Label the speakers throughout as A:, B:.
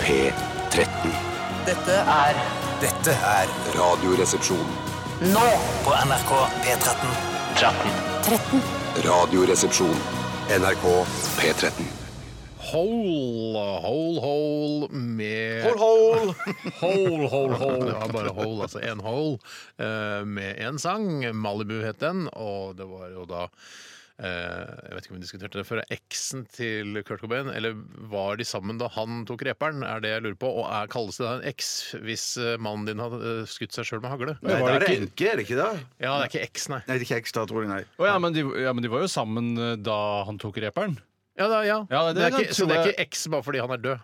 A: P13.
B: Dette er
C: Dette er
A: Radioresepsjon.
B: nå
C: på NRK P13.
A: Radioresepsjon. NRK P13.
D: Hole, hole, hole med Hole, hole, hole, hole. Det var bare hole, altså en hole eh, med én sang. Malibu het den, og det var jo da eh, Jeg vet ikke om vi diskuterte det før. Eksen til Kurt Cobain, eller var de sammen da han tok reperen? Er det jeg lurer på. Og er, kalles det da en eks hvis eh, mannen din har eh, skutt seg sjøl med hagle?
E: Nei,
F: var
E: da er
F: det
E: det
F: ikke-
E: enke, er det ikke det?
D: Ja, det er ikke eks, nei.
E: Nei, det er ikke ekstra, tror jeg. Nei.
F: Å ja, men de, ja, men de var jo sammen eh, da han tok reperen.
D: Ja, da, ja.
F: Ja, det
D: det er
F: kan-
D: ikke, så
F: tror
D: det er
F: jeg-
D: ikke eks bare fordi han er død?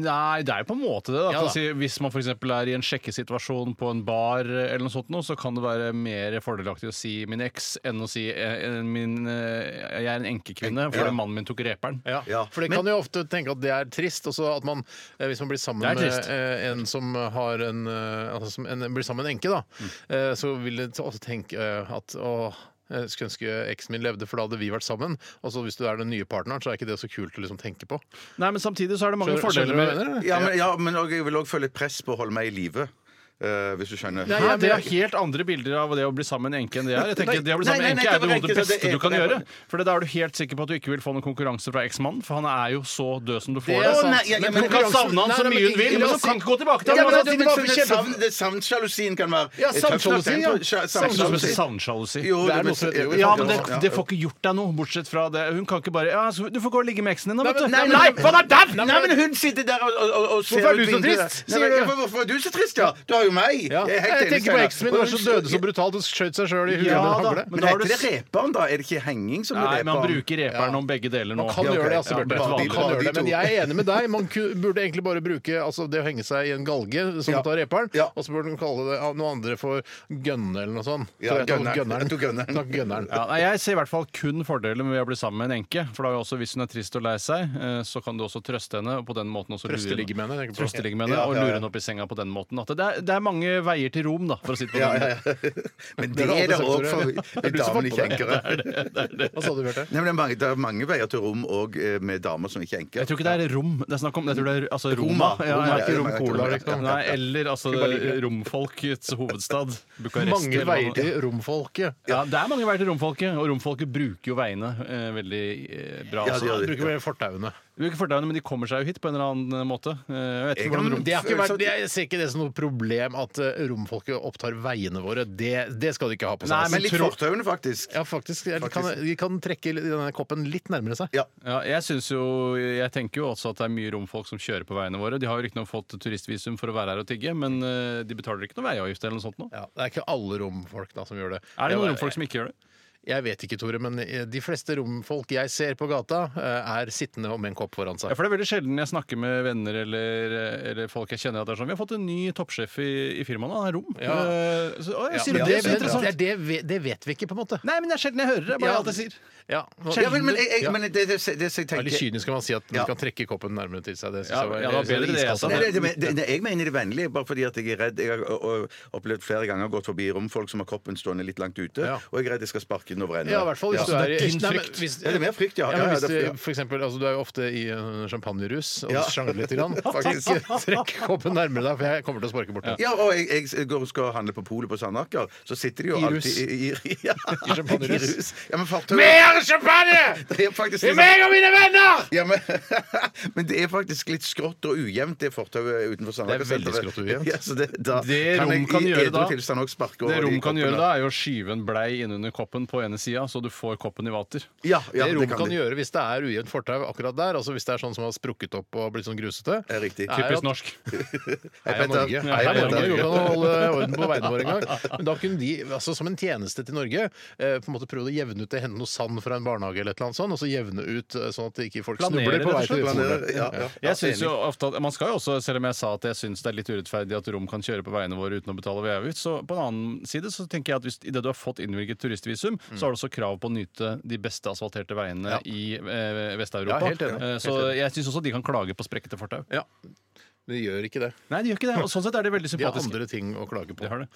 F: Nei, det er jo på en måte det. Da.
D: Ja,
F: Kan
D: da.
F: Si, hvis man f.eks. er i en sjekkesituasjon på en bar, eh, eller noe sånt, nå, så kan det være mer fordelaktig å si 'min eks' enn å si eh, eh, min, eh, 'jeg er en enkekvinne' fordi mannen min tok reperen.
D: Ja.
E: Ja.
D: For det kan jo ofte tenke at det er trist. Også at man, eh, hvis man blir sammen
F: Det er
D: med
F: trist.
D: eh, en som har en, eh, altså som en blir sammen med en enke, da,
F: Mm.
D: eh, så vil det også tenke eh, at å, jeg skulle ønske eksen min levde, for da hadde vi vært sammen. Og så hvis du er den nye partneren, så er ikke det så kult å liksom tenke på.
F: Nei, men samtidig så er det mange
D: Skjønner- skjønner du hva
F: fordeler
D: jeg
F: med
D: mener? eller?
E: Ja, men, ja, men og jeg vil òg føle et press på å holde meg i live, eh, hvis du skjønner.
D: Nei,
F: Nei,
D: jeg-
F: det er helt andre bilder av det å bli sammen med en enke enn det er. Jeg tenker,
E: Nei,
F: det å bli sammen med
E: nei,
F: en
E: nei,
F: enke
E: nei,
F: er
E: det
F: jo
E: var
F: noe av det
E: ikke- det-
F: beste du kan
E: det-
F: gjøre. For da er du helt sikker på at du ikke vil få noen konkurranse fra eksmannen, for han er jo så død som du
D: Det
F: får
D: er
F: det.
D: sant.
E: nei, ja, ja, men
F: Du kan
E: konkurransen-
F: savne han
D: Nei,
F: så
D: nei,
F: mye
D: men-
F: du vil, men
D: la
F: så
D: oss
F: kan
D: si-
F: du ikke gå tilbake til
E: Ja,
F: ham.
E: men altså,
F: uansett,
E: det-
F: du bare
E: men
F: får kjempe-
E: savn- det- Savnsjalusien kan være
D: Ja,
E: eh, tøft nok,
D: savnsjalusi,
E: den,
D: ja.
E: tror jeg. Sja-
F: Det er ikke noe som
E: savnsjalusi.
F: heter savnsjalusi.
E: Jo,
D: Det er
E: det-
D: noe som heter-
E: jo,
D: jo,
F: Ja, men det,
E: ja.
F: det får ikke gjort deg noe, bortsett fra det. Hun kan ikke bare ja, så Du får gå og ligge med eksen din, da, vet du.
E: Nei, men-
F: Nei, for han er der!
E: Nei, men hun sitter der og, og, og- og ser
F: Hvorfor er
E: ut
F: du så
E: vinduet. Nei,
F: trist, sier
E: men-
F: du?
E: Hvorfor, hvorfor er du så trist, ja? Du har jo meg.
D: Ja.
E: er helt
D: Jeg
E: enig,
D: tenker på
E: Steinar.
D: eksen min,
E: Og
D: var så
E: hun-
D: døde så brutalt og skjøt seg sjøl i huet med en
F: Ja, da,
D: hagle.
F: men
E: Men
F: da har
E: heter
F: du
E: det reperen, da? Er det ikke henging som er
F: Nei,
E: reperen?
F: men han bruker reperen om begge deler nå.
D: Man kan
E: Ja, ok.
D: gjøre det, altså,
E: Ja,
D: Bjarte.
E: bare
D: Man
E: de-
D: kan
E: bare
D: gjøre
E: de
D: det, men
E: to.
D: jeg er enig med deg. Man ku- burde egentlig bare bruke altså, det å henge seg i en galge, som
E: Ja.
D: man tar reperen,
E: Ja.
D: og så burde man kalle det av noe andre for gønne eller noe sånt.
E: Ja,
D: Så jeg tok
E: gønneren.
D: gønneren.
E: Jeg tok gønneren.
D: Takk, gønneren.
F: Ja, nei, jeg ser i hvert fall kun fordeler med å bli sammen med en enke. For da er jo også, hvis hun er trist og lei seg, eh, så kan du også trøste henne. Og på den måten også lure henne-
D: Trøsteligge med henne, tenker jeg på.
F: Trøsteligge med henne
E: Ja, ja, ja.
F: og lure henne opp i senga på den måten. At det, er, det er mange veier til Rom, da, for å si det på
E: Ja,
F: den
E: ja,
F: måten.
E: ja. Men
D: Det
E: det
D: har
E: er
D: alle
E: det
D: sagt,
E: òg
D: Tore.
E: for
D: Det er du som
E: damene,
D: fant
E: ikke
D: på det.
E: enkere.
D: Hva sa du, Bjarte?
E: Nei, men det, er mange, det er mange veier til rom òg med damer som ikke er enker.
F: Jeg tror ikke det er rom det er snakk om. Jeg tror det er altså, Roma.
E: Roma.
F: Ja,
E: Roma,
F: ja, ikke
E: ja,
F: Rom
E: ja,
F: Cola,
E: ja,
F: liksom. Nei, eller altså romfolkets hovedstad. Bucharesti.
D: Mange
F: eller hva
D: veier
F: det-
D: til romfolket.
F: Ja, det er mange veier til romfolket, og romfolket bruker jo veiene eh, veldig eh, bra.
E: Ja,
F: altså.
E: de gjør det.
D: Bruker mer fortauene.
F: De bruker fortauene, men de kommer seg jo hit på en eller annen måte. Eh, Jeg vet
E: Jeg
F: ikke
E: kan-
F: hvordan
E: sånn-
F: rom...
D: Det har ikke vært, jeg ser ikke det som noe problem at eh, romfolket opptar veiene våre. Det, det skal de ikke ha på seg.
F: Nei,
D: altså.
E: Men litt
F: tro-
E: fortauene, faktisk.
D: ja, faktisk, de, kan, de kan trekke denne koppen litt nærmere seg.
E: Ja.
F: Ja, jeg, synes jo, jeg tenker jo også at det er mye romfolk som kjører på veiene våre. De har jo riktignok fått turistvisum for å være her og tigge, men eh, de betaler ikke noe veiavgift eller noe sånt nå.
D: Ja, det er ikke alle romfolk da, som gjør det.
F: Er det noen
D: Jeg-
F: romfolk som ikke gjør det?
D: Jeg vet ikke, Tore, men eh, de fleste romfolk jeg ser på gata, eh, er sittende og med en kopp foran
F: Ja,
D: seg.
F: for Det er veldig sjelden jeg snakker med venner eller, eller folk jeg kjenner. at det er sånn, Vi har fått en ny toppsjef i, i firmaet, han er rom.
D: Ja.
F: Eh, så, å, jeg sier
D: Men
F: det,
D: det,
F: er så interessant.
D: det, det, vet- det vet vi ikke, på en måte.
F: Nei, men det er sjelden jeg hører det. Bare
D: Ja.
F: alt jeg sier.
D: Ja, nå-
E: Ja, men, men, jeg,
D: Ja.
E: jeg, men det, det, det, det som jeg
D: Det er litt
E: tenker
D: kynisk kan man si at man
E: Ja.
D: kan trekke koppen nærmere til seg. Det synes
F: Ja,
D: jeg var,
F: ja, det var
D: jeg synes
F: bedre det altså.
D: iskaldt.
F: jeg sa.
E: Nei, det, det, det, jeg mener det vennlige, bare fordi at jeg er redd. Jeg har ø, ø, opplevd flere ganger gått forbi romfolk som har kroppen stående litt langt ute,
D: Ja.
E: og jeg er redd jeg skal sparke den over ende.
D: Ja, i hvert fall hvis
E: Ja.
D: du er, i-
F: det er din
D: Nei, men
F: frykt.
D: hvis-
E: Ja, det er mer frykt, ja.
D: Ja,
E: Ja,
D: men
E: ja,
D: hvis
E: det er
D: du,
E: frykt.
D: for eksempel, altså, du er jo ofte i en champagnerus og
E: Ja.
D: sjangler litt. Grann.
E: Faktisk.
D: Trekk, trekk koppen nærmere deg, for jeg kommer til å sparke bort den.
E: Ja, og jeg, jeg går og skal handle på polet på Sandaker, så sitter de jo
D: I rus.
E: alltid i, i, i, ja.
D: I champagnerus.
E: I rus. Ja, men fartøy
D: champagne!
E: Det er faktisk litt-
D: og mine venner!
E: Ja, men, men det er faktisk litt skrått og ujevnt, det fortauet utenfor
D: Det
E: Sandaker.
D: er veldig
E: senteret.
D: skrått og ujevnt.
E: Ja, så det, da,
F: Det Rom
E: jeg i
F: kan gjøre
E: edru
F: da-
E: tilstand også sparke
F: Det
E: over de
F: Rom kan gjøre
E: koppene.
F: da, er jo å skyve en blei innunder koppen på ene sida, så du får koppen i vater.
E: Ja, ja,
D: det rom kan,
E: de.
D: gjøre hvis det er ujevnt fortau akkurat der, altså hvis det er sånn som har sprukket opp og blitt sånn grusete,
E: Det er riktig.
D: Nei,
F: Typisk
D: ja.
F: norsk.
E: Hei,
D: Heia
E: Petter.
D: Norge.
E: Hei,
D: Heia
E: Petter.
D: Norge. Vi kan holde orden på veiene våre en gang. Men da kunne de, altså som en tjeneste til Norge, eh, på en måte prøvd å jevne ut det, hente noe sand fra en barnehage eller et eller annet sånt, og så jevne ut eh, sånn at ikke folk
F: Planere,
D: snubler på vei
F: rett og
D: til
F: slett.
D: skolen.
E: Planerer, ja, ja.
F: Jeg synes jo ofte at, man skal jo også, Selv om jeg sa at jeg syns det er litt urettferdig at Rom kan kjøre på veiene våre uten å betale veiavgift, så på en annen side så tenker jeg at hvis, i det du har fått innvilget turistvisum, så har du også krav på å nyte de beste asfalterte veiene i eh,
D: Mm. Ja,
F: Vest-Europa.
D: helt enig.
F: Eh, så jeg syns også de kan klage på sprekkete fortau.
D: Ja. Men de gjør ikke det.
F: Nei, de gjør ikke det. Og sånn sett er de veldig
D: De har
F: sympatiske.
D: andre ting å klage på.
F: De har det.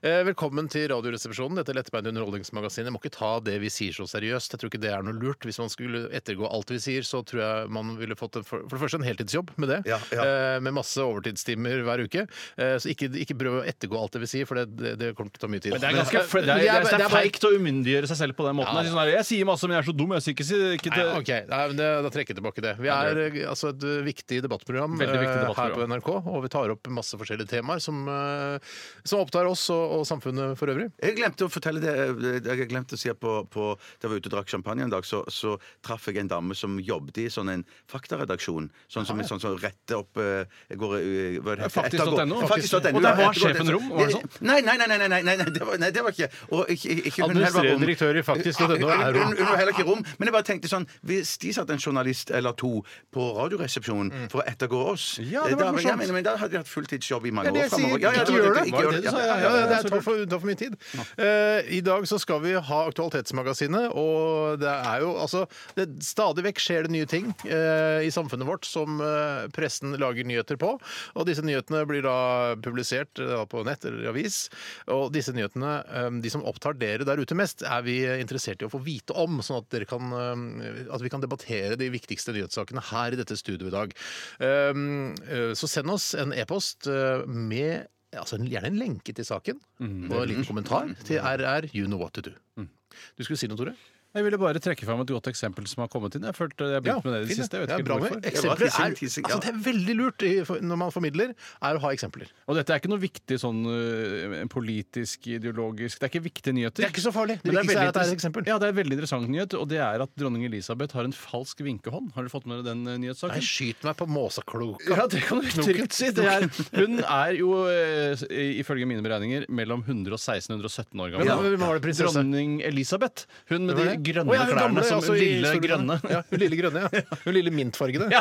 D: Eh, Velkommen til Radioresepsjonen. Dette lettbeinte underholdningsmagasinet. Jeg må ikke ta det vi sier så seriøst. Jeg tror ikke det er noe lurt. Hvis man skulle ettergå alt vi sier, så tror jeg man ville fått en- for for det første en heltidsjobb med det.
E: Ja, ja.
D: eh, Med masse overtidstimer hver uke. Eh, Så ikke, ikke prøv å ettergå alt det vi sier, for det, det, det kommer til å ta mye tid.
F: Men det er ganske
D: Men-
F: fl- det er,
D: Men
F: det
D: jeg-
F: er, det er
D: bare-
F: feigt å umyndiggjøre seg selv på den måten.
D: Ja.
F: Det er sånn her, jeg sier masse, men jeg er så dum. Jeg sier ikke, si- ikke til
D: Nei, ok, Nei, men det, Da trekker jeg tilbake det. Vi er eh, altså, et eh, viktig debattprogram
F: Veldig
D: eh,
F: viktig
D: her på
F: debattprogram.
D: NRK, og vi tar opp masse forskjellige temaer som, eh, som opptar oss og, og samfunnet for øvrig.
E: Jeg glemte å fortelle det Jeg glemte å si at på, på, Da jeg var ute og drakk champagne en dag, så, så traff jeg en dame som jobbet i sånn en faktaredaksjon. Sånn som, sånn som retter opp eh, jeg går, eh, hva det heter,
F: Faktisk.no.
E: ettergå-
F: Faktisk.
E: Faktisk.no,
F: Og der var
E: ja, ettergå-
F: sjefen Rom, var det sånn?
E: Nei, nei, nei, nei, nei, nei, nei, det, var, nei det var ikke og ikke, ikke, hun heller var
D: Administrerende
E: Rom.
D: direktør i Faktisk.no er
E: Hun- hun-
D: Rom.
E: Hun var heller ikke Rom. Men jeg bare tenkte sånn Hvis de satt en journalist eller to på Radioresepsjonen for å ettergå oss
F: Ja, det var
E: da,
F: morsomt.
E: jeg mener, men da hadde de hatt fulltidsjobb i mange
D: Det
E: år
D: jeg sier,
E: framover.
D: ikke gjør det!
E: Ikke gjør det.
F: du sa?
E: Ja,
D: Ja,
E: ja, ja.
D: ja, det er- tar for, tar for mye tid. Eh, I dag så skal vi ha Aktualitetsmagasinet, og det er jo altså det, Stadig vekk skjer det nye ting eh, i samfunnet vårt som eh, pressen lager nyheter på. Og disse nyhetene blir da publisert eh, da på nett eller i avis. Og disse nyhetene, eh, de som opptar dere der ute mest, er vi interessert i å få vite om, sånn at, dere kan, eh, at vi kan debattere de viktigste nyhetssakene her i dette studioet i dag. Um, eh, Så send oss en e-post eh, med altså en- gjerne en lenke til saken
F: Mm.
D: og en liten kommentar til RR You Know What To Do. Du skulle si noe, Tore?
F: Jeg ville bare trekke fram et godt eksempel som har kommet inn. Jeg følte jeg begynte med det i det
D: fint,
F: siste. Jeg vet
D: Ja,
F: ikke
D: bra med
F: hvorfor.
D: Eksempler
E: Ja, bra.
D: er,
E: Teasing, teasing,
D: altså,
E: ja.
D: det er veldig lurt i, for- når man formidler, er å ha eksempler.
F: Og dette er ikke noe viktig sånn øh, politisk, ideologisk Det er ikke viktige nyheter.
D: Det er ikke så farlig. Det viktigste
F: Men veldig
D: er at det er et
F: interess-
D: eksempel.
F: Ja, det er en veldig interessant nyhet, og det er at dronning Elisabeth har en falsk vinkehånd. Har dere fått med dere den øh,
D: Nei,
F: nyhetssaken?
D: skyt meg på måsakloka.
F: Ja, det kan du
D: Knoken.
F: trygt si. Det er, hun er jo, øh, ifølge mine beregninger, mellom 116 og 117 år gammel.
D: Men hvem var det prinsesse?
F: Dronning Elisabeth. Hun med
D: Hvem var
F: de
D: det?
F: grønne
D: Å, ja, hun
F: klærne
D: gamle,
F: som
D: altså, i
F: lille
D: Storbritannia.
F: grønne.
D: Ja, hun lille grønne, ja. Hun lille mintfargede.
F: Ja,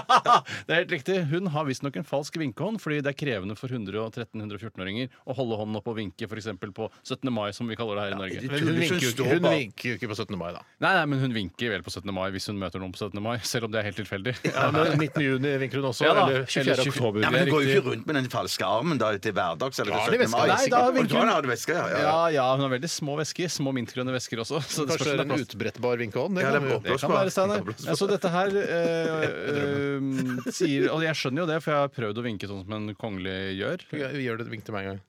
F: det er helt riktig. Hun har visstnok en falsk vinkehånd, fordi det er krevende for 113-114-åringer å holde hånden opp og vinke f.eks. på 17. mai, som vi kaller det her i Norge.
D: Men hun
E: Hun
D: vinker, jo ikke,
E: står
D: hun
E: bak.
D: vinker jo ikke på 17. mai, da.
F: Nei, nei, men hun vinker vel på 17. mai hvis hun møter noen på 17. mai, selv om det er helt tilfeldig.
D: Ja, men 19. juni vinker hun også.
F: Ja da,
D: eller 24.
E: Ja,
F: eller 24.
E: men Hun
F: Det er
E: går jo
F: riktig.
E: ikke rundt med den falske armen da til hverdags. Eller
D: Har
E: til
D: de
E: 17.
D: vesker? Nei,
E: mai.
D: da
E: Sikkert.
F: virker
E: Og
F: hun-
E: da har de vesker, ja, ja, ja.
F: Ja, ja, hun har veldig små vesker. Små mintgrønne vesker også. Så
D: Kanskje
F: det spørs om det er
D: en
F: plass.
D: utbrettbar vinkeovn?
E: Ja,
D: kan
E: det
D: vi jo-
E: er blå-
F: Det kan være, Steinar. Altså, dette her eh, eh, sier Og jeg skjønner jo det, for jeg har prøvd å vinke sånn som en kongelig gjør.
D: Ja, vi Gjør det, vink til meg en gang.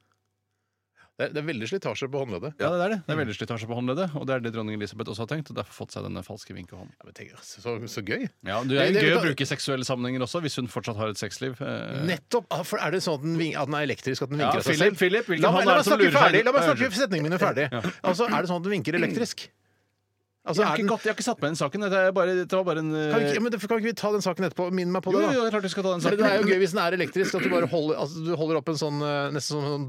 D: Det er, det er veldig slitasje på håndleddet.
F: Ja, det er det. Det er
D: Mm.
F: veldig slitasje på håndleddet, og det er det dronning Elisabeth også har tenkt, og derfor fått seg denne falske vinkehånden.
D: Ja, men tenk, altså, så, så gøy!
F: Ja, Det
D: Det-
F: er jo
D: det-
F: gøy å
D: det-
F: bruke i seksuelle sammenhenger også, hvis hun fortsatt har et sexliv. Eh,
D: Nettopp! Ah, For er det sånn at den, ving, at den er elektrisk? At den
F: Ja,
D: vinker av seg
F: Philip,
D: selv?
F: Philip, hvilken
D: la,
F: hånd
D: meg, la,
F: er det
D: meg
F: som
D: snakke
F: lurer her?
D: ferdig, la meg
F: Ja,
D: snakke setningene mine ferdig. Altså, Er det sånn at den vinker elektrisk? Altså,
F: Jeg
D: er
F: har, ikke
D: den,
F: gått, jeg har ikke satt meg inn i saken. Dette, er bare, dette var bare en eh,
D: kan, vi, ikke- ja, men det- kan ikke vi ta den saken etterpå? Minn meg på
F: Jo,
D: det,
F: jo,
D: da.
F: jo, klart vi skal ta den
D: For
F: saken.
D: det er jo gøy hvis den er elektrisk, at du bare holder, altså, du holder opp en sånn eh, nesten som en sånn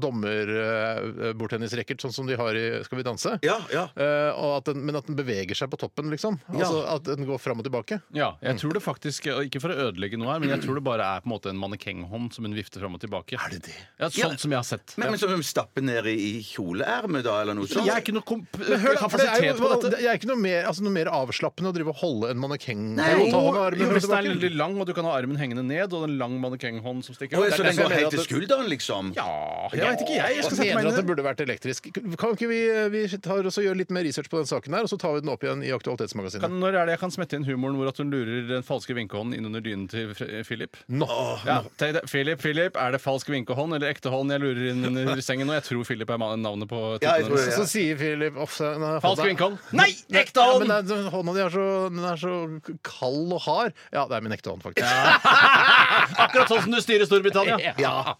D: dommer-bordtennisracket, sånn som de har i Skal vi danse?
E: Ja, ja.
D: Eh, og at den, men at den beveger seg på toppen, liksom. Altså At den går fram og tilbake.
F: Ja, jeg tror det faktisk, og Ikke for å ødelegge noe her, men jeg tror det bare er på en måte en mannekenghånd som hun vifter fram og tilbake. Er det det? Ja,
E: Ja.
F: Sånn som jeg har sett.
E: Men, men så hun stapper ned i, i kjoleermet, da, eller noe sånt?
F: Jeg er ikke noe komp
D: Hør, da, for det, er
F: kapasitet
D: jo,
F: på dette.
D: det er ikke noe mer, altså, noe mer avslappende å drive og holde en mannekeng
E: Nei.
D: Ta hånda og armen
F: Jo,
D: fram og
F: hvis den er
D: tilbake.
F: veldig lang, og du kan ha armen hengende ned, og en lang mannekenghånd som stikker
E: Å,
F: opp.
E: ja,
F: Det
E: så
F: er
E: den
F: derfor
E: går
F: jeg
E: helt
F: mener at
E: til
F: det-
E: skulderen, liksom?
F: Ja, jeg vet ikke, jeg. jeg skal
D: Jeg
F: sette
D: mener
F: meg
D: at det
F: inn i det.
D: burde vært elektrisk. Kan ikke vi, vi tar også gjøre litt mer research på den saken her, og så tar vi den opp igjen i Aktualitetsmagasinet?
F: Kan, når er det jeg kan smette inn humoren hvor at hun lurer den falske vinkehånden inn under dynen til Fre- eh, Philip?
D: Nå.
F: Ja, tenk deg, Philip, Philip, er det falsk vinkehånd eller ekte hånd jeg lurer inn under sengen? Og jeg tror Philip er mannen- navnet på
E: Ja, jeg
F: typen
E: tror
F: hennes.
E: det,
D: Så sier Philip off, nei,
F: Falsk
D: hånda-
F: vinkehånd. Nei, ekte
D: Ja,
F: hånd!
D: men det er- hånda di er så, den er så kald og hard. Ja, det er min ekte hånd, faktisk.
F: Akkurat sånn som du styrer Storbritannia.
D: Jeg har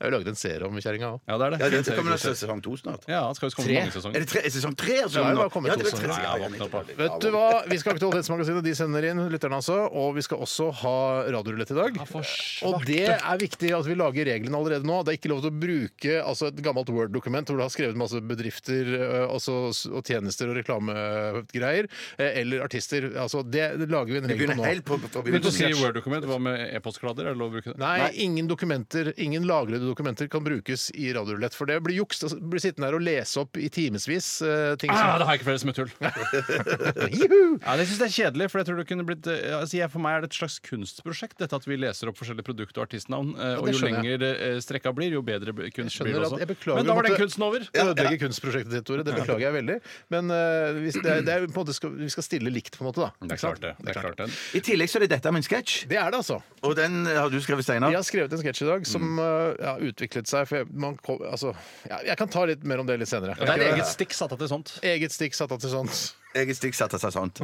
D: jo laget en serie om kjerringa òg.
F: Ja, det er det.
E: Ja, det kommer da sesong to snart.
F: Ja, han skal jo komme
D: Tre.
F: mange sesonger.
E: Er det tre, er sesong tre? som
D: Ja, det
E: nå?
D: har kommet
E: Ja, det
D: to
E: er tre-
D: sesonger.
E: ja, ja,
F: Nei,
E: ja,
F: våkne opp,
D: Vet du hva? Vi skal ha Aktualitetsmagasinet, de sender inn lytterne altså. Og vi skal også ha radiorulett i dag. Og det er viktig at vi lager reglene allerede nå. Det er ikke lov til å bruke altså, et gammelt Word-dokument hvor du har skrevet masse bedrifter eh, og så- og altså, tjenester og reklame Bauhoft-greier, eh, eller artister. Altså, det, det lager vi en
E: Vi
D: regel
E: begynner
D: på nå.
E: helt på, på, på
F: Begynte å si
E: begynnelsen.
F: Word-dokument. Hva med e-postkladder? Er det lov å bruke det?
D: Nei, ingen dokumenter, ingen lagrede dokumenter kan brukes i radiorulett. For det blir juks. Altså, Blir sittende her og lese opp i timevis eh, ting
F: Ah,
D: som
F: det har jeg ikke flere som et tull.
D: Juhu!
F: Ja, det synes jeg er kjedelig, for jeg tror det kunne blitt eh, altså jeg, For meg er det et slags kunstprosjekt, dette at vi leser opp forskjellige produkt- og artistnavn. eh, Og
D: det
F: jo
D: skjønner jeg.
F: lenger eh, strekka blir, jo bedre b- kunst
D: skjønner
F: blir det også.
D: at- jeg beklager
F: Men da var
D: å
F: den
D: måtte-
F: kunsten over.
D: Ødelegge kunstprosjektet ditt, Tore. Det beklager jeg veldig. Men eh, hvis det er, det er på en måte skal, vi skal stille likt, på en måte. da.
F: Det er klart, det. det, er klart det.
E: I tillegg så er det dette med en sketsj.
D: Det er det, altså.
E: Og den eh, har du skrevet,
D: Jeg
E: Steinar.
D: har skrevet en sketsj i dag som
F: Mm.
D: eh, ja, utviklet seg for jeg, man kom, altså, ja, jeg kan ta litt mer om det litt senere.
F: Ja, det er eget stikk satt av til sånt.
D: Eget stikk satt av til sånt.
E: Eget stikk satte seg sånt.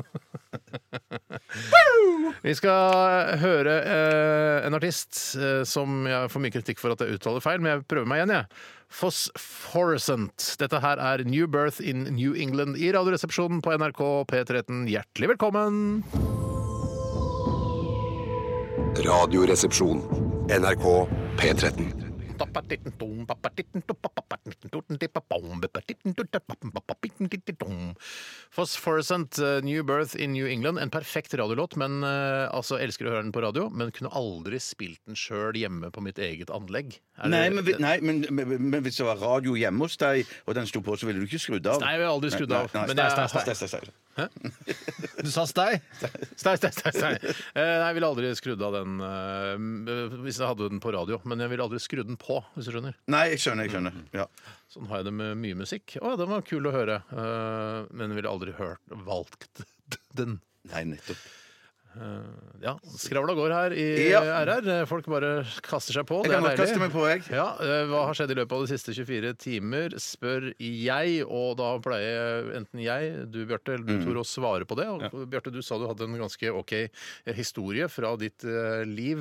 D: Vi skal høre eh, en artist eh, som jeg får mye kritikk for at jeg uttaler feil, men jeg prøver meg igjen, jeg. Phosphorescent. Dette her er New Birth in New England i Radioresepsjonen på NRK P13. Hjertelig velkommen!
A: Radioresepsjon. NRK P13.
D: Phosphorescent, eh, New Birth in New England. En perfekt radiolåt. men eh, altså, Elsker å høre den på radio, men kunne aldri spilt den sjøl hjemme på mitt eget anlegg. Er det-
E: Nei, men, vi- nei men, men, men hvis det var radio hjemme hos deg, og den sto på, så ville du ikke skrudd av?
D: Nei, jeg har aldri skrudd av.
E: Nei, nei,
D: Men
E: nei,
D: jeg-
E: nei, nei, nei, nei, nei.
F: Du sa stei.
D: Stei, stei, stei, stei. Eh, Nei, jeg ville aldri skrudd av den eh, hvis jeg hadde den på radio. Men jeg ville aldri skrudd den på, hvis du skjønner.
E: Nei, jeg skjønner. jeg skjønner ja.
D: Sånn har jeg det med mye musikk. Å, den var kul å høre. eh, Men ville aldri hørt valgt den.
E: Nei, nettopp.
D: Ja, skravla går her i
E: Ja.
D: RR. Folk bare kaster seg på. Det
E: Jeg
D: er
E: kan godt
D: deilig.
E: kaste meg på, jeg.
D: Ja, eh, Hva har skjedd i løpet av de siste 24 timer, spør jeg. Og da pleier enten jeg, du Bjarte, eller
E: Mm.
D: du Tor å svare på det. Og Bjarte, du sa du hadde en ganske OK historie fra ditt eh, liv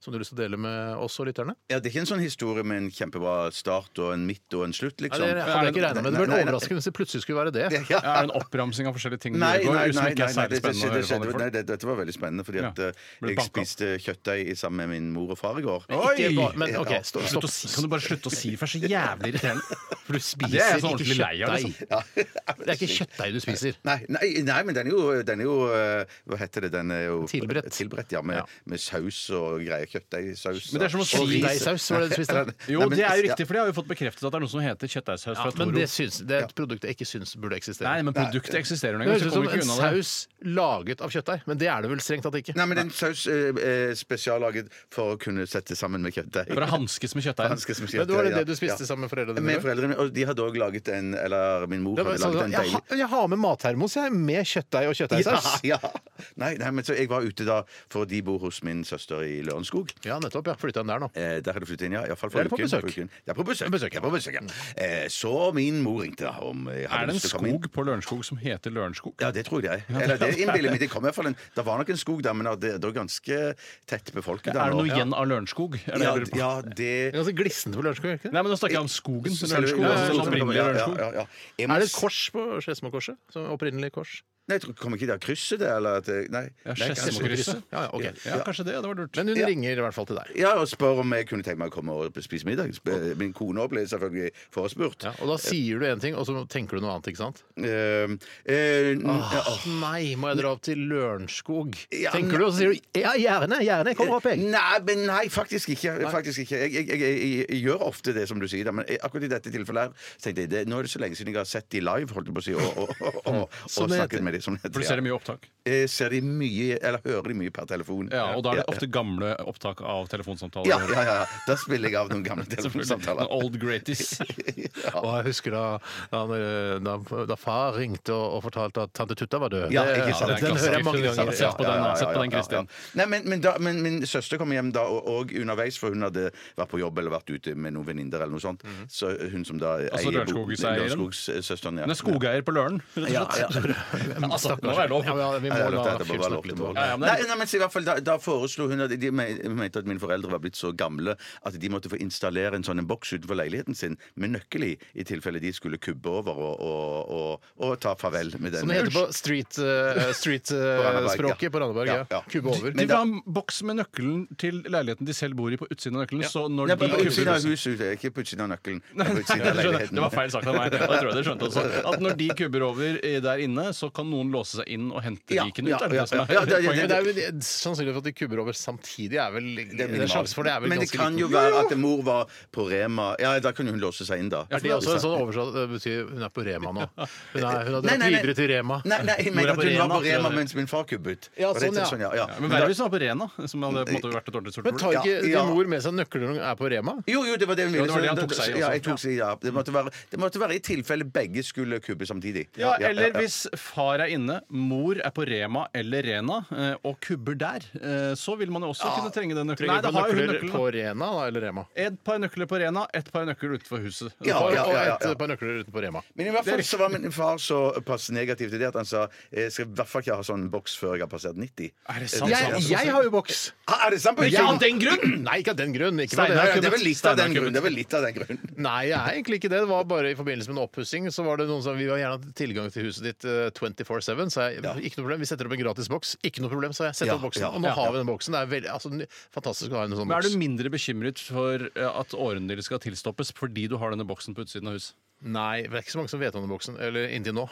D: som du har lyst til å dele med oss og lytterne.
E: Ja, Det er ikke en sånn historie med en kjempebra start og en midt og en slutt,
D: Nei,
E: liksom.
D: det hadde jeg ikke regna med. Det
E: Nei,
D: var
E: nei,
D: en
E: nei.
D: overraskelse hvis det plutselig skulle være det.
E: Ja.
F: Er det en oppramsing av forskjellige ting du
E: Nei,
F: gjør,
E: nei,
F: som
E: nei,
F: ikke
E: nei, nei,
F: er særlig
E: det, det, det,
F: spennende å høre
E: skjedde-
F: vanlige
E: nei
F: folk?
E: det, dette var veldig spennende, fordi at
F: Ja.
E: eh,
F: Ble
E: jeg
F: banka opp.
E: spiste kjøttdeig i- sammen med min mor og far i går.
D: Ikke
F: Oi!
D: ba- Men OK,
E: Ja.
D: stopp.
F: Slutt
D: stopp.
F: å si, kan du bare slutte å si det? for Det er så jævlig irriterende.
D: For du
F: Det er
D: spiser
F: jeg
E: sånn
F: så
D: ikke
F: ordentlig lei av,
D: kjøttdeig.
F: liksom.
D: Det er ikke kjøttdeig du spiser.
E: Nei, nei, nei, men den er jo, den er jo eh, Hva heter det? Den er jo
D: Tilberedt.
E: ja, med,
D: Ja.
E: med saus og greier. Kjøttdeigsaus.
F: Men det er som å si-
E: og ris.
D: Kjøttdeigsaus var det du spiste.
F: Jo,
E: Nei, men-
F: det er jo riktig, for det har vi fått bekreftet at det er noe som heter kjøttdeigsaus
D: Ja,
F: fra
D: men
F: Toro.
D: det, syns, det er et produkt jeg ikke syns burde eksistere.
F: Nei, men produktet eksisterer nå
D: det
F: engang,
D: høres ut
F: så
D: som
F: kommer vi
D: en
F: ikke unna det.
D: saus laget av kjøttdeig, men det er det vel strengt tatt ikke.
E: Nei, men den saus eh, eh, spesiallaget for å kunne sette sammen med kjøttdeig.
F: For å hanskes med kjøttdeigen.
E: Hanskes med
D: Men det var det,
E: kjøttdeig, ja.
D: det du spiste
E: Ja.
D: sammen med foreldrene
E: Med
D: dine?
E: foreldrene, og de hadde òg laget en Eller min mor
D: Det var
E: hadde
D: sånn,
E: laget en
D: jeg,
E: deilig
D: har- jeg har med mattermos jeg, med kjøttdeig og kjøttdeigsaus.
E: Ja, ja. Nei, nei, men så jeg var ute da, for de bor hos min søster i Lørenskog.
D: Ja, nettopp. ja, Flytta den der nå.
E: Eh, der har du flyttet inn, ja. i hvert fall
D: Det
E: for
D: er på
E: uken,
D: besøk.
E: for uken. Det er på besøk.
D: På besøk,
E: Det er på besøk ja. eh, så min mor ringte da om jeg hadde
F: Er det en
E: lyst til å komme inn.
F: skog på Lørenskog som heter Lørenskog?
E: Ja, det tror jeg. Eller det innbiller jeg meg. Det kom i hvert fall en Det var nok en skog der, men det det var ganske tett befolket der
F: Er det
E: nå.
F: noe igjen av Lørenskog? Er det
E: Ja,
F: jeg lurer på?
E: ja, det
D: Det er Ganske glissende på lunsjkveld, ikke det?
F: Nei, men nå snakker jeg om skogen. Lørenskog.
E: Ja,
F: altså den opprinnelige
E: ja,
F: Lørenskog.
E: ja, ja. Jeg må
D: Er det
E: s-
D: et kors på Skedsmokorset? Som opprinnelig kors?
E: Nei, jeg tror- Kommer ikke det av krysset, det? Eller at det- Nei.
F: Ja,
E: Nei, kanskje-
F: Skedsmokrysset.
D: Ja, ja, ok.
F: Ja, kanskje det. Det var lurt.
D: Men hun
E: Ja.
D: ringer i hvert fall til deg.
E: Ja, og spør om jeg kunne tenke meg å komme og spise middag. Sp- Min kone også ble selvfølgelig forespurt.
D: Ja, og da sier du en ting, og så tenker du noe annet, ikke sant?
E: Eh, eh, n-
D: Ah.
E: ja, åh.
D: Nei, må jeg dra opp til Lørenskog?
E: Ja,
D: Tenker du, og så sier du ja, gjerne, gjerne, kom opp, jeg.
E: Nei, men nei, faktisk ikke. Faktisk ikke. Jeg, jeg, jeg, jeg, jeg gjør ofte det som du sier, da, men jeg- akkurat i dette tilfellet her så tenkte jeg det, Nå er det så lenge siden jeg har sett de live, holdt jeg på å si, og, og, og, og, og
D: Som det heter.
E: snakket med de som det
F: For du ser
E: heter.
F: det
E: Ja.
F: mye opptak.
E: Jeg ser de mye, eller hører de mye per telefon.
F: Ja, Og da er det ofte gamle opptak av telefonsamtaler.
E: Ja, ja, ja. Da spiller jeg av noen gamle
F: Selvfølgelig.
E: telefonsamtaler.
F: Old greaties.
E: Ja.
D: Og jeg husker da, da, eh, da, da far ringte og, og fortalte at tante Tutta var død.
E: Ja,
D: Det-
E: ikke sant.
D: den
E: Ja,
D: hører jeg mange
F: klassiker.
D: ganger.
F: Sett på den, da. Sett på den, Kristin.
E: Nei, men, men, da, men min søster kom hjem da, og, og underveis, for hun hadde vært på jobb eller vært ute med noen venninner eller noe sånt. Så hun som da
F: Altså
E: eier bo-
F: Lørenskog-eieren?
E: Lørenskogsøsteren, ja.
F: Hun er skogeier på Løren. rett og slett.
E: Ja, ja.
D: altså,
F: nå er det lov.
D: Ja, ja, vi må la
E: Nei, dette- dette må
D: Fyr
E: være lov
D: snakke litt.
E: til å
D: om
E: måle.
D: det.
F: Ja, ja, men det
E: Nei,
F: er-
E: nei, men så i hvert fall da, da foreslo hun at de me- mente at mine foreldre var blitt så gamle at de måtte få installere en sånn en boks utenfor leiligheten sin med nøkkel i, i tilfelle de skulle kubbe over og, og, og, og ta farvel med den.
D: Som det heter på
E: eh,
D: street-språket
E: Randaberg, ja.
D: på Randaberg.
E: Ja, ja.
D: Ja. Kubbe over.
F: De
E: Men
F: vil
E: da-
F: ha en boks med nøkkelen til leiligheten de selv bor i, på utsiden av nøkkelen. Så når
E: Nei,
F: de
E: på på utsiden av
F: kubber
E: huset, ikke på utsiden av nøkkelen.
F: Nei,
E: men På utsiden av
F: du skjønner,
E: leiligheten.
F: det var feil sagt av meg. Og jeg tror jeg dere skjønte også. At når de kubber over eh, der inne, så kan noen låse seg inn og hente
E: Ja,
F: liken ut.
E: ja,
F: er det
E: ja,
F: det som er
E: ja, ja, ja,
F: poenget?
D: Men det er jo sannsynlig for at de kubber over samtidig er vel Det er,
E: minimalt.
D: sjanse for det er vel
E: Men det
D: ganske
E: kan
D: liten.
E: jo være at mor var på Rema Ja, da kunne hun låse seg inn, da.
D: Er det også en sånn oversatt Det betyr hun er på Rema nå. Hun, er, hun har
E: Nei,
D: dratt
E: nei, nei.
D: videre til Rema.
E: Nei, nei, jeg
F: Mor er
E: mener at
F: på
E: hun var på
F: Rena, tror jeg
E: Rema
F: det.
E: mens min far kubbet.
D: Ja,
E: Og det er
D: sånn, ja.
E: sånn, ja, ja.
F: Men verre hvis hun var på Rena, som hadde på en måte vært et dårlig
D: Men
F: sortiment.
D: tar ikke
E: Ja,
D: din
E: ja.
D: mor med seg nøkler når hun er på Rema?
E: Jo, jo, det var det hun ville.
F: det var det han
E: så-
F: tok seg i
E: ja,
F: også.
E: jeg tok seg, i, ja. Det, måtte være, det måtte være i tilfelle begge skulle kubbe samtidig.
F: Ja, eller
E: ja.
F: hvis far er inne, mor er på Rema eller Rena eh, og kubber der, eh, så vil man jo også kunne trenge den nøkkelen.
D: Trenger
F: Nei,
D: du
F: da har jo hun
D: nøkler
F: nøkkelen.
D: på Rena da, eller Rema?
F: Et par nøkler på Rena, et par nøkler utenfor huset.
E: Ja,
D: Og
E: ja, ja, ja.
D: et par nøkler utenfor Rema.
E: Men i hvert fall så var min far så pass negativ til det at han sa jeg skal i hvert fall ikke ha sånn boks før jeg har passert 90.
F: Er det sant?
D: Jeg, jeg har jo boks!
E: Ah, er det sant? på
D: Ja,
E: utsiden?
D: den grunn! Nei, ikke av den grunn. Ikke
E: Ja,
D: på
E: ja,
D: det.
E: det er vel litt av den
F: Steinar
E: grunnen. Det er vel litt av den grunnen.
D: Nei, jeg er egentlig ikke det. Det var bare i forbindelse med en oppussing. Så var det noen som Vi har gjerne hatt tilgang til huset ditt eh, 24-7, så jeg, ikke noe problem. Vi setter opp en gratis boks. Ikke noe problem, sa jeg. Sett
E: Ja,
D: opp boksen.
E: ja,
D: og nå
E: ja,
D: har vi den boksen. Det er veldig altså, ny- fantastisk å ha en sånn
F: Men er
D: boks.
F: du mindre bekymret for eh, at årene dine skal tilstoppes fordi du har denne boksen på utsiden av huset?
D: Nei, det er ikke så mange som vet om den boksen. Eller inntil nå.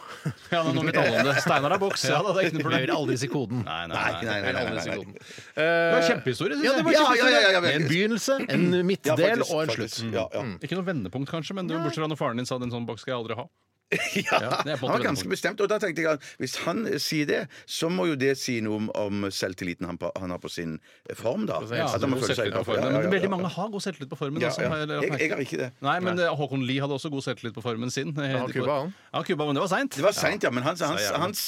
F: Ja, nå vet alle om det. Steinar har boks. Ja, da, det er ikke
D: Jeg
F: noe
D: vil
F: problem.
D: aldri si koden.
F: Nei, nei,
E: Nei, nei, nei, nei, nei, nei.
F: Det var kjempehistorie, synes
D: Ja, det var
F: jeg.
E: Ja, ja, ja, ja, ja,
D: kjempehistorie. En begynnelse, en
E: Ja,
D: midtdel
E: faktisk,
D: og en
E: faktisk.
D: slutt.
F: Mm.
E: Ja, ja.
F: Ikke noe vendepunkt, kanskje, men det var bortsett fra når faren din sa at en sånn boks skal jeg aldri ha.
E: Ja,
F: det er på en måte
E: han var ganske
F: vendepunkt.
E: bestemt. Og da tenkte jeg at hvis han sier det, så må jo det si noe om, om selvtilliten han, pa- han har på sin form, da.
F: Ja,
E: At han må
F: god
E: føle seg
F: selvtillit
E: Ja,
F: på formen.
E: ja, ja,
F: Men
E: ja.
F: veldig mange har god selvtillit på formen.
E: Ja,
F: altså,
E: ja.
F: har jeg lagt
E: Jeg,
F: merke
E: jeg
F: til.
E: har ikke det.
F: Nei, men eh, Håkon Lie hadde også god selvtillit på formen sin. eh,
D: Ja, Cuba, han.
F: Ja, Cuba, men det var seint.
E: Det var seint, ja. Men hans, hans, hans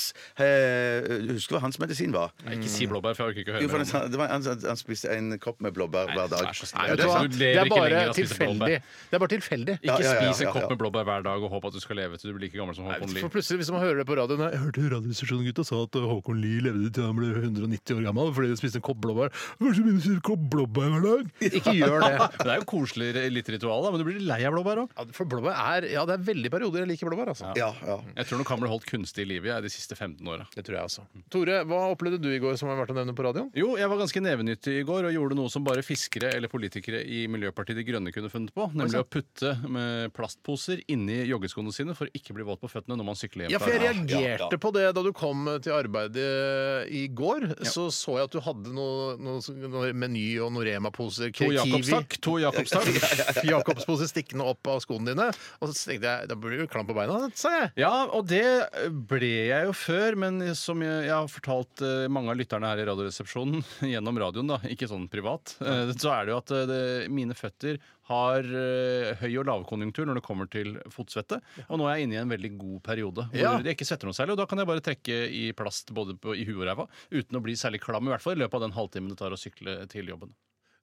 E: eh, Husker hva hans medisin var?
F: Ikke si blåbær, for jeg orker ikke å
E: Jo, for
F: høre mer. om det.
E: han, det var, han, han spiste en kopp med blåbær hver dag.
F: Nei, vær så snill.
D: Vet
F: det
D: du
F: er
D: hva?
F: sant. Du
D: Det
F: lever
D: er
F: ikke
D: bare
F: lenger av å spise
D: tilfeldig.
F: blåbær.
D: Det er bare tilfeldig.
E: Ja,
F: Ikke
E: ja, ja,
F: spis en
E: ja, ja.
F: kopp med blåbær hver dag og håp at du skal leve til du blir like gammel som Håkon
D: For
F: Lie.
D: plutselig, hvis man hører det på radioen Jeg hørte Radioresepsjonen gutta sa at øh, Håkon Lie levde til han ble 190 år gammel fordi de spiste en kopp blåbær. Kanskje begynner å spise en kopp blåbær hver dag? Ikke gjør det.
F: Det er jo koselig litt ritual, da, men du blir lei av blåbær òg.
D: Ja, for blåbær er Ja, det er veldig perioder jeg liker blåbær, altså.
E: Ja, ja.
F: Jeg tror nok han ble holdt kunstig i live jeg, de siste 15 åra.
D: Det tror jeg også. Tore, hva opplevde du i går som har vært å nevne på radioen?
F: Jo, jeg var ganske nevenyttig i går og gjorde noe som bare fiskere eller politikere i Miljøpartiet De Grønne kunne funnet på, nemlig å putte med plastposer inni joggeskoene sine for å ikke bli våt på føttene når man sykler hjem.
D: Ja, for jeg
F: fra arbeid.
D: reagerte
E: Ja, ja.
D: på det da du kom øh, til arbeidet øh, i går. Så så jeg at du hadde noe, noe, noe Meny og noen Rema-poser.
F: To
D: Kiwi.
F: Jakobstak. To Jakobstak.
D: Jakobspose stikkende opp av skoene dine. Og så tenkte jeg da blir du klam på beina, sa jeg.
F: Ja, og det eh, ble jeg jo før, men som jeg, jeg har fortalt eh, mange av lytterne her i Radioresepsjonen gjennom radioen, da, ikke sånn privat, eh, så er det jo at eh, det, mine føtter har eh, høy- og lavkonjunktur når det kommer til fotsvette. Og nå er jeg inne i en veldig god periode hvor
D: Ja.
F: jeg ikke svetter noe særlig. Og da kan jeg bare trekke i plast både på, i huet og ræva uten å bli særlig klam, i hvert fall i løpet av den halvtimen det tar å sykle til jobben.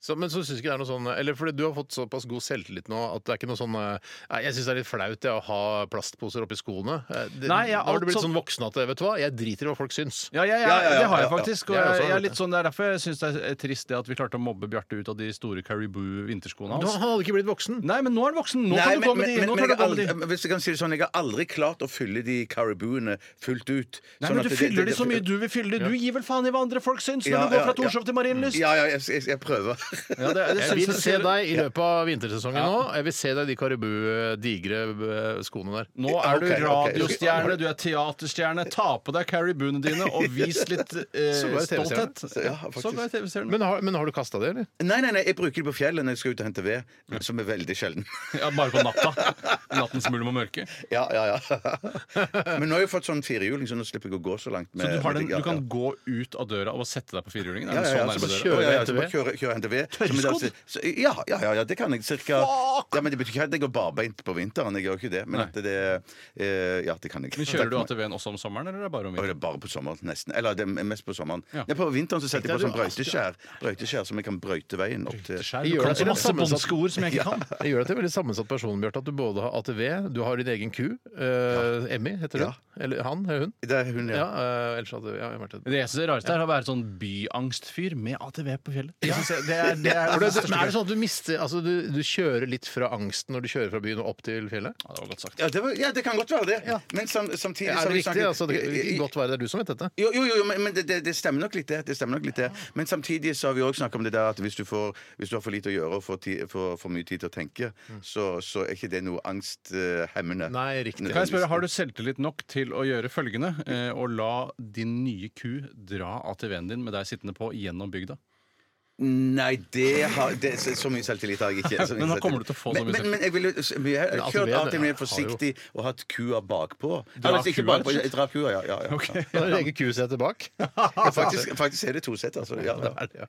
D: Så, men så syns ikke det er noe sånn Eller fordi du har fått såpass god selvtillit nå at det er ikke noe sånn eh, Nei, jeg syns det er litt flaut jeg, å ha plastposer oppi skoene. Eh, Det,
F: Nei, jeg-
D: nå har du blitt
F: alt
D: sånn voksen at vet du hva, jeg driter i hva folk syns.
F: Ja, ja, ja,
E: Ja, ja, ja,
F: det har jeg
E: ja, ja.
F: faktisk. Og
D: Jeg også
F: jeg,
D: har
F: jeg er
D: det.
F: litt sånn, det er derfor jeg syns det er trist det at vi klarte å mobbe Bjarte ut av de store Caribou-vinterskoene
D: Du
F: hans.
D: han hadde ikke blitt voksen.
F: Nei, men nå er du voksen. Nå
E: Nei,
F: kan du gå med de.
E: men,
F: Nå
E: men
F: kan
E: jeg
F: du
E: har
F: gå med
E: aldri,
F: de.
E: hvis jeg kan si det sånn, jeg har aldri klart å fylle de caribouene fullt ut. Sånn
F: Nei, men
E: at
F: Du
E: det-
F: fyller
E: det-
F: de så mye
E: det-
F: du vil fylle de. Du gir vel faen i hva andre folk syns når
E: Ja,
F: du går
E: ja,
F: fra
E: ja.
F: Torshov til Marienlyst?
E: Ja, ja, jeg, jeg, jeg prøver.
F: Ja, det, det
D: Jeg
F: syns
D: vil
F: jeg
D: se
F: ser-
D: deg i løpet av vintersesongen nå. Jeg vil se deg i de karibu-digre eh, skoene der.
F: Nå er du
E: Ok, ok.
F: radiostjerne, du er teaterstjerne. Ta på deg caribouene dine og vis litt eh,
D: Sågar i TV-serien.
F: stolthet.
E: Så, ja, faktisk.
F: Sågar i TV-serien.
D: Men har, men har du kasta det, eller?
E: Nei, nei, nei, jeg bruker det på fjellet når jeg skal ut og hente ved, som er veldig sjelden.
F: Ja, bare på natta. Nattens mulm og mørke.
E: Ja, ja, ja. Men nå har jeg fått sånn firehjuling, så nå slipper jeg å gå så langt. Med,
F: Så du, har
E: med
F: den,
E: det- ja,
F: du kan
E: ja.
F: gå ut av døra og bare sette deg på firehjulingen? Er sånn
E: ja, ja,
F: den så
E: ja,
F: nærme
E: så bare
F: døra?
D: døra.
E: kjøre,
D: Kjøre
E: ja, ja, så
D: etter
E: bare
D: ved.
E: kjøre, kjøre etter ved. Så, men altså- så- Ja, ja, ja, ja, det kan jeg cirka ja, Men det betyr ikke at jeg går barbeint på vinteren, jeg gjør ikke det. Men
F: Nei.
E: at det eh, Ja, det kan jeg ikke.
F: Men Kjører du ATV-en også om sommeren, eller er det bare om
E: Og
F: vinteren?
E: det er bare på sommeren, nesten. Eller det er mest på sommeren.
F: Ja.
E: Ja, på vinteren så setter jeg på
D: Tenkte
E: sånn
D: jeg du-
E: brøyteskjær, brøyteskjær som jeg kan brøyte veien opp til
F: Skjær,
D: Jeg
F: Du
D: gjør
F: kan
D: det til
F: så
D: en
F: masse
D: sammensatt-
F: båndske ord som jeg ikke kan.
D: Det gjør deg til en veldig sammensatt person, Bjarte, at du både har ATV, du har din egen ku, eh, Emmy heter det,
E: Ja,
D: Eller han eller hun.
E: Det er hun,
D: Ja,
E: ja.
D: eh, ellers hadde ja, jeg vært et
F: Det jeg synes er rarest her er å være sånn byangstfyr med ATV på fjellet. Det synes jeg- det er, det er,
D: For
F: det
D: det, men er det sånn at du mister Altså, du, du kjører litt fra angsten når du kjører fra byen og opp til fjellet?
F: Ja, det var godt sagt.
E: Ja, det, var, ja, det kan godt være det. Men sam, samtidig så
D: Er
E: har
D: det
E: vi
D: riktig?
E: snakket-
D: Altså, det kan ikke godt være det er du som vet dette.
E: Jo, jo, jo, men, men det, det, det stemmer nok litt, det. det, stemmer nok litt det. Men samtidig så har vi òg snakka om det der at hvis du, får, hvis du har for lite å gjøre og for, ti, for, for mye tid til å tenke,
F: Mm.
E: så, så er ikke det noe angsthemmende.
D: Nei, riktig.
F: Kan jeg spørre, Har du selvtillit nok til å gjøre følgende eh, å la din nye ku dra ATV-en din med deg sittende på gjennom bygda?
E: Nei, det har det, så, så mye selvtillit har jeg ikke. Så mye
F: Men nå kommer
E: selvtillit.
F: du til å få så
E: men,
F: mye
E: men, men jeg ville vi har
D: Men
E: kjørt
D: ATV-en
E: av og til mer
D: har jo-
E: forsiktig og hatt kua bakpå.
F: Dra
E: Eller, ikke
F: kua,
E: bakpå,
F: shit.
E: jeg drar kua, ja. ja, ja.
D: Da er det eget kusete bak.
E: ja faktisk, faktisk er det to sett, altså. Ja, da.
D: Ja.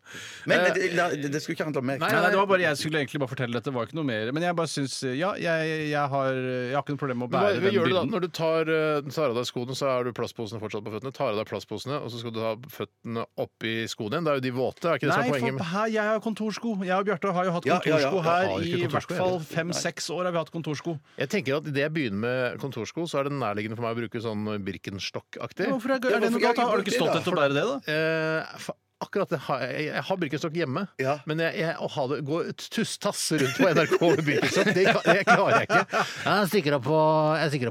E: Men det, la- det, det skulle ikke handle om meg.
F: Eh, Nei, nei, det var bare Jeg skulle egentlig bare fortelle dette. det var ikke noe mer Men jeg bare syns Ja, jeg, jeg, har, eh, jeg har ikke noe problem med
D: Men
F: å
D: Hva, hva
F: bære
D: gjør
F: den
D: du da?
F: byrden.
D: Når du tar, eh, tar av deg skoene, så er du plastposene fortsatt på føttene. Tar av deg plastposene, og så skal du ha føttene oppi skoene igjen. Da er jo de våte. Er ikke det som
F: Nei,
D: er poenget?
F: for
D: med-
F: her, jeg har kontorsko. Jeg og Bjarte har jo hatt
E: Ja, ja, ja.
F: kontorsko
E: Jeg
D: har
F: her
D: ikke
F: i hvert
D: kontorsko, jeg
F: fall
D: vet.
F: fem-seks år. har vi hatt kontorsko
D: Jeg tenker at Idet jeg begynner med kontorsko, så er det nærliggende for meg å bruke sånn Birkenstock-aktig.
F: Hvorfor er,
E: Ja,
F: er det
E: hvorfor
F: noe
E: kan
F: galt? da? Har du
E: ikke bruke
F: ikke stått
E: det,
F: etter å bære det, da?
D: Eh, fa- akkurat det har jeg. Jeg har Birkenstock hjemme,
E: Ja.
D: men jeg, jeg, å ha det, gå ut- tuss-tass rundt på NRK med Birkenstock, det, kan- det klarer jeg ikke. Jeg stikker opp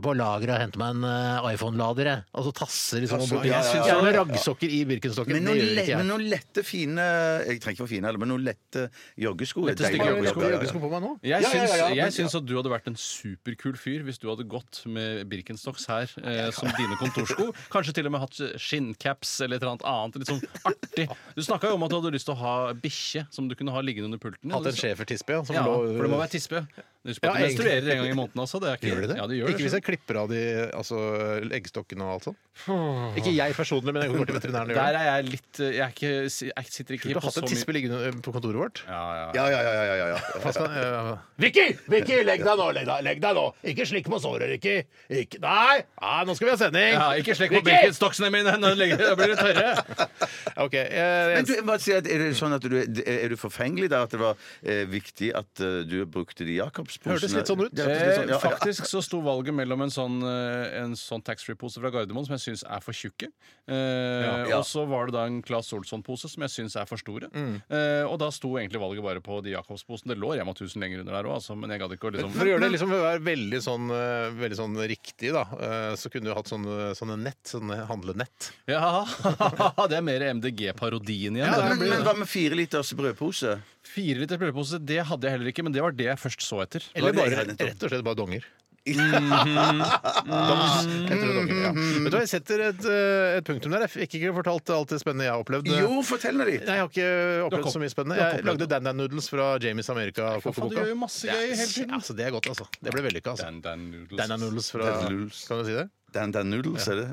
D: på, lageret og henter meg en eh, iPhone-lader, Og så tasser liksom
E: Tasser, ja, ja, ja.
D: Jeg har raggsokker i Birkenstocken. det
E: Men noen,
D: gjør
E: le,
D: ikke
E: men
D: jeg.
E: noen lette, fine Jeg trenger ikke være fine, heller, men noen lette joggesko. er
F: Lette,
E: deilig
F: stygge
E: å gå i.
F: joggesko,
E: Ja, ja, ja.
D: joggesko på meg nå?
F: Jeg
E: Ja, ja,
F: syns,
E: ja, ja, men-
F: jeg syns at du hadde vært en superkul fyr hvis du hadde gått med Birkenstocks her eh, som dine kontorsko. Kanskje til og med hatt skinncaps eller et eller annet annet. Litt sånn artig. Du snakka jo om at du hadde lyst til å ha bikkje som du kunne ha liggende under pulten. din.
D: Hatt en schæfertispe, ja. Som
F: Ja,
D: lå,
F: for det må være tispe. Husk på
D: Ja,
F: at de
D: egentlig.
F: menstruerer en gang i måneden, altså. Det er ikke,
D: Gjør de det?
F: Ja, de gjør
D: ikke
F: det.
D: hvis jeg klipper av de altså, eggstokkene og alt sånt? Ikke jeg personlig, men jeg går til veterinæren og gjør
F: Der
D: det.
F: er jeg litt eh, Jeg, er ikke, jeg sitter
D: Du
F: ikke
D: har
F: på
D: hatt
F: så
D: en
F: mye
D: tispe liggende eh, på kontoret vårt.
F: ja, ja.
E: Ja, ja, ja, ja, ja, ja.
D: Pass deg, eh, Vicky! Vicky, legg deg nå! legg deg, legg deg nå Ikke slikk på såret, Vicky. Ikke, nei! Nei, nå skal vi ha sending!
F: Ja, ikke slekk på
D: Vicky!
F: Birkenstocksene mine! Nå legger- da blir det tørre.
D: Ok, eh,
E: Men du, jeg må bare si at, er det sånn at du er du forfengelig der at det var eh, viktig at eh, du brukte de Jacobsposene?
D: Hørtes litt sånn ut.
E: Ja, det hørtes litt sånn,
F: Eh,
E: ja, ja.
F: faktisk så sto valget mellom en sånn, eh, en sånn taxfree-pose fra Gardermoen som jeg syns er for tjukke, eh,
E: Ja.
F: og så var det da en Claes Olsson-pose som jeg syns er for store. Eh, og da sto egentlig valget bare på de Jacobsposene. Det lå Rema 1000 lenger under der òg, altså, men jeg gadd ikke å liksom
D: for å gjøre det liksom være veldig sånn, eh, veldig sånn riktig, da, eh, så kunne du hatt sånne, sånne nett. Sånne handlenett.
F: Ja, det er mer MDG-parodien igjen.
E: Ja,
F: det.
E: men, men hva med fire liters brødpose?
F: Fire liter brødpose, det hadde jeg heller ikke, men det var det jeg først så etter.
D: Eller
E: Var det-
D: bare,
E: Nei, nettopp.
D: rett og slett bare donger. Dongs. Jeg tror det er donger, ja.
F: Mm-hmm.
D: Vet du hva, jeg setter et, eh, et punktum der. Jeg fikk ikke fortalt alt det spennende jeg har opplevd.
E: Jo, fortell nå litt!
D: Nei, jeg har ikke
F: Du har
D: opplevd
F: kom-
D: så mye spennende.
F: du har ikke
D: Jeg
F: opplevd
D: lagde Dan Dan Noodles fra Jamies America.
F: faen, du
D: kokeboka.
F: gjør jo masse gøy hele tiden.
D: Ja, altså, det er godt, altså. Det ble vellykka, altså.
F: Dan Dan Noodles.
D: Dan Dan Noodles fra
E: Dan Dan Noodles.
D: Kan du si det?
E: Dan Dan Noodles, er det?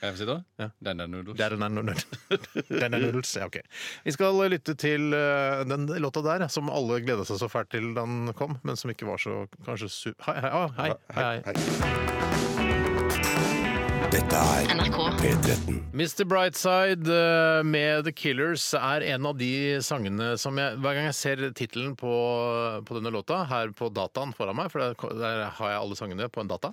F: Kan jeg få si det? Dan Dan Noodles.
D: Dan Dan Noodles. Dan Dan Noodles, ja, ok. Vi skal lytte til eh, den låta der, som alle gleda seg så fælt til da den kom, men som ikke var så kanskje su... Hei, hei, ah, hei, hei, hei.
A: Dette er P13.
D: Mr. Brightside eh, med The Killers er en av de sangene som jeg Hver gang jeg ser tittelen på, på denne låta her på dataen foran meg, for der, der har jeg alle sangene på en data,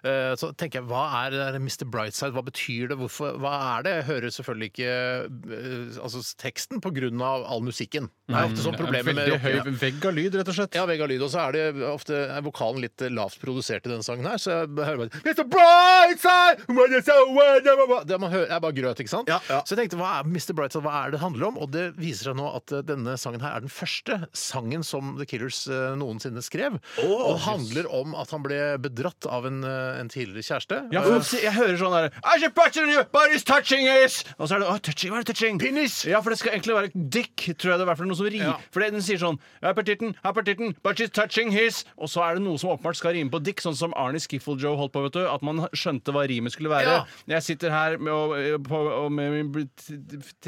D: eh, så tenker jeg hva er det der Mr. Brightside, hva betyr det, hvorfor, hva er det? Jeg hører selvfølgelig ikke eh, altså, teksten på grunn av all musikken. Det er ofte sånn problemer med
F: Veldig høy
D: rockere.
F: vegg av lyd, rett og slett.
D: Ja, vegg av lyd, og så er det ofte er vokalen litt eh, lavt produsert i denne sangen her, så jeg hører bare Mr. Brightside! Oh when it's over, da, da, da». Det man hører, er bare grøt, ikke sant?
E: Ja, ja.
D: Så jeg tenkte, hva er Mr. Brightside, hva er det det handler om? Og det viser seg nå at eh, denne sangen her er den første sangen som The Killers eh, noensinne skrev, og handler om at han ble bedratt av en, eh, en tidligere kjæreste. Eh,
F: Ja, for jeg hører sånn der I should punch you, but it's touching is Og så er det «Å, touching, hva er det touching?
D: Penis!
F: Ja, for det skal egentlig være dick, tror jeg det er i hvert fall noe som rimer.
D: Ja.
F: For det- den sier sånn «Jeg er på titten, jeg er på titten, but she's touching his Og så er det noe som åpenbart skal rime på dick, sånn som Arnie Skiffle-Joe holdt på, vet du. At man skjønte hva rimet skulle være.
D: Ja.
F: Jeg sitter her med, og, på, og med min bl- t-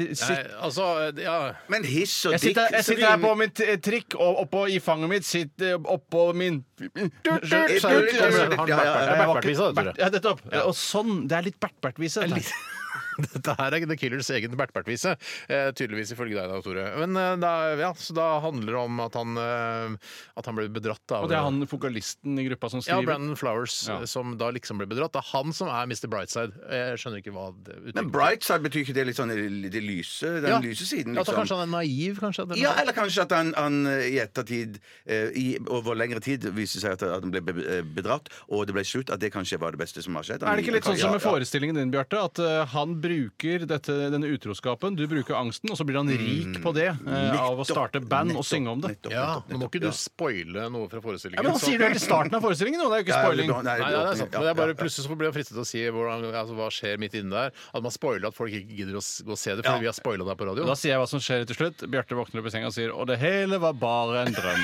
F: t-
D: Nei,
F: sitt-
D: altså, ja.
E: Men hiss og
F: jeg
E: dick
F: sitter, jeg
E: så
F: sitter her
E: rimer-
F: på mitt eh, trikk, og oppå i fanget mitt sitter oppå min
D: Så er det-
E: Ja, ja, ja.
D: Han Bert-Bert-visa, det tror jeg.
F: Ja, nettopp. Og sånn. Det er litt Bert-Bert-vise. dette her.
D: Dette her er The Killers egen Bert-Bert-vise, eh, tydeligvis ifølge deg da, Tore. Men eh, da, ja, så da handler det om at han, eh, at han ble bedratt av
F: Og det er han vokalisten i gruppa som
D: Ja,
F: skriver.
D: Brandon Flowers,
F: Ja.
D: eh, som da liksom ble bedratt. Det er han som er Mr. Brightside. Eh, Jeg skjønner ikke hva det
E: Men brightside betyr ikke det litt sånn det lyse? Den
D: Ja.
E: lyse siden,
D: Ja, så
E: liksom?
D: kanskje han er naiv, kanskje? at det er
E: Ja,
D: noe-
E: eller kanskje at han, han eh, i ettertid, eh, i, over lengre tid, viste seg at, at han ble be- eh, bedratt, og det ble slutt, at det kanskje var det beste som har skjedd. Han-
F: Er det ikke litt sånn
E: Ja,
F: som med
E: ja.
F: forestillingen din, Bjarte? At eh, han bruker dette, denne utroskapen, du bruker angsten, og så blir han rik på det eh, av
E: Nettopp,
F: å starte band
E: nettopp,
F: og synge om det.
E: nettopp,
D: ja,
E: nettopp,
D: Nå må
E: nettopp,
D: ikke du
E: ja.
D: spoile noe fra forestillingen.
F: Ja, men han
D: så-
F: sier det helt i starten av forestillingen, og det er jo ikke
E: Ja, jeg vil
F: spoiling.
E: be- nei,
D: Nei, ja, det er sant.
E: ja,
D: Men jeg bare,
E: ja, ja.
D: plutselig så blir jeg fristet til å si hvordan, altså, hva skjer midt inne der. At man spoiler at folk ikke gidder å s- gå og se det fordi vi har spoila det på radio.
F: Da sier jeg hva som skjer til slutt. Bjarte våkner opp i senga og sier 'Og det hele var bare en drøm'.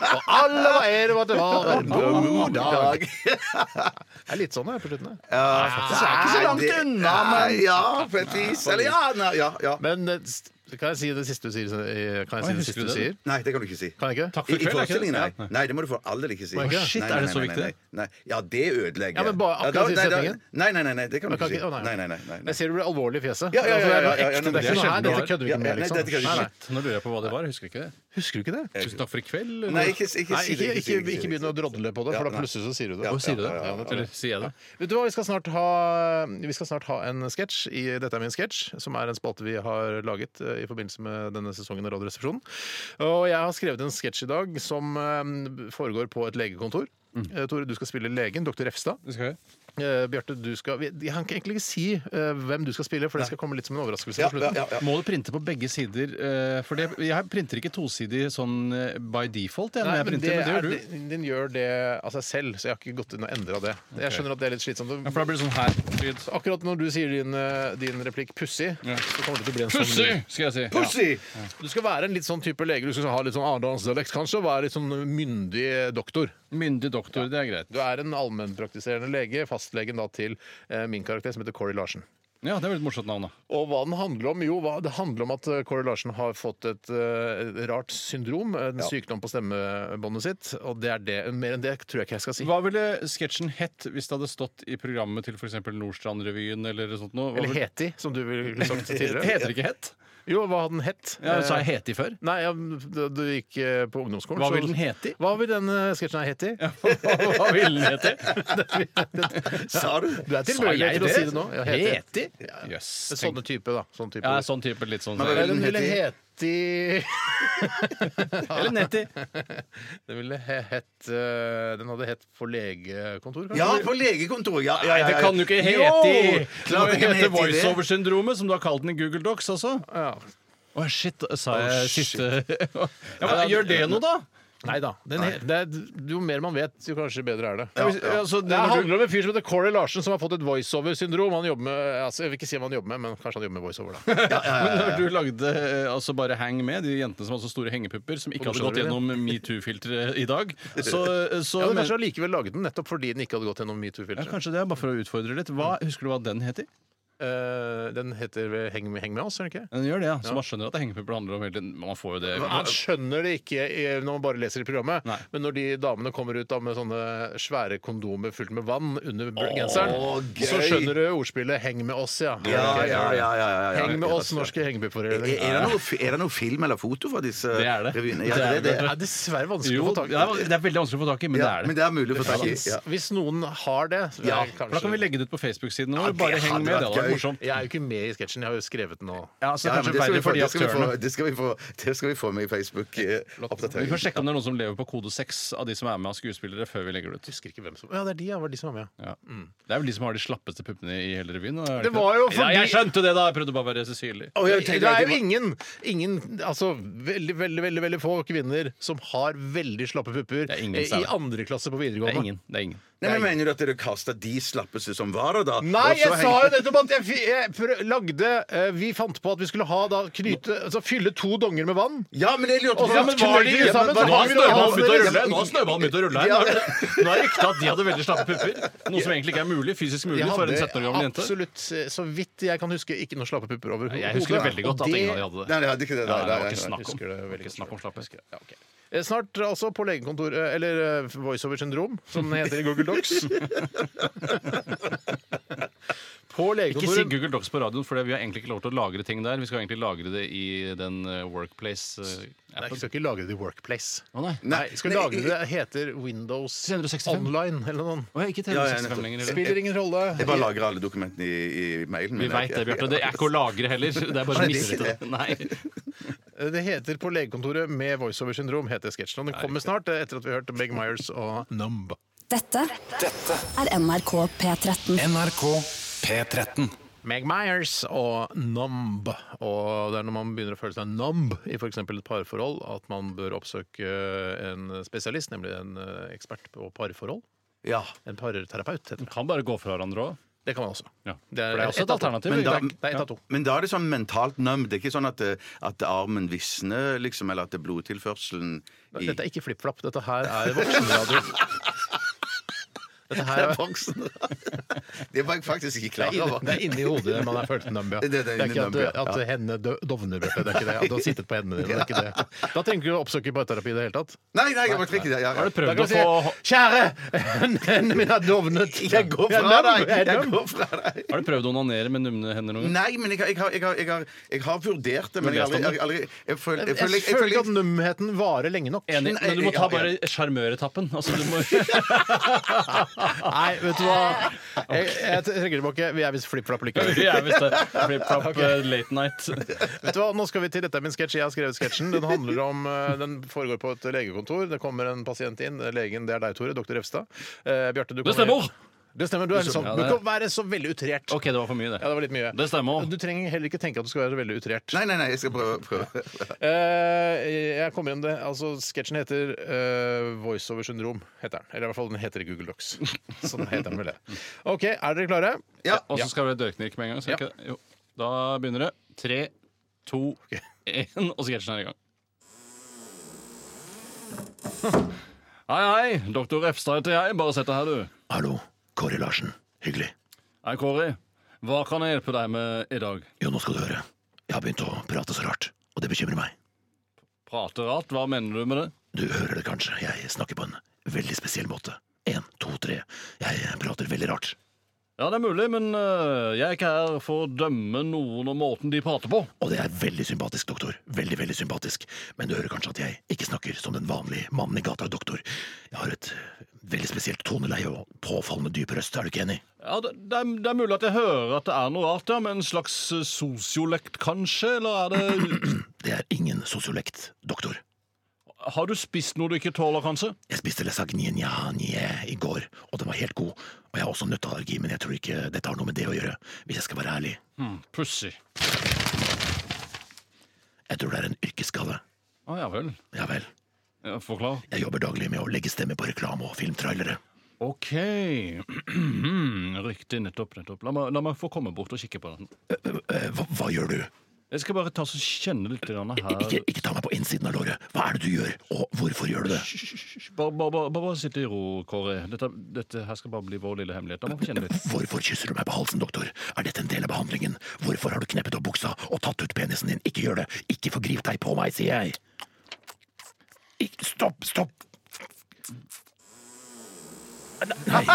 D: Og alle var enige om at det var en god dag!
E: dag.
D: Det er litt sånn her på slutten. her.
E: Ja,
F: Ah, Så er det ikke så langt
E: det-
F: unna, men
E: Nei, Ja, på et vis. Eller ja, nei, ja, ja.
D: Men eh, s- kan jeg si det siste du sier? eh, Kan jeg
F: Oi,
D: si det
F: husker
D: siste
F: du
D: du
F: det?
D: sier?
E: Nei, det kan du ikke si.
D: Kan jeg ikke?
F: Takk
E: I,
F: for
E: I
F: i kveld, er ikke
E: forestillingen,
F: det?
E: nei.
F: Ja,
E: nei. Det må du for all del ikke si.
D: Å, ikke?
F: Shit,
E: Nei,
F: er
E: nei,
F: det
E: nei,
F: så
E: nei,
F: viktig?
E: Nei, nei. Ja, det ødelegger.
D: Ja, men bare akkurat
E: da-
D: i
E: nei, da-
D: setningen?
E: Nei, nei, nei, nei, det kan du
D: Jeg
E: ikke
D: kan
E: si.
D: ikke- å,
E: Nei, nei, nei. nei.
D: Jeg ser du blir alvorlig i fjeset.
E: Ja, ja, ja, ja, ja,
D: Det er
E: ja,
D: ekte.
E: ja,
D: Det er ikke
F: det
D: noe her.
F: skjønner
D: Dette
F: jeg.
D: kødder vi ikke
E: Ja,
D: med,
E: nei, dette
D: liksom.
E: kan jeg ikke
D: Nei,
E: si.
D: nei.
F: Shit, Nå lurer jeg på hva det var. Jeg husker ikke det.
D: Husker du ikke det?
F: Tusen takk for i kveld.
E: Nei, ikke, ikke,
D: Nei, ikke, ikke,
E: si det, si det,
D: ikke
E: si det.
D: begynn å drodle på det, for
E: Ja,
D: da
E: nei.
D: plutselig så sier du det.
E: Ja,
F: Å, sier du det?
E: ja, ja, ja, ja.
F: Eller sier jeg det?
D: Vet du hva, Vi skal snart ha Vi skal snart ha en sketsj i Dette er min sketsj, som er en spalte vi har laget eh, i forbindelse med denne sesongen av Radioresepsjonen. Og jeg har skrevet en sketsj i dag som eh, foregår på et legekontor.
F: Mm.
D: Eh, Tore, du skal spille legen, doktor Refstad.
F: Det skal jeg.
D: Eh, Bjarte, du skal vi- Jeg kan egentlig ikke si eh, hvem du skal spille, for det skal komme litt som en overraskelse
E: Ja,
D: på
E: ja,
D: slutten.
E: ja, ja.
F: Må du printe på begge sider? eh, For det, jeg printer ikke tosidig sånn eh, by default. Jeg, når
D: Nei,
F: jeg
D: men
F: printer,
D: det
F: men
D: er,
F: det gjør du.
D: din, din gjør det av seg selv, så jeg har ikke gått inn og endra det. Jeg skjønner at det er litt slitsomt. å-
F: Ja, for da blir det sånn her. Lyd.
D: Så akkurat når du sier din, eh, din replikk 'pussig', så kommer det til å bli en sånn
F: Pussy,
D: lyd.
F: skal jeg si.
E: Pussy!
D: Du skal være en litt sånn type lege. Du skal ha litt sånn arendalsdialekt kanskje, og være litt sånn myndig doktor.
F: Ja. Myndig doktor, det er greit.
D: Du er en allmennpraktiserende lege, fastlegen da til eh, min karakter, som heter Corey Larsen.
F: Ja, det er vel et morsomt navn, da.
D: Og hva den handler om? Jo, hva, det handler om at eh, Corey Larsen har fått et eh, rart syndrom, en sykdom på stemmebåndet sitt, og det er det. Mer enn det tror jeg ikke jeg skal si.
F: Hva ville sketsjen hett hvis det hadde stått i programmet til f.eks. Nordstrandrevyen eller sånt noe? Hva
D: Eller
F: ville-
D: Heti, som du ville sagt
F: Heter
D: tidligere.
F: det ikke het?
D: Jo, hva hadde den hett?
F: Ja, Sa
D: Eh,
F: jeg heti før?
D: Nei, ja, da du gikk eh, på ungdomsskolen
F: Hva
D: så-
F: vil den hete?
D: Hva vil den eh, sketsjen her hete?
F: Hva ville den hete?
E: Sa du?
D: Du er
F: Sa
D: tilbøyelig
F: jeg
D: til å
F: det?
D: si det nå. Ja, hete.
F: Heti?
D: En
F: Jøss. tenk-
D: Sånne type, da. Sånn type.
F: Ja, sånn type. Litt sånn.
E: Men hva
D: Eller
F: Eller
D: den ville hete
F: Neti.
D: Den ville he- hett eh, Den hadde hett for legekontor, kanskje?
E: Ja, på legekontoret. Ja, ja, ja, ja.
F: Det kan du ikke
E: Jo,
F: hete! Det
E: klart
F: må
E: det
F: jo
E: kan
F: hete
E: hete det.
F: voiceover-syndromet, som du har kalt den i Google Docs, altså.
D: Ja.
F: Å, shit, sa
E: Å,
F: jeg
E: shit.
F: siste ja, men, Gjør det noe, da?
D: Nei da. Den, he- det er, jo mer man vet, jo kanskje bedre er det.
F: Ja, hvis- altså,
D: Det
F: det, når du,
D: handler om en fyr som heter Corey Larsen, som har fått et voiceover-syndrom. Han jobber med, altså, Jeg vil ikke si hva han jobber med, men kanskje han jobber med voiceover, da.
F: men når du lagde eh, altså bare Hang Med, de jentene som hadde så store hengepupper, som ikke
D: Og
F: hadde
D: nå
F: gått
D: skjønner du
F: gjennom metoo-filteret i dag, så, så
D: Ja, men
F: men-
D: kanskje allikevel laget den nettopp fordi den ikke hadde gått gjennom
F: ja,
D: metoo-filteret.
F: Kanskje det, bare for å utfordre litt. Hva, husker du hva den heter?
D: Eh, den heter ved Heng med, Heng med oss, gjør den ikke?
F: Den gjør det, ja. Så man skjønner at det hengepupper handler om hele tiden. Man får jo det
D: Man skjønner det ikke eh, når man bare leser i programmet,
F: Nei.
D: men når de damene kommer ut da med sånne svære kondomer fullt med vann under br- genseren,
E: gøy!
D: så skjønner du ordspillet 'heng med oss', ja.
E: Ja, ja, ja, ja, ja, ja.
D: Heng med oss, norske
E: Er,
D: hengepuppforening.
E: er, det noe, fi- er det noe film eller foto fra disse
F: Det er det.
E: revyene?
F: Det er
E: Ja, det,
D: Det
E: det,
D: er dessverre vanskelig å
F: Jo,
D: få
F: det
D: tak
F: er,
D: i.
F: det er veldig vanskelig å få tak i, men
E: ja,
D: det.
E: men det er mulig å få tak i.
D: Fins.
E: Ja.
D: Hvis noen har det, så
E: Ja,
D: er det
F: For da kan vi
D: kanskje
F: legge det ut på Facebook-siden vår.
E: det
F: Bare heng
E: hadde
F: med.
E: vært
F: Det hadde
E: gøy.
F: vært morsomt.
D: Jeg er jo ikke med i sketsjen, jeg har jo skrevet den nå.
F: Ja, så
E: Ja, men
F: kanskje
E: det skal vi
F: verre
E: få-
F: for de
E: det skal vi
F: aktørene.
E: få- det skal vi få- Det skal vi få med i eh,
F: Vi får
E: Facebook-oppdateringen.
F: sjekke om det er noen som lever på kode 6 av de som er med av skuespillere, før vi legger det ut.
D: Jeg husker ikke hvem som Ja, det er de, ja. Var de som var med.
F: Ja.
E: Mm.
F: Det er vel de som har de slappeste puppene i hele revyen? og er
D: Det var jo
F: ikke-
D: fordi-
F: ja, Jeg skjønte det, da! Jeg prøvde bare å være Cecilie.
E: Å, jeg
D: Det
E: tenkte at
D: er jo
E: det var-
D: ingen, ingen altså veldig, veldig veldig, veldig få kvinner som har veldig slappe pupper
F: Det er ingen,
D: eh, i
F: Sara.
D: andre klasse på
F: Det er
D: videregående.
F: ingen. Det er ingen.
E: Nei, men Mener du at dere kasta de slappeste som var der, da?
D: Nei,
E: Og så
D: jeg sa
E: heng-
D: jo nettopp at jeg, fi- jeg prø- lagde eh, Vi fant på at vi skulle ha da knyte Altså fylle to donger med vann.
E: Ja, men jeg lurte
D: Og så var
E: på
D: de
E: Ja,
D: sammen,
E: men
D: så
E: var
D: har
E: de-
D: vi noe annet å
E: Ja, men- liksom-
F: snøballen begynt å rulle
E: Ja.
F: Nå er ryktet at de hadde veldig slappe pupper. Noe som egentlig ikke er mulig, fysisk mulig for en 17 år gammel jente.
D: absolutt, eh, så vidt jeg kan huske, ikke noen slappe pupper over
F: Jeg husker det veldig godt at ingen av de hadde det.
E: Nei, det hadde ikke det.
F: Nei,
E: Nei,
F: det var
E: nei, nei.
F: ikke snakk om,
D: Husker det
F: det var
D: veldig
F: ikke snakk om slappe.
D: Ja, ok. Eh, Snart altså på legekontor eh, Eller eh, voiceover syndrom, som det heter i Google Docs. på
F: Ikke si
D: legekontoret
F: Google Docs på radioen, for vi har egentlig ikke lov til å lagre ting der. Vi skal egentlig lagre det i den
D: Nei,
F: eh,
D: vi
F: Workplace-appen.
D: skal ikke lagre det i Workplace.
F: Å nei.
D: Nei, skal
E: Nei,
D: lagre det heter Windows
F: 365.
D: Online eller noe sånt.
F: Å, jeg er ikke
E: Ja, ja,
F: 365 lenger. eller?
D: Spiller ingen rolle.
E: Jeg bare lagrer alle dokumentene i, i mailen min.
F: Vi veit det, Bjarte. Det er ikke å lagre heller. Det er bare
E: Nei,
F: å
E: det er
F: miste det.
E: ikke
F: Nei.
D: Det heter På legekontoret med voiceover syndrom, heter sketsjen. Og den kommer snart eh, etter at vi har hørt Beg Myers og Numba.
G: Dette er NRK P13.
C: NRK P13.
D: Meg Myers og numb. Og det er når man begynner å føle seg numb i f.eks. et parforhold, at man bør oppsøke en spesialist, nemlig en eh, ekspert på parforhold.
E: Ja.
D: En parterapeut, heter det.
F: Kan bare gå fra hverandre òg.
D: Det kan man også.
F: Ja.
D: Det er,
F: For det er også et
D: av to.
F: alternativ.
E: Men da-
D: Det er- det er ett av to.
E: Men da er det sånn mentalt numb. Det er ikke sånn at, eh, at armen visner, liksom, eller at det er blodtilførselen i
D: Dette er ikke flippflapp. Dette her er voksenradio. Dette her er,
E: voksen. Det var jeg faktisk ikke
D: det er,
E: klar
D: inni,
E: over.
D: det er inni hodet man har følt numb, ja.
E: Det- det er inni
D: ikke at,
E: numb, ja.
D: at hendene dø- dovner, Bjarte. Det er ikke det. At du har sittet på hendene dine. Det er ikke det. Da trenger du ikke å oppsøke parterapi i det hele tatt.
E: Nei, nei, jeg var ikke det. Ja, ja.
F: Har du prøvd
D: Da
F: å
D: kan
F: få
D: jeg si, Kjære! Hendene mine har dovnet.
E: Jeg går
D: Jeg er
E: fra
D: numb,
E: deg!
D: jeg er
E: Jeg
D: numb.
E: går fra deg.
F: Har du prøvd å onanere med numne hender noen gang?
E: Nei, men jeg har, jeg har, jeg har, jeg har, jeg har vurdert det, men jeg har aldri, jeg har aldri jeg føler, jeg
D: Jeg
E: føler, jeg
D: føler ikke at
E: føler
D: numheten varer lenge nok.
F: Enig,
E: Nei,
F: men du må
E: ja,
F: ta
E: ja.
F: bare sjarmøretappen. Altså, du må...
D: Nei, vet du hva? Jeg, jeg trekker tilbake. Vi er visst flipp-flapp likevel.
F: Jeg visste flip-flop eh, late night.
D: Vet du hva? Nå skal vi til dette er min sketsj. Jeg har skrevet sketsjen. Den handler om, eh, den foregår på et legekontor. Det kommer en pasient inn. Legen, det er deg, Tore. Doktor Refstad. Eh, Bjarte, du
F: Det
D: kommer-
F: stemmer!
D: Det stemmer. Du er litt sånn,
F: Ja,
D: du
F: det er-
D: kan være så veldig utrert.
F: OK, det var for mye,
D: Ja, det
F: det.
D: var litt mye.
F: Det stemmer.
D: Du trenger heller ikke tenke at du skal være veldig utrert.
E: Nei, nei, nei, jeg skal prøve. prøve.
D: Eh, jeg kommer igjen det. Altså, Sketsjen heter eh, Voiceover syndrom. heter den. Eller i hvert fall den heter i Google Docs. Sånn heter den vel det. OK, er dere klare?
E: Ja.
F: Og så skal vi ha dørknirk med en gang.
D: Ja.
F: Skal vi ikke det? Jo. Da begynner det. Tre, to, én, og sketsjen er i gang. Hei, hei. Doktor Refstad heter jeg. Bare sett deg her, du.
A: Hallo, Kåre Larsen. Hyggelig.
F: Hei, Kåre. Hva kan jeg hjelpe deg med i dag?
A: Jo, nå skal du høre. Jeg har begynt å prate så rart, og det bekymrer meg.
F: Prate rart? Hva mener du med det?
A: Du hører det kanskje, jeg snakker på en veldig spesiell måte. En, to, tre. Jeg prater veldig rart.
F: Ja, det er mulig, men øh, jeg er ikke her for å dømme noen om måten de prater på.
A: Og det er veldig sympatisk, doktor. Veldig, veldig sympatisk. Men du hører kanskje at jeg ikke snakker som den vanlige mannen i gata, doktor. Jeg har et veldig spesielt toneleie og påfallende dyp røst, er du ikke enig?
F: Ja, det, det, er, det er mulig at jeg hører at det er noe rart, ja, med en slags øh, sosiolekt, kanskje? Eller er det
A: Det er ingen sosiolekt, doktor.
F: Har du spist noe du ikke tåler, kanskje?
A: Jeg spiste lasagne gnanie i går, og den var helt god. Og jeg har også nøtteallergi, men jeg tror ikke dette har noe med det å gjøre, hvis jeg skal være ærlig.
F: Pussig.
A: Jeg tror det er en yrkesskade.
F: Å ja vel.
A: Ja vel.
F: Ja, Forklar.
A: Jeg jobber daglig med å legge stemme på reklame og filmtrailere.
F: OK. Riktig. Nettopp. nettopp. La meg, la meg få komme bort og kikke på den.
A: Eh, Hva, hva gjør du?
F: Jeg skal bare ta så kjenne litt grann
A: I-
F: her.
A: Ikke, ikke ta meg på innsiden av låret. Hva er det du gjør, og hvorfor gjør du det?
F: Hysj, hysj, hysj. Bare, bare, bare, bare sitt i ro, Kåre. Dette, dette her skal bare bli vår lille hemmelighet. La meg få kjenne litt.
A: Hvorfor kysser du meg på halsen, doktor? Er dette en del av behandlingen? Hvorfor har du kneppet opp buksa og tatt ut penisen din? Ikke gjør det! Ikke forgrip deg på meg, sier jeg! Ikke, stopp, stopp! Nei,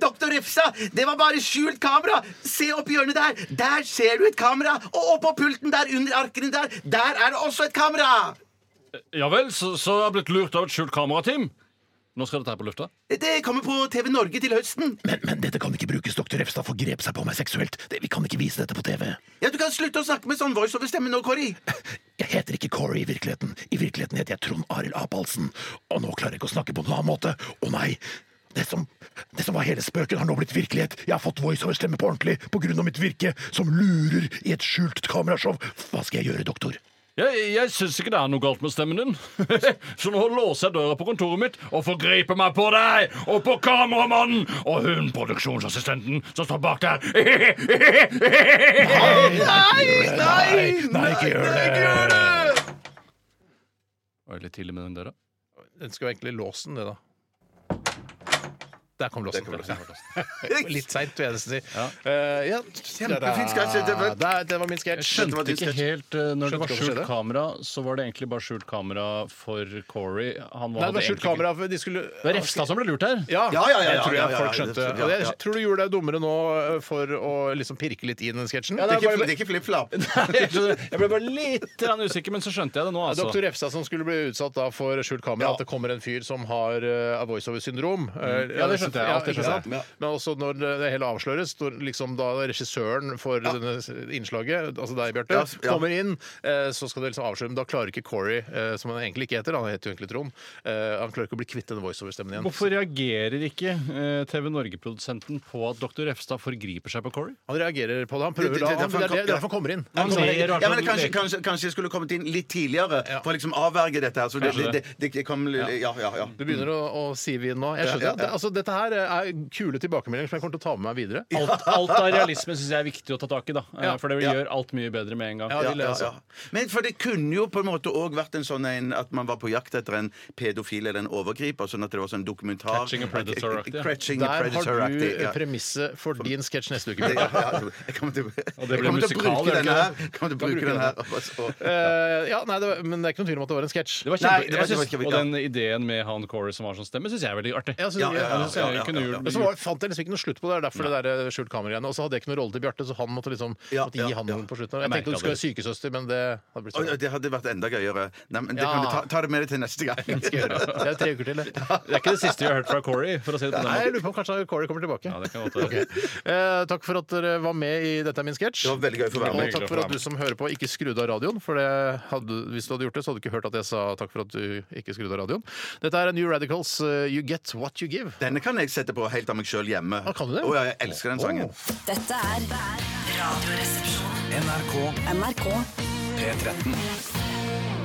E: Doktor Refsa, det var bare skjult kamera! Se opp i hjørnet der! Der ser du et kamera! Og oppå pulten der, under arkene der, der er det også et kamera!
F: Ja vel, så, så jeg har blitt lurt av et skjult kamerateam. Nå skal dette her på lufta.
E: Det kommer på TV Norge til høsten.
A: men, men dette kan ikke brukes, doktor Refstad forgrep seg på meg seksuelt. Det, vi kan ikke vise dette på TV.
E: Ja, Du kan slutte å snakke med sånn voiceover-stemme nå, Kåri.
A: Jeg heter ikke Corey i virkeligheten. I virkeligheten heter jeg Trond Arild Apalsen. Og nå klarer jeg ikke å snakke på noen annen måte. Å nei! Det som, det som var hele spøken, har nå blitt virkelighet. Jeg har fått voiceover-stemme på ordentlig på grunn av mitt virke som lurer i et skjult kamerashow. Hva skal jeg gjøre, doktor?
F: Jeg, jeg syns ikke det er noe galt med stemmen din. så nå låser jeg døra på kontoret mitt og forgriper meg på deg og på kameramannen og hun produksjonsassistenten som står bak der.
A: Nei, nei, nei, ikke gjør det!
F: Var det litt tidlig med den døra?
D: Den skal jo egentlig låsen, det, da. Der kom låsen.
E: Der kom
D: Der kom låsen. Litt seint, vil jeg nesten si. Ja. ja,
E: Kjempefin sketsj, dette var-
D: Der- Det var min sketsj.
E: Dette var
F: Skjønte
E: din
F: ikke
E: sketsj.
F: helt eh, Når det
D: Skjønte
F: var
D: ikke hva som
F: skjult
D: skjedde.
F: kamera, så var det egentlig bare skjult kamera for Corey.
D: Nei, det
F: Han
D: var
F: hadde
D: skjult
F: egentlig ikke-
D: kamera. for De skulle
F: Det var Refstad som ble lurt her.
D: Ja,
E: Ja, ja, ja,
D: jeg tror jeg
E: ja, ja,
D: folk
E: ja,
D: skjønte.
E: det tror jeg,
D: Og
E: ja.
D: jeg tror du gjorde deg dummere nå eh, for å liksom pirke litt i den sketsjen.
E: Det er ikke, det er ikke flipp-flapp.
F: Jeg skjønner det. Jeg ble bare litt grann usikker, men så skjønte jeg det nå,
D: Ja,
F: altså.
D: Dr. Refstad som skulle bli utsatt da for skjult kamera,
F: Ja.
D: at det kommer en fyr som har uh, voiceover-syndrom. Eh,
F: Ja, det skjønte jeg. Alt det
D: ikke
F: skjønte
D: sant? Men også når det det hele avsløres, når liksom da regissøren for denne s- innslaget, altså deg, Bjarte,
E: Ja, s- ja.
D: kommer inn, eh, så skal det liksom avsløre, men da klarer ikke Corey, eh, som han egentlig ikke heter, han heter jo egentlig Trond, eh, han klarer ikke å bli kvitt denne voiceover-stemmen igjen.
F: Hvorfor reagerer ikke eh, TV Norge-produsenten på at Dr. Refstad forgriper seg på Corey?
D: Han reagerer på det, han prøver
E: Det- det-
D: da,
E: det er
D: han,
E: derfor
D: det
E: han
D: er det- det er
E: kan-
D: derfor han kommer inn.
F: Han
E: Kommer
F: ser
E: inn-
F: rart
E: ja, men
F: ut.
E: kanskje, kanskje, kanskje jeg skulle kommet inn litt tidligere for å liksom avverge dette her. Så det,
F: Kanskje
E: det, det, det, kom litt Ja, ja, ja.
D: Du begynner å, å sive inn nå. Jeg skjønner
E: Ja, ja,
D: at det- Altså, Dette her er kule tilbakemeldinger som jeg kommer til å ta med meg videre.
F: Alt, alt av realisme syns jeg er viktig å ta tak i, da. Eh,
D: Ja.
F: For det
E: Ja.
F: gjør alt mye bedre med en gang.
D: Ja,
E: Ja,
D: de ler
E: ja,
D: altså.
E: ja. Men for det kunne jo på en måte òg vært en sånn en at man var på jakt etter en pedofil eller en overgriper, sånn at det var sånn dokumentar
F: Catching a predator-aktig, ja.
E: Catching a
D: Der har du
E: predator-aktig, ja.
D: premisset for din sketsj neste uke.
E: Ja,
D: Bjørn.
E: ja, ja. Jeg kommer til,
F: Og det
E: jeg
F: ble
E: kommer til å
F: musikal,
E: bruke
F: gjør det
E: den
F: ikke
E: her. Jeg kommer til å bruke den her. Og- og-
D: Eh, ja, nei, det var, men det er ikke noen tvil om at det var en sketsj.
F: Det var
E: Nei,
F: kjempe,
E: det var-
F: jeg synes,
E: det var ikke-
F: og den ideen med han Corey som var sånn stemme, syns jeg er veldig artig.
D: Ja, så-
E: Ja, ja, ja,
F: Jeg synes jeg
E: ja, ja,
F: kunne
E: ja,
F: gjort-
E: ja.
D: Men så var, fant jeg liksom ikke noe slutt på det. det er derfor det der eh, skjult kamera-greiene. Og så hadde jeg ikke noe rolle til Bjarte, så han måtte liksom
E: Ja,
D: måtte gi
E: ja,
D: han
E: ja.
D: noen på slutten. Jeg
F: Jeg
D: tenkte du
F: merket
D: skulle være sykesøster, men det hadde blitt
E: Oi,
D: sånn.
E: det hadde vært enda gøyere. Nei, men det
D: Ja.
E: kan du ta, ta det med deg til neste gang.
D: Skal jeg gjøre det. Det er tre uker til, det.
F: Det er ikke det siste vi har hørt fra Corey, for å si det på den
D: Nei, jeg
F: måten.
D: lurer på om kanskje Kåre kommer tilbake.
F: Ja, det kan godt være.
D: Ok. Eh, takk for at dere var med i Dette er min sketsj.
E: Det var veldig gøy for å være
D: Og
E: med.
D: takk for at du som hører på, ikke skrudde av radioen. For det hadde, hvis du hadde gjort det, så hadde du ikke hørt at jeg sa takk for at du ikke skrudde av radioen. Dette er New Radicals, eh, You Get What You Give.
E: Denne kan jeg sette på helt av meg sjøl hjemme.
D: Ah, kan du det?
E: Å, ja, jeg elsker den sangen.
G: Dette er Radioresepsjonen.
C: NRK
G: NRK
C: P13.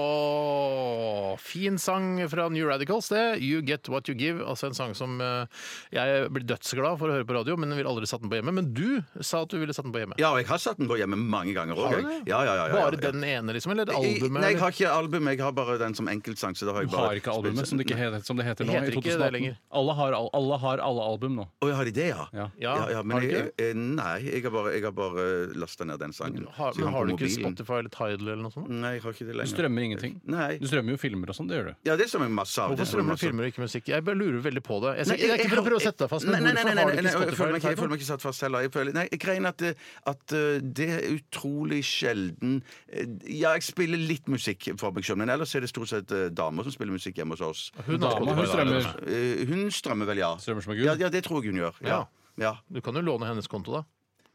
D: Åh, fin sang fra New Radicals, det. You Get What You Give. Altså en sang som eh, jeg blir dødsglad for å høre på radio, men ville aldri satt den på hjemme. Men du sa at du ville satt den på hjemme.
E: Ja, og jeg har satt den på hjemme mange ganger òg.
D: Har du det?
E: Ja, ja, ja, ja, ja.
D: Bare den ene, liksom? Eller
E: Jeg-
D: albumet?
E: Nei, jeg
D: eller?
E: har ikke album. Jeg har bare den som enkeltsang. Så da har jeg
F: Du
E: bare
F: har ikke albumet, som det, ikke heter, som det heter nå.
D: Det heter
F: i
D: ikke det
F: 2018.
D: lenger.
F: Alle har, al- alle har alle album nå.
E: Å, jeg har de det, ja?
F: Ja.
D: Ja,
E: men
D: har du
E: jeg,
D: ikke?
E: jeg, nei, jeg har bare, jeg har bare lasta ned den sangen.
D: Har,
E: Så jeg
D: men har du
E: den på
D: ikke
E: mobilen.
D: Spotify eller Tidal eller noe sånt?
E: Nei, jeg har ikke det
F: Du
E: lenger.
F: strømmer ingenting.
E: Nei.
F: Du strømmer jo filmer og sånn, det gjør du.
E: Ja, det strømmer masse av.
D: Hvorfor
E: det
D: strømmer du
E: strømmer masse av.
D: filmer og ikke musikk? Jeg bare lurer veldig på det. Jeg,
E: Nei,
D: sier- det er ikke for å prøve å sette deg fast, men
E: Nei, nei, nei,
D: hvorfor
E: nei,
D: har du ikke
E: nei, nei, jeg
D: Spotify
E: føler meg ikke-
D: eller
E: Jeg føler
D: Tidal?
E: meg ikke satt fast heller. Jeg, føler, nei, jeg greier at, det- at eh, det er utrolig sjelden eh, Ja, jeg spiller litt musikk for meg sjøl, men ellers er det stort sett eh, damer som spiller musikk hjemme hos oss.
D: Hun har
F: Dama, hun
D: Spotify, da.
F: strømmer.
E: Eh, Hun strømmer vel, ja.
F: Strømmer som en gud.
E: Ja, ja, det tror jeg hun gjør. Ja. Ja.
D: Du kan jo låne hennes konto, da.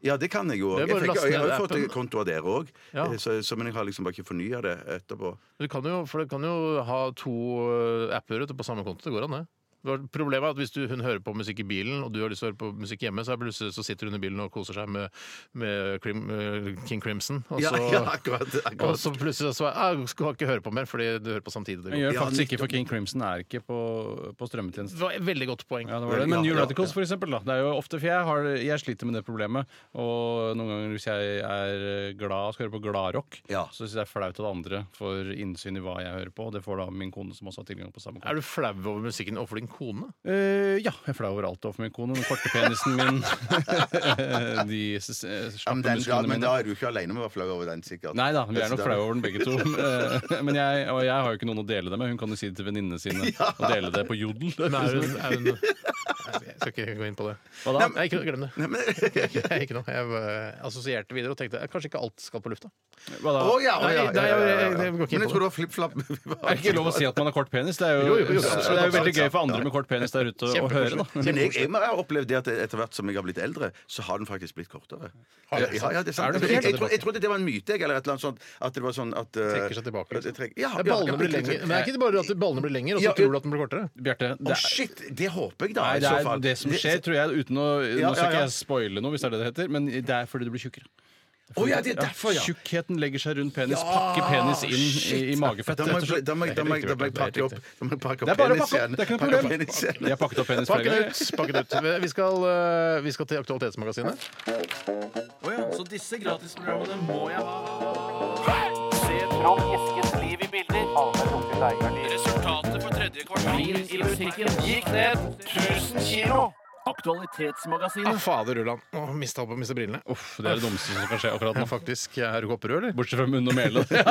E: Ja, det kan jeg jo.
D: Det
E: Jeg,
D: er bare å
E: fikk-
D: laste
E: jeg har
D: ned
E: jo fått
D: appen.
E: konto av dere òg,
D: Ja.
E: men jeg har liksom bare ikke fornya det etterpå.
D: Du kan jo, for du kan jo ha to eh, apper vet du, på samme konto. Det går an, det. Det var- Problemet er at hvis du, hun hører på musikk i bilen, og du har lyst til å høre på musikk hjemme, så, er plutselig, så sitter hun i bilen og koser seg med, med Crim, eh, King Crimson. Og så,
E: Ja, ja, akkurat,
D: og
E: akkurat.
D: så plutselig så er, jeg skal ikke høre på mer, fordi du hører på samtidig. Det går.
F: Jeg gjør
E: Ja,
F: faktisk ikke,
E: nettopp.
F: for King Crimson er ikke på, på strømmetjenesten.
D: Det var et veldig godt poeng.
F: Ja, det var det. Men
E: Ja,
F: New
E: ja,
F: Radicals, for eksempel. Da. Det er jo ofte, for jeg, har, jeg sliter med det problemet. Og noen ganger hvis jeg er eh, glad skal høre på gladrock,
E: Ja.
F: så syns jeg det er flaut at andre får innsyn i hva jeg hører på. Og det får da min kone, som også har tilgang på samme
D: Er
F: kone.
D: du flau over musikken overfor din kone?
F: Eh, ja, jeg er flau over alt overfor min kone. Den korte penisen min. De s- s-
E: Ja, men,
F: slappe
E: den, ja,
F: musklene
E: men
F: mine.
E: da er du ikke aleine om å være flau over den, sikkert.
F: Nei da, vi er nok
E: Så da-
F: flaue over den begge to. Eh, Men jeg, og jeg har jo ikke noen å dele det med. Hun kan jo si det til venninnene sine og dele det på jodel.
D: Men er hun, er hun Jeg skal ikke gå inn på det.
F: Hva da?
D: Nei, ikke, glem det.
E: Nei, men-
D: Jeg, ikke noe. jeg eh, assosierte videre og tenkte eh, kanskje ikke alt skal på lufta.
F: Hva da?
E: Å ja, å ja, ja,
D: Nei, nei,
E: ja, ja, ja.
D: jeg- jeg går ikke inn
E: Men jeg
D: på
E: tror det var flipp-flapp.
F: Er det ikke lov å si at man har kort penis? Det er jo,
D: Jo, jo, jo.
F: Så det er jo veldig gøy for andre med kort penis der ute å, å høre. da
E: Men jeg, jeg har opplevd det at etter hvert som jeg har blitt eldre, så har den faktisk blitt kortere. Ja, ja, det er sant.
F: Er det
E: jeg, jeg,
F: helt-
E: tro- jeg trodde det var en myte, jeg, eller et eller annet sånt. At det var sånn at eh,
D: Trekker seg tilbake, liksom.
E: at det trekker- Ja,
D: Ja,
E: ja,
D: ballene
E: ja,
D: blir
E: litt-
D: lengre. Men det er
E: Nei.
D: ikke bare at ballene blir lengre, og så
E: Ja,
D: tror du at den blir kortere?
F: Bjarte,
E: Å,
F: det er
E: shit! Det håper jeg, da.
F: Nei,
E: i
F: det
E: så
F: er
E: fall.
F: det som skjer, tror jeg, uten å
E: Ja,
F: Nå skal
E: ja,
F: ikke
E: ja.
F: jeg spoile noe, hvis det er det det heter, men det er fordi du blir tjukkere.
E: Å ja, det er derfor, ja.
F: Tjukkheten legger seg rundt penis, pakker penis inn i, i magefett.
E: Da må jeg-
F: rett og slett.
E: da må jeg- da må jeg da må jeg pakke opp da må jeg pakke
F: Det
E: opp
F: er bare å
E: penis igjen. Pakke
F: pakke opp! Det er ikke noe
E: opp
F: problem.
E: penis igjen.
F: Jeg har pakket opp penis
D: Pakk
F: flere
D: den
F: ganger.
D: ut! Pakk den ut. Vi skal, eh, vi skal til Aktualitetsmagasinet.
H: Se Trond Eskens liv i bilder. Resultatet på tredje kvartal i butikken gikk ned 1000 kilo.
D: Ah,
H: Aktualitetsmagasinet.
D: fader, Ulland. Å, Mista håpet, mista brillene.
F: Uff, det er det dummeste som kan skje akkurat nå.
D: Faktisk, eh, Er du kopperød, eller?
F: Bortsett fra munn og mæle. det,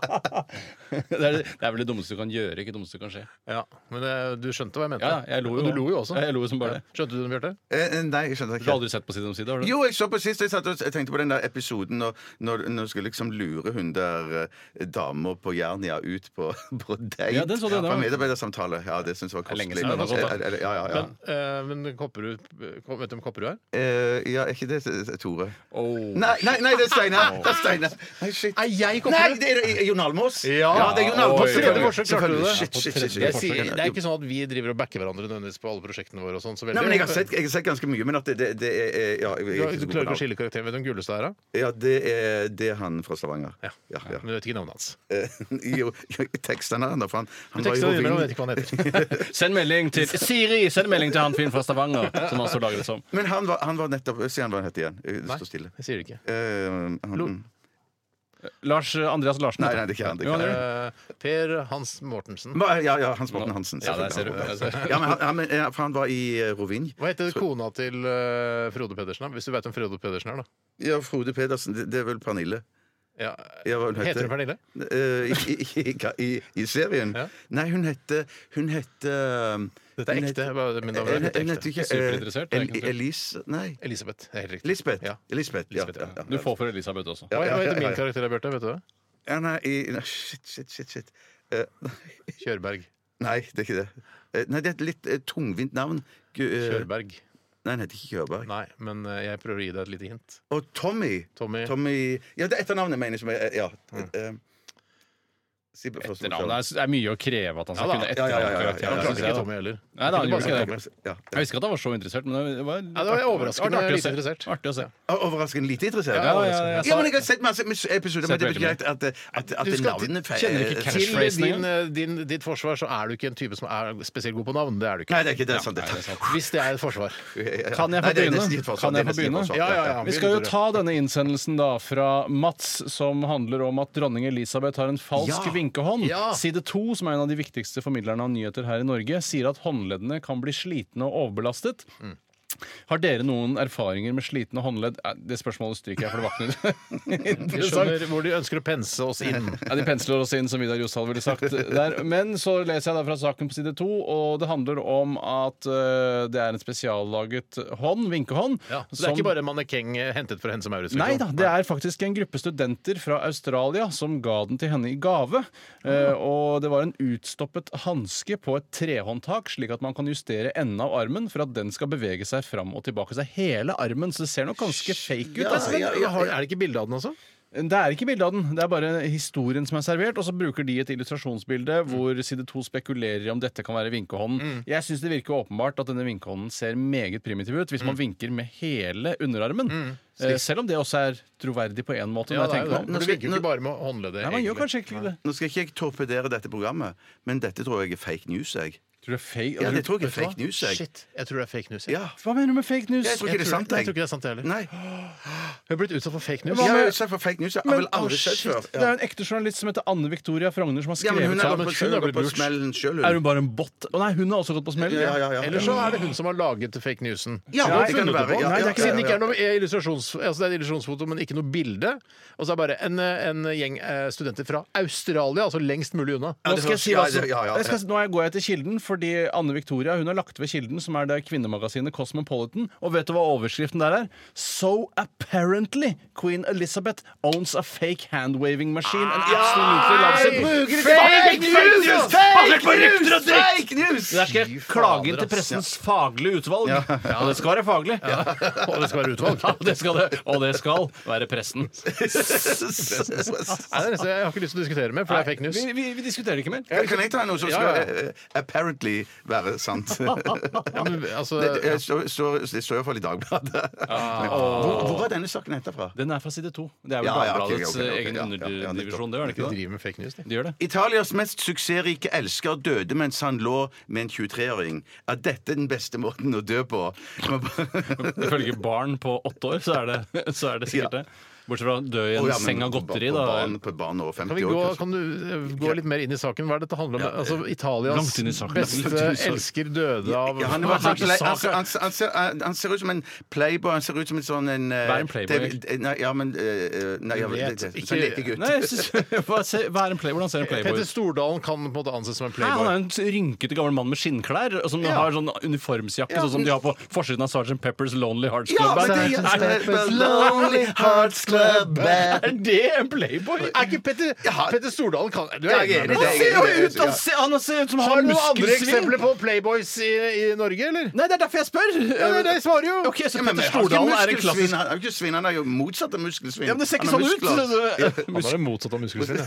F: er det, det er vel det dummeste du kan gjøre, ikke det dummeste du kan skje.
D: Ja, men eh, du skjønte hva jeg mente.
F: Ja, ja, jeg lo jo.
D: Og Du lo jo også.
F: Ja, jeg lo jo som bare det.
D: Skjønte du den, Bjarte?
E: Eh, Nei, jeg skjønte
F: Du har
E: ikke.
F: aldri sett på Side om side? har du?
E: Jo, jeg så på sist, jeg satt og jeg tenkte på den der episoden når, når, når skulle liksom lure hun der eh, dama på Jernia ut på, på date.
F: Ja, den så du, den
E: på
F: var-
E: medarbeidersamtale. Ja, det syns jeg var
F: er
E: kostelig.
F: lenge siden den har gått, da.
E: Eh, eh, Ja, ja, ja.
D: Men, eh, men Kopperud Ko- Vet du hvem Kopperud er?
E: Eh, ja, er ikke det eh, Tore?
F: Oh.
E: Nei, nei, nei, det er Steinar! Det er Steinar. Nei, shit.
D: Er jeg
E: Nei, det er eh, Jon Almaas!
D: Ja.
E: det er Jon
D: På
E: Almaas.
D: tredje forsøk klarte du
E: Selvfølgelig.
D: det.
E: Shit, shit, shit, shit.
D: Jeg sier, det er ikke sånn at vi driver og backer hverandre nødvendigvis på alle prosjektene våre. og sånn så veldig.
E: Nei, men jeg har sett, jeg har sett ganske mye, men at det, det, det er eh, ja, jeg,
D: Du,
E: jeg er ikke
D: du
E: så
D: klarer
E: god på
D: ikke å
E: navn.
D: skille karakteren. Vet du hvem Gullestad er? da?
E: Ja, det er, det er han fra Stavanger.
D: Ja.
E: Ja, ja.
D: Men du vet ikke navnet hans.
E: Eh, jo, jo, tekstene han, da, for han, han var
D: Teksten
E: jo
D: din, men jeg vet
E: hovin-
D: ikke hva han heter.
F: Send melding til Siri! Send melding til han fyren fra Stavanger som altså lager det som.
E: Men han var, han var nettopp Si han hva han het igjen. Eh, Det står stille.
D: jeg sier det ikke.
E: Eh, han-
D: Lo-
F: Lars eh, Andreas Larsen.
E: Nei, nei, det er ikke han. Det er
F: Jo,
E: ikke han.
F: det er-
D: Eh, per Hans Mortensen.
E: Ma- Ja, ja, Hans Morten Hansen.
F: Ja, der ser du. Der ser
E: selvfølgelig. Ja, men han, ja, men, ja, for han var i eh, Rovin.
D: Hva heter kona til eh, Frode Pedersen? da? Hvis du vet hvem Frode Pedersen er, da.
E: Ja, Frode Pedersen. Det, det er vel Pernille.
D: Ja.
E: Ja, hva hun
D: Heter hun Pernille?
E: Eh, i, i, i, i, I serien?
D: Ja.
E: Nei, hun hette Hun hette um,
D: Dette er
E: hun
D: ekte.
E: het-
D: bare- Min dame,
E: Hun
D: dette
E: hun
D: er ekte.
E: heter ikke
F: Superinteressert,
E: eh,
F: er jeg ikke
E: El- Elise Nei.
D: Elisabeth. det er Helt riktig.
E: Lisbeth.
D: Ja.
E: Elisabeth, ja.
D: Lisbeth, ja.
E: ja,
F: Du
E: ja.
F: får for Elisabeth også.
D: Hva
E: ja,
D: hva
E: ja,
D: heter
E: ja,
D: min
E: ja.
D: karakter, da, Bjarte? Vet du det?
E: Ja, nei, i, nei, shit, shit, shit. shit. Eh,
D: Kjørberg.
E: nei, det er ikke det. Eh, nei, det er et litt eh, tungvint navn. Gu- eh,
D: Kjørberg.
E: Nei, han heter ikke Kjørberg.
D: Nei, men eh, jeg prøver å gi deg et lite hint.
E: Og Tommy.
D: Tommy. Mm.
E: Tommy Ja, det er etternavnet, mener jeg. Som er, ja. Eh, si på første
F: Etternavn det er- er mye å kreve at han skal
D: Ja, da.
F: kunne
E: Ja, ja, ja, ja, ja.
F: etternavn.
E: Ja,
D: Han
E: det
F: synes
D: klarte
F: jeg,
D: ikke
F: da.
D: Tommy heller.
F: Nei, da, han gjorde ikke det.
E: Ja.
F: Jeg visste ikke at han var så interessert, men det var,
D: Ja, det var overraskende
F: artig å se.
D: interessert.
F: Artig å se.
E: Å, Overraskende lite interessert.
F: Ja, ja, ja, jeg
E: Ja, men
F: sa-
E: jeg har sett masse masse episoder, men det betyr ikke at, at, at, at
D: Du skal-
E: navnet fe-
F: kjenner
E: eh,
F: ikke
D: Til
F: Catchphrasene
D: din, eh, din, ditt forsvar så er du ikke en type som er spesielt god på navn. Det er du ikke.
E: Nei, det er ikke det. er sant, det.
F: Nei, det er sant.
D: Hvis det er et forsvar.
F: Kan jeg få
E: Nei, det er
F: begynne?
E: nesten gitt forsvar,
F: Kan
E: det er
F: jeg få
E: nesten gitt
F: begynne?
E: forsvar.
D: Ja, ja, ja.
F: Vi skal jo ta denne innsendelsen da fra Mats, som handler om at dronning Elisabeth har en falsk
E: Ja.
F: vinkehånd.
D: Ja.
F: Side 2, som er en av de viktigste formidlerne av nyheter her i Norge, sier at håndleddene kan bli slitne og overbelastet.
D: Mm.
F: Har dere noen erfaringer med slitne håndledd? Eh, Det spørsmålet stryker jeg, for det vakner.
D: Vi skjønner hvor de ønsker å pense oss inn.
F: Ja, De pensler oss inn, som Vidar Jostal ville sagt. der. Men så leser jeg da fra saken på side to, og det handler om at eh, det er en spesiallaget hånd, vinkehånd.
D: Ja, så det er
F: som-
D: ikke bare mannekeng eh, hentet fra Hense Maurits?
F: Sånn- Nei da,
D: liksom.
F: det er faktisk en gruppe studenter fra Australia som ga den til henne i gave. Eh, og det var en utstoppet hanske på et trehåndtak, slik at man kan justere enden av armen for at den skal bevege seg fram og tilbake. Så det er hele armen, så det ser nok ganske fake ut. altså.
D: Men, eh, har- Er det ikke bilde av den også?
F: Det er ikke bilde av den, det er bare historien som er servert. Og så bruker de et illustrasjonsbilde
E: Mm.
F: hvor side to spekulerer i om dette kan være vinkehånden. Jeg syns det virker åpenbart at denne vinkehånden ser meget primitiv ut hvis man
E: Mm.
F: vinker med hele underarmen. Eh, Selv om det også er troverdig på én måte.
D: Ja, det
F: når jeg
D: er jo det.
F: tenker meg om.
D: Men Du
E: skal-
D: virker jo ikke bare med håndleddet.
F: Nei, man gjør
D: egentlig.
F: kanskje ikke det.
E: Nå skal ikke jeg torpedere dette programmet, men dette tror jeg er fake news. jeg.
F: Tror du det er fake?
E: Ja, det tror jeg
D: Vet
E: er
D: du hva?
E: fake news. jeg.
D: Shit, jeg tror det er fake news. jeg.
E: Ja.
F: Hva mener du med fake news?
E: Jeg tror
D: Jeg
E: ikke det er sant.
D: jeg tror ikke
E: jeg.
D: det er sant, jeg heller.
E: Nei.
D: Hun er blitt utsatt for fake news.
E: Jeg
F: Hva
E: har
F: med-
E: jo sett for fake news. Jeg har vel
F: Å,
E: aldri sett
F: shit.
E: før.
F: Det er en ekte journalist som heter Anne Victoria Frogner, som har
E: Ja, men
F: skrevet
E: hun
F: seg
E: har
F: om-
E: gått på,
D: hun har
E: gått på
D: blitt lurt.
E: smellen sjøl,
F: Er hun bare en bot? Å nei, hun har også gått på smell.
E: Ja, ja, ja, ja.
D: Eller så er det hun som har laget fake newsen.
E: Ja,
D: Hun har
E: det kan
D: funnet
E: det være.
D: på.
E: Ja,
D: Nei, det er ikke
E: ja,
D: siden det ikke
E: ja,
D: er noe illustrasjons, altså det er et illustrasjonsfoto, men ikke noe bilde. Og så er det bare en, en gjeng eh, studenter fra Australia, altså lengst mulig unna.
E: Ja,
F: Nå
E: det
F: skal jeg
E: høres-
F: si
E: ja,
F: altså,
E: det- ja, ja.
F: jeg skal, Nå er- går jeg til Kilden, fordi Anne Victoria hun har lagt ved Kilden, som er det kvinnemagasinet Cosmopolitan. Og vet du hva overskriften der er? So apparently Queen Elizabeth owns a fake handwaving machine and absolutely loves it.
E: Fake news! Fake news! Fake news!
F: Der skal jeg klage inn til pressens faglige utvalg. Og det skal være faglig.
D: Og det skal være utvalg.
F: Ja, det skal det. Og det skal være pressen.
D: Nei, det er nesten- jeg har ikke lyst til å diskutere mer, for det er fake news.
F: Vi, vi, vi diskuterer ikke mer.
E: Ja, Kan jeg ta noe som skal eh, apparently være sant?
D: Ja, men, altså,
E: Det, det, står, står, det står iallfall i Dagbladet. Hvor, hvor var denne saken henta fra?
F: Den er fra side to. Det er vel
E: Ja, ja, ok,
F: Dagbladets
E: ok, ok,
F: egen
E: ja, ja, ja,
F: underdivisjon, det gjør det
D: de
F: ikke det?
D: driver med fake news, de.
F: De gjør det.
E: Italias mest suksessrike elsker døde mens han lå med en 23-åring. Er dette den beste måten å dø på?
F: Ifølge barn på åtte år, så er det, så er det sikkert
E: Ja.
F: det. Bortsett fra å dø i en
E: Å, ja, men
F: seng av
E: på-
F: godteri,
E: på
F: da.
E: barn- På barn over
D: Kan,
E: 50
D: vi gå,
E: år. kanskje.
D: kan du eh, gå litt mer inn i saken? Hva er det dette handler om? altså, Italias
F: Langt inn i saken. Langt
D: beste
F: inn i saken.
D: elsker døde av
E: Ja, han,
D: Hva er
E: var, han,
D: det
E: han,
D: saken?
E: han, han, ser, eh, han ser ut som en playboy. Han ser ut som en sånn en eh,
F: Vær en playboy.
E: David- Nei, ja, sånn men eh, Nei, jeg
D: Vet
E: vet
D: ikke-
E: ikke. Letegutt.
F: Nei, jeg synes, hva, se, hva er en play, hvordan ser en playboy
D: Petter
F: ut?
D: Stordalen kan på en måte anses som en
F: Nei, han er
D: playboy.
F: en rynkete gammel mann med skinnklær og som
D: Ja.
F: har sånn uniformsjakke sånn som de har på forsiden av Sgt. Peppers Lonely Hearts
E: Ja, men
F: Club Band.
E: det
F: Er-
E: er Pepper's Lonely Hearts Club Band.
D: Er det en playboy? Er ikke Petter,
E: Ja.
D: Petter Stordalen kan, Du er
E: Jeg er
D: enig? med
E: enig, det er
D: meg.
E: jeg enig.
F: Han ser jo ut- han ser- Han ser ut som
D: Har du noen andre
F: muskelsving!
D: eksempler på playboys i, i Norge, eller?
F: Nei, det er derfor jeg spør!
D: Ja, det er det jeg svarer jo!
F: Ok, så
E: Ja, men han har
F: Petter
E: ikke
F: Stordalen er en
E: muskelsvinn,
F: klassisk
E: Han han er jo ikke svinn, han er jo motsatt av muskelsvinn.
F: Ja, men det ser ikke
E: Han
F: sånn
E: har
F: ut!
E: muskler.
D: Han er det motsatte av muskelsvinn. ja.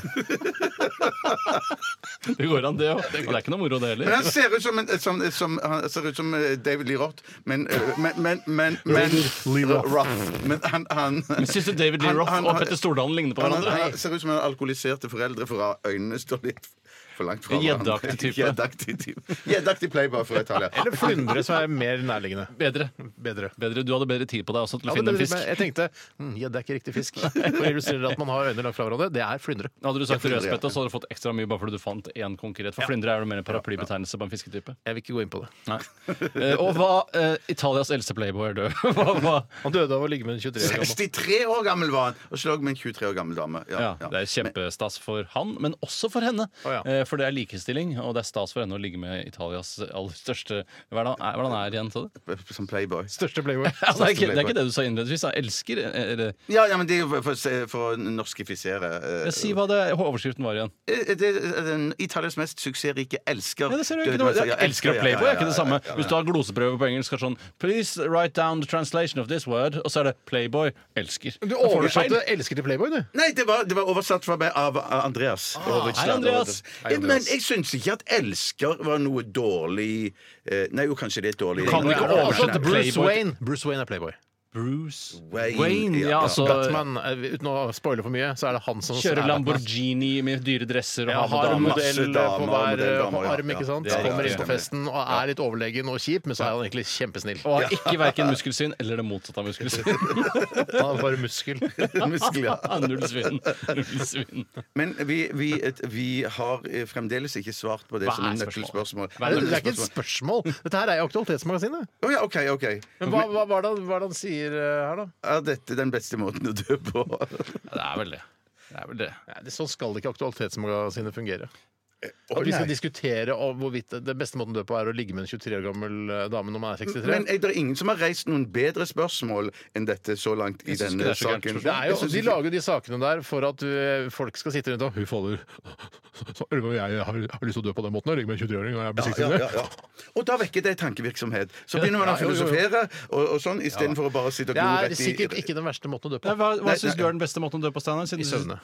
F: Det går an, det òg. Og det er ikke noe moro, det
E: Men han
F: heller.
E: ser ut som, en, som, som, han ser ut som eh, David Lee Roth, men eh, Men, men, men, men
D: Lee Roth.
E: Roth. Men han, han
F: Men Syns du David Lee
E: Han-
F: Roth
E: han-
F: og
E: han-
F: Petter Stordalen ligner på
E: han, han,
F: hverandre?
E: han ser ut som en alkoholiserte foreldre, for øynene står litt for langt fra hverandre.
F: Gjeddeaktig type.
E: Gjeddeaktig type. Gjeddeaktig playboy fra Italia.
D: Eller Flyndre, som er mer nærliggende.
F: Bedre.
D: Bedre.
F: Bedre. Du hadde bedre tid på deg også til
D: Ja,
F: å
D: men
F: finne en
D: det-
F: fisk.
D: Jeg tenkte hm, gjedde er ikke riktig fisk. For å illustrere at man har øyne langt fra hverandre. Det er flyndre.
F: Hadde du sagt
E: flyndre,
F: rødspette,
E: ja.
F: så hadde du fått ekstra mye bare fordi du fant én konkret. For flyndre er jo mer en paraplybetegnelse på en fisketype.
D: Jeg vil ikke gå inn på det.
F: Nei. Eh, og hva eh, Italias eldste playboy er død. hva, hva?
D: Han døde av å ligge med en 23 år gammel.
E: 63 år gammel var han, og slog med en 23 år gammel dame. Ja,
F: Ja,
E: ja.
F: det er kjempestas for han, men også for henne.
D: Å, ja.
F: Eh, for det er likestilling, og det er stas for henne å ligge med Italias aller største Hva er det han er, hva er, det han er igjen til det?
E: Som playboy.
D: Største playboy.
F: Ja, det, er ikke, det er ikke det du sa innledningsvis. da. Elsker eh, eller,
E: Ja, ja, men det er jo for, for, å se- for å norskifisere eh,
F: Si hva det, overskriften var igjen.
E: eh, det er den Italias mest suksessrike elsker
F: Ja, det ser du ikke
E: døde
F: noe.
E: altså,
F: Jeg
E: ja,
F: elsker
E: ja,
F: å
E: ja,
F: playboy,
E: ja,
F: er ikke det
E: ja,
F: samme.
E: ja, ja.
F: Hvis du har gloseprøve på engelsk, er det sånn Please write down the translation of this word. Og så er det playboy. Elsker.
D: Du
F: Da får feil.
D: oversatte 'elsker' til playboy, du.
E: Nei, det var, det var oversatt fra meg av Andreas. Aavitsland.
F: Ah, hei, Andreas.
E: Ja, Men jeg syns ikke at 'elsker' var noe dårlig eh, Nei, jo, kanskje det er et dårlig
F: Kan du ikke
E: Nei, nei,
F: oversette
E: nei.
D: Altså, Bruce
F: Playboy.
D: Wayne. Bruce Wayne er playboy.
F: Bruce
E: Wayne,
F: Wayne.
E: ja,
F: ja,
E: ja.
F: altså
D: Batman, eh, uten å spoile for mye, så er det han som er
F: Kjører
D: Batman.
F: Lamborghini med dyre dresser og
D: Ja,
F: har
D: har en
F: med damer.
E: masse
D: modell på
E: damer,
D: hver eh,
E: modelldamer, ja.
D: arm, ikke sant?
E: Ja, det er
D: Kommer inn
E: riktig,
D: på festen og er litt overlegen og kjip, men så er han egentlig kjempesnill.
F: Og har ikke verken muskelsvinn eller det motsatte av muskelsvinn.
D: Han er bare muskel.
E: Muskel, ja.
F: Null svinn. Null svinn.
E: Men vi, vi, et, vi har eh, fremdeles ikke svart på det
F: Hva
E: som
F: er
E: er nøkkelspørsmål.
F: spørsmålet? Hva
D: Det
F: er
D: er ikke et spørsmål. Dette her er jo Aktualitetsmagasinet.
E: Å ja, OK. ok
D: Men hva, hva, hva, er det, han- hva er det han sier eh, her, da?
E: Er dette den beste måten å dø på?
F: Ja, det er vel det. Det er vel det.
D: Nei, det- Sånn skal ikke Aktualitetsmagasinet fungere. At vi
E: nei.
D: skal diskutere om hvorvidt det beste måten å dø på er å ligge med en 23 år gammel eh, dame når man er 63.
E: Men er det ingen som har reist noen bedre spørsmål enn dette så langt i
F: synes
E: denne
F: ikke det er så
E: saken?
D: det er
F: gærent
E: sånn. Jeg
D: jo,
E: synes
D: de
E: ikke-
D: lager jo de sakene der for at eh, folk skal sitte rundt og Hun faller. Så, Ørve og jeg har, har lyst til å dø på den måten. Jeg ligger med en 23-åring og jeg blir 63.
E: ja, ja, ja. Og da vekker det tankevirksomhet. Så begynner man å
D: Ja, jo, jo, jo.
E: filosofere og, og sånn, istedenfor å bare sitte og glo
D: Det
E: rett
D: er
E: i
D: sikkert ikke den verste måten å dø på.
F: Nei, Hva, hva
E: Nei,
F: syns
E: nei.
F: du er den beste måten å dø på, Steinar? Siden
D: I
F: du-
D: søvne.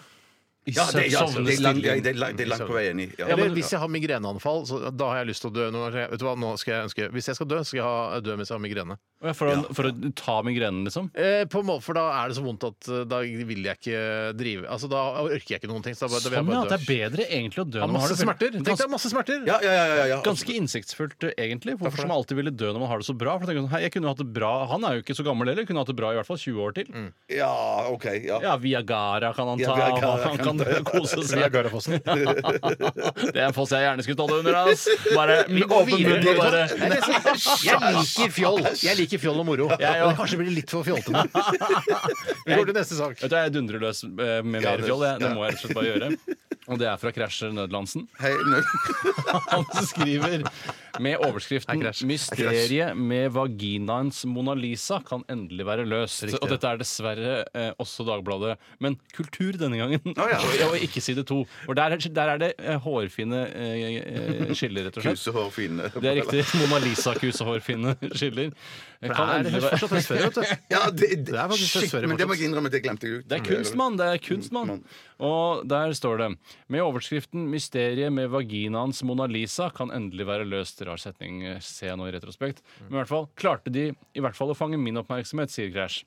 F: I
E: ja, det, er- ja,
F: søvn-
E: det, er langt- ja,
F: sovnestil.
E: det, er langt- det er langt på vei enig. Ja.
D: Eller hvis jeg har migreneanfall, så da har jeg lyst til å dø. Noen ganger. Vet du hva, nå skal jeg ønske Hvis jeg skal dø, så skal jeg ha, dø mens jeg har migrene.
F: Å, ja, For, å, for å ta migrenen, liksom?
D: Eh, på en måte, for da er det så vondt at eh, da vil jeg ikke drive Altså, Da orker jeg ikke noen ting. Så da, bare- da vil jeg
F: Sånn, ja.
D: bare
F: Det
D: dø.
F: er bedre egentlig å dø
D: Jeg har
F: når man har
D: masse
F: det vel-
D: smerter. Tenk deg
F: Ganske,
D: masse smerter.
E: Ja, ja, ja, ja, ja.
F: ganske innsiktsfullt, eh, egentlig. Hvorfor som alltid ville dø når man har det så bra. For jeg, tenker, sånn, hei, jeg kunne hatt det bra Han er jo ikke så gammel heller. Kunne hatt det bra i hvert fall 20 år til.
E: ja, OK. Ja.
F: Ja, Viagara kan han
E: Ja,
F: ta.
E: Viagra
F: og han
E: kan-
F: kan kose
D: Via
F: seg.
D: Garafossen.
F: Det er en foss jeg gjerne skulle tatt under. ass. Bare
D: Vi går videre.
F: åpenmunnen og bare
D: Nei, det er
F: sånn-
D: så- Jeg liker fjoll. Jeg liker fjoll og moro.
F: Jeg òg.
D: Men kanskje blir det litt for fjollete. Vi går til neste sak.
F: Vet du, Jeg dundrer løs eh, med
E: Ja,
F: mer
E: det-
F: fjoll. jeg. Det
E: ja.
F: må jeg rett og slett bare gjøre. Og det er fra Krasjer Nødlandsen.
E: Hei, nå-
F: Han skriver med overskriften 'Mysteriet med vaginaens Mona Lisa kan endelig være løst'. Og dette er dessverre eh, også Dagbladet, men Kultur denne gangen.
E: ja.
F: og, og ikke side to. For der, er- der er det eh, hårfine eh, eh, skiller, rett og slett.
E: Kusehår, fine.
F: Det er riktig. Mona Lisa-kusehårfinne skiller.
D: Det
F: Kan
D: er
F: endelig være-
D: fortsatt Østfjell, vet du.
E: Ja, det,
D: Det er faktisk
E: shit,
D: dessverre
E: men det må
D: fortsatt.
E: jeg innrømme at jeg glemte. jeg.
F: Det er kunstmann, det er kunstmann. Og der står det Med overskriften 'Mysteriet med vaginaens Mona Lisa' kan endelig være løst. Rar setning, eh, ser jeg nå i retrospekt. Men i hvert fall klarte de i hvert fall å fange min oppmerksomhet, sier Crash.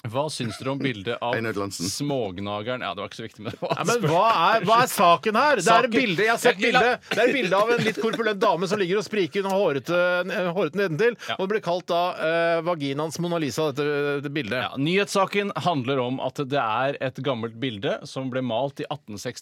F: Hva syns dere om bildet av
E: Einar Glansen.
F: smågnageren Ja, det var ikke så viktig, men det var
D: Nei, men hva er, hva er saken her? Det er et
F: Saken-
D: bilde, jeg har sett bilde Det er et bilde av en litt korpulent dame som ligger og spriker under hårete, eh, hårete nedentil.
F: Ja.
D: Og det ble kalt da eh, vaginans Mona Lisa, dette, dette bildet.
F: Ja, nyhetssaken handler om at det er et gammelt bilde som ble malt i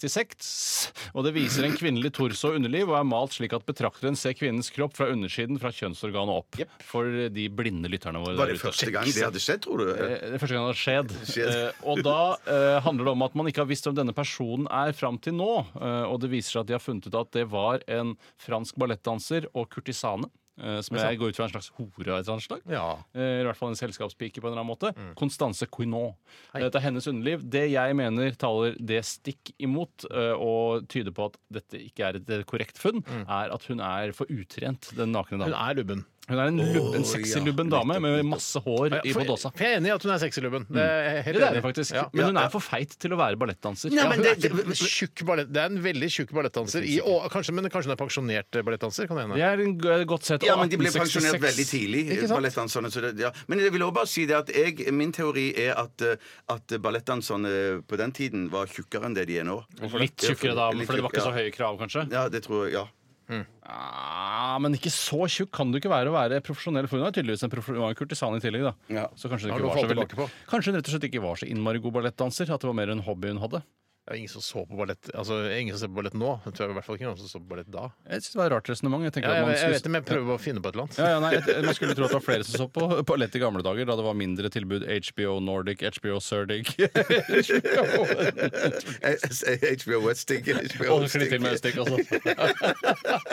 F: 1866. Og det viser en kvinnelig torso og underliv og er malt slik at betrakteren ser kvinnens kropp fra undersiden fra kjønnsorganet opp. For de blinde lytterne våre
E: Var
F: der
E: det
F: ute.
E: første gang det hadde skjedd, tror du?
F: Eh, Det er første gang det har skjedd.
E: Skjedd.
F: Eh, og da eh, handler det om at man ikke har visst hvem denne personen er fram til nå. Eh, og det viser seg at de har funnet ut at det var en fransk ballettdanser og kurtisane. eh, som jeg går ut fra er en slags hore av et eller annet slag.
D: Ja. Mm.
F: Eh, I hvert fall en selskapspike på en eller annen måte. Constance Quinot. Dette er hennes underliv. Det jeg mener taler det stikk imot, eh, og tyder på at dette ikke er et eh, korrekt funn, er at hun er for utrent, den nakne
D: Mm. Hun
F: damen.
D: er lubben.
F: Hun er en, lubben, en sexy lubben dame med masse hår i
D: For-
F: Bodosa.
D: for Jeg er enig i at hun er sexy lubben. Det er jeg helt
F: Ja, det er
D: enig
F: det
D: i.
F: faktisk.
D: Ja.
F: Men hun er for feit til å være ballettdanser.
E: Nei,
D: Ja,
E: men
D: hun
E: det,
D: er
E: det,
D: ikke en tjukk ballett, det er en veldig tjukk ballettdanser. I, å- kanskje, men kanskje hun er pensjonert eh, ballettdanser? Kan det hende.
F: Det er en g- godt sett.
E: ja, men de ble
F: 1866.
E: pensjonert veldig tidlig.
D: Ikke sant?
E: ballettdanserne. Så det, ja. Men jeg vil også bare si det at jeg, min teori er at, eh, at ballettdanserne på den tiden var tjukkere enn det de er nå.
F: Litt tjukkere da,
E: Litt
F: for det var
E: tjukk,
F: ikke så høye krav, kanskje?
E: Ja, ja det tror jeg. ja.
F: Ja, Ah, men ikke så tjukk kan du ikke være å være profesjonell. For hun er tydeligvis en, prof- hun var en kurtisan i tillegg, da.
E: Ja.
F: Så kanskje
D: Har
F: det
D: noe
F: ikke
D: å
F: var så
D: falle
F: veldig
D: tilbake på.
F: Kanskje hun rett og slett ikke var så innmari god ballettdanser. At det var mer en hobby hun hadde.
D: Det er ingen som så på ballett Altså, ingen som ser på ballett nå. Jeg tror i hvert fall ikke noen som så på ballett da.
F: Jeg synes det var et rart resonnement. Jeg tenker
D: Ja,
F: at
D: jeg,
F: man
D: jeg
F: skulle-
D: vet det, men jeg prøver å finne på et eller annet.
F: Ja, ja, nei, jeg- Man skulle tro at det var flere som så på ballett i gamle dager, da det var mindre tilbud. HBO Nordic, HBO Surdic
E: Eh, eh, HBO Westing.
F: Og så klipp til med en stikk også.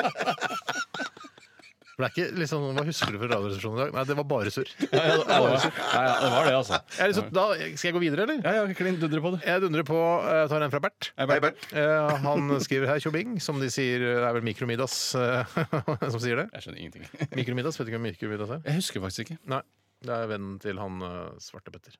D: For det er ikke liksom, Hva husker du fra Radioresepsjonen i dag? Nei, det var bare surr.
F: Ja, ja, det var- ja, ja, det var det, altså.
D: Jeg er liksom, da, skal jeg gå videre, eller?
F: Ja, ja, klin dundre på det.
D: Jeg dundrer på eh, Jeg tar en fra Bert.
E: Hei, Bert.
D: Eh, han skriver her tjobing, som de sier Det er vel Mikromiddas eh, som sier det?
F: Jeg skjønner ingenting.
D: Mikromiddas, vet du ikke hvem Mikromiddas er?
F: Jeg husker faktisk ikke.
D: Nei. Det er vennen til han eh, svarte Petter.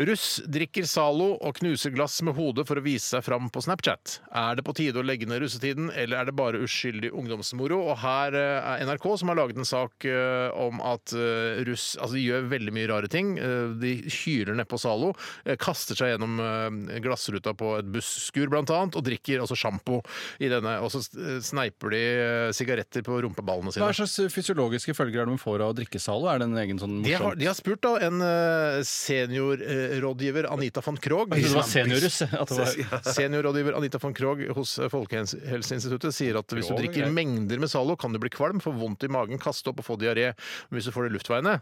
D: Russ drikker Zalo og knuser glass med hodet for å vise seg fram på Snapchat. Er det på tide å legge ned russetiden, eller er det bare uskyldig ungdomsmoro? Og her eh, er NRK som har laget en sak eh, om at eh, russ altså, de gjør veldig mye rare ting. Eh, De hyler nedpå Zalo, eh, kaster seg gjennom eh, glassruta på et busskur blant annet, og drikker altså sjampo i denne. Og så eh, sneiper de eh, sigaretter på rumpeballene sine.
F: Hva slags eh, fysiologiske følger er det man får av å drikke Zalo? Er det en egen sånn
D: De har,
F: morsom
D: de har spurt da en eh, seniorrådgiver Anita von Krogh.
F: Jeg trodde det var seniorruss. jeg, At det var...
D: Seniorrådgiver Anita von Krogh hos eh, Folkehelseinstituttet sier at hvis du
F: Krogh,
D: drikker
F: greit.
D: mengder med Zalo, kan du bli kvalm, få vondt i magen, kaste opp og få diaré. Men hvis du får det i luftveiene,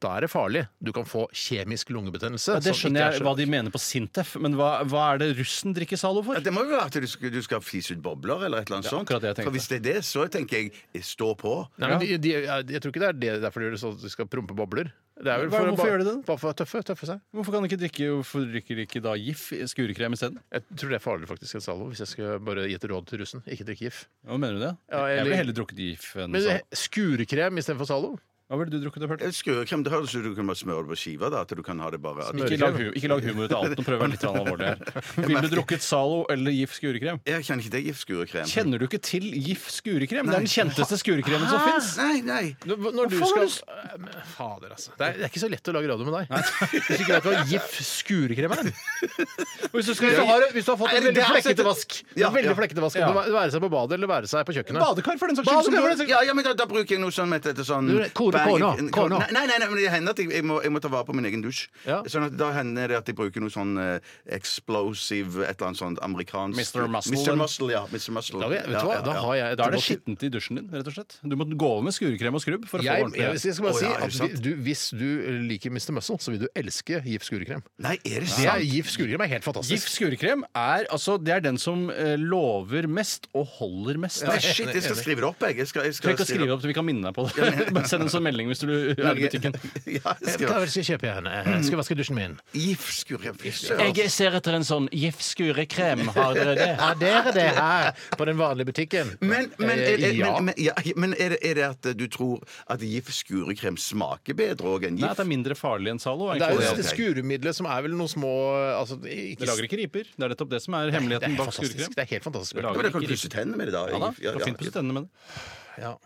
D: da er det farlig. Du kan få kjemisk lungebetennelse.
F: Ja, det
D: som
F: skjønner
D: ikke er
F: jeg
D: så-
F: hva de mener på Sintef, men hva, hva er det russen drikker Zalo for?
E: Ja, det må jo være at du skal, du skal fise ut bobler eller et eller annet
F: Ja,
E: sånt.
F: akkurat det jeg tenkte.
E: For hvis det er det, så tenker jeg stå på.
D: Nei, men de, de, jeg tror ikke det er det derfor de gjør det sånn at de skal prompe bobler. Det er vel
F: Hva-
D: for, å
F: hvorfor
D: ba-
F: gjør de det?
D: Bare for å tøffe, tøffe seg.
F: Hvorfor kan de ikke drikke Hvorfor drikker de ikke da GIF i skurekrem isteden?
D: Jeg tror det er farligere faktisk enn Zalo, hvis jeg skal bare gi et råd til russen. Ikke drikk GIF.
F: Hva mener du det?
D: Ja,
F: Jeg
D: eller-
F: ville heller drukket GIF enn
D: Men eh,
F: Zalo.
D: skurekrem istedenfor Zalo?
F: Hva ville du drukket? Pert?
E: Skruekrem, det høres ut som du kan bare smøre det på skiva. da, at du kan ha det bare... At,
F: Ikke lag, hu- ikke lag humor ut av alt. Nå prøver jeg å være litt grann alvorlig her. Ville du drukket Zalo eller GIF skurekrem?
E: jeg kjenner ikke til giftskruekrem.
F: Kjenner du ikke til GIF skurekrem? Det er den kjenteste skurekremen som fins.
E: Ah, Nei, nei.
D: Når når du
F: faen
D: skal
F: er
D: Eh, men Fader, altså. Det er, det er ikke så lett å lage radio med deg. Hvis du ikke vet hva GIF skurekrem er. Hvis du, skal, hvis, du har, hvis du har fått en
E: Eller det
D: veldig
E: har jeg sett-
D: flekkete vask,
E: Ja,
D: En veldig
E: ja.
D: flekkete vask
F: Ja.
D: om det være seg på badet eller være seg på kjøkkenet
F: Badekar, for den saks skyld.
D: Badekar,
F: som du-
D: for den saks-
E: Ja, ja, men da, da bruker jeg noe sånn med dette sånn
D: Du, kone,
E: Bang-
D: kone, kone.
E: Nei, nei, nei, men det hender at jeg, jeg, må, jeg må ta vare på min egen dusj.
D: Ja.
E: Sånn at Da hender det at jeg bruker noe sånn eh, explosive, et eller annet sånt amerikansk
F: Mr. Muscle.
E: Mr. Muscle, ja. Mr. Muscle.
D: Da, vet du
E: Ja,
D: hva,
E: ja,
D: da
E: ja.
D: har jeg et
F: Da er det
D: godt-
F: skittent i dusjen din, rett og slett. Du må gå over med skurekrem og skrubb. for å
D: jeg,
F: få
D: jeg,
F: ordentlig
D: jeg skal bare
E: Å,
D: si
E: ja, er det
D: at
E: sant?
D: du, hvis du liker Mr. Muscle, så vil du elske GIF skurekrem.
E: Nei, er det
D: Det er,
E: sant?
D: GIF skurekrem er helt
F: GIF
D: fantastisk.
F: skurekrem er, altså, det er den som eh, lover mest og holder mest.
E: Nei, shit, jeg skal skrive det opp, jeg. jeg, skal, jeg skal
F: Trenger ikke å skrive det opp så vi kan minne deg på det. Bare send en sånn melding hvis du er i butikken.
E: Ja, jeg
D: Hva
E: skriver.
D: er det jeg skal kjøpe igjen? Jeg skal vaske dusjen min.
E: Giftskruekrem. Fy søren.
F: Jeg ser etter en sånn GIF skurekrem, har dere det?
D: Har dere det her på den vanlige butikken?
E: Men, men, er, er,
D: Eh, ja.
E: men, men, ja, men er, det, er det at du tror at gift skurekrem smaker bedre òg enn
F: Nei, at
E: gift?
F: det er mindre farlig enn Zalo.
D: Det er jo
F: egentlig.
D: dette skuremiddelet som er vel noen små altså,
F: Det lager ikke riper. Det er nettopp det som er
D: Det er
F: hemmeligheten
D: helt
F: bak
D: fantastisk.
F: skurekrem.
D: Det er helt fantastisk.
F: Det lager
E: Men du kan
F: ikke
E: pusse
F: riper.
E: tennene med det, da.
F: Ja da, du kan fint pusse tennene med det.
D: Ja.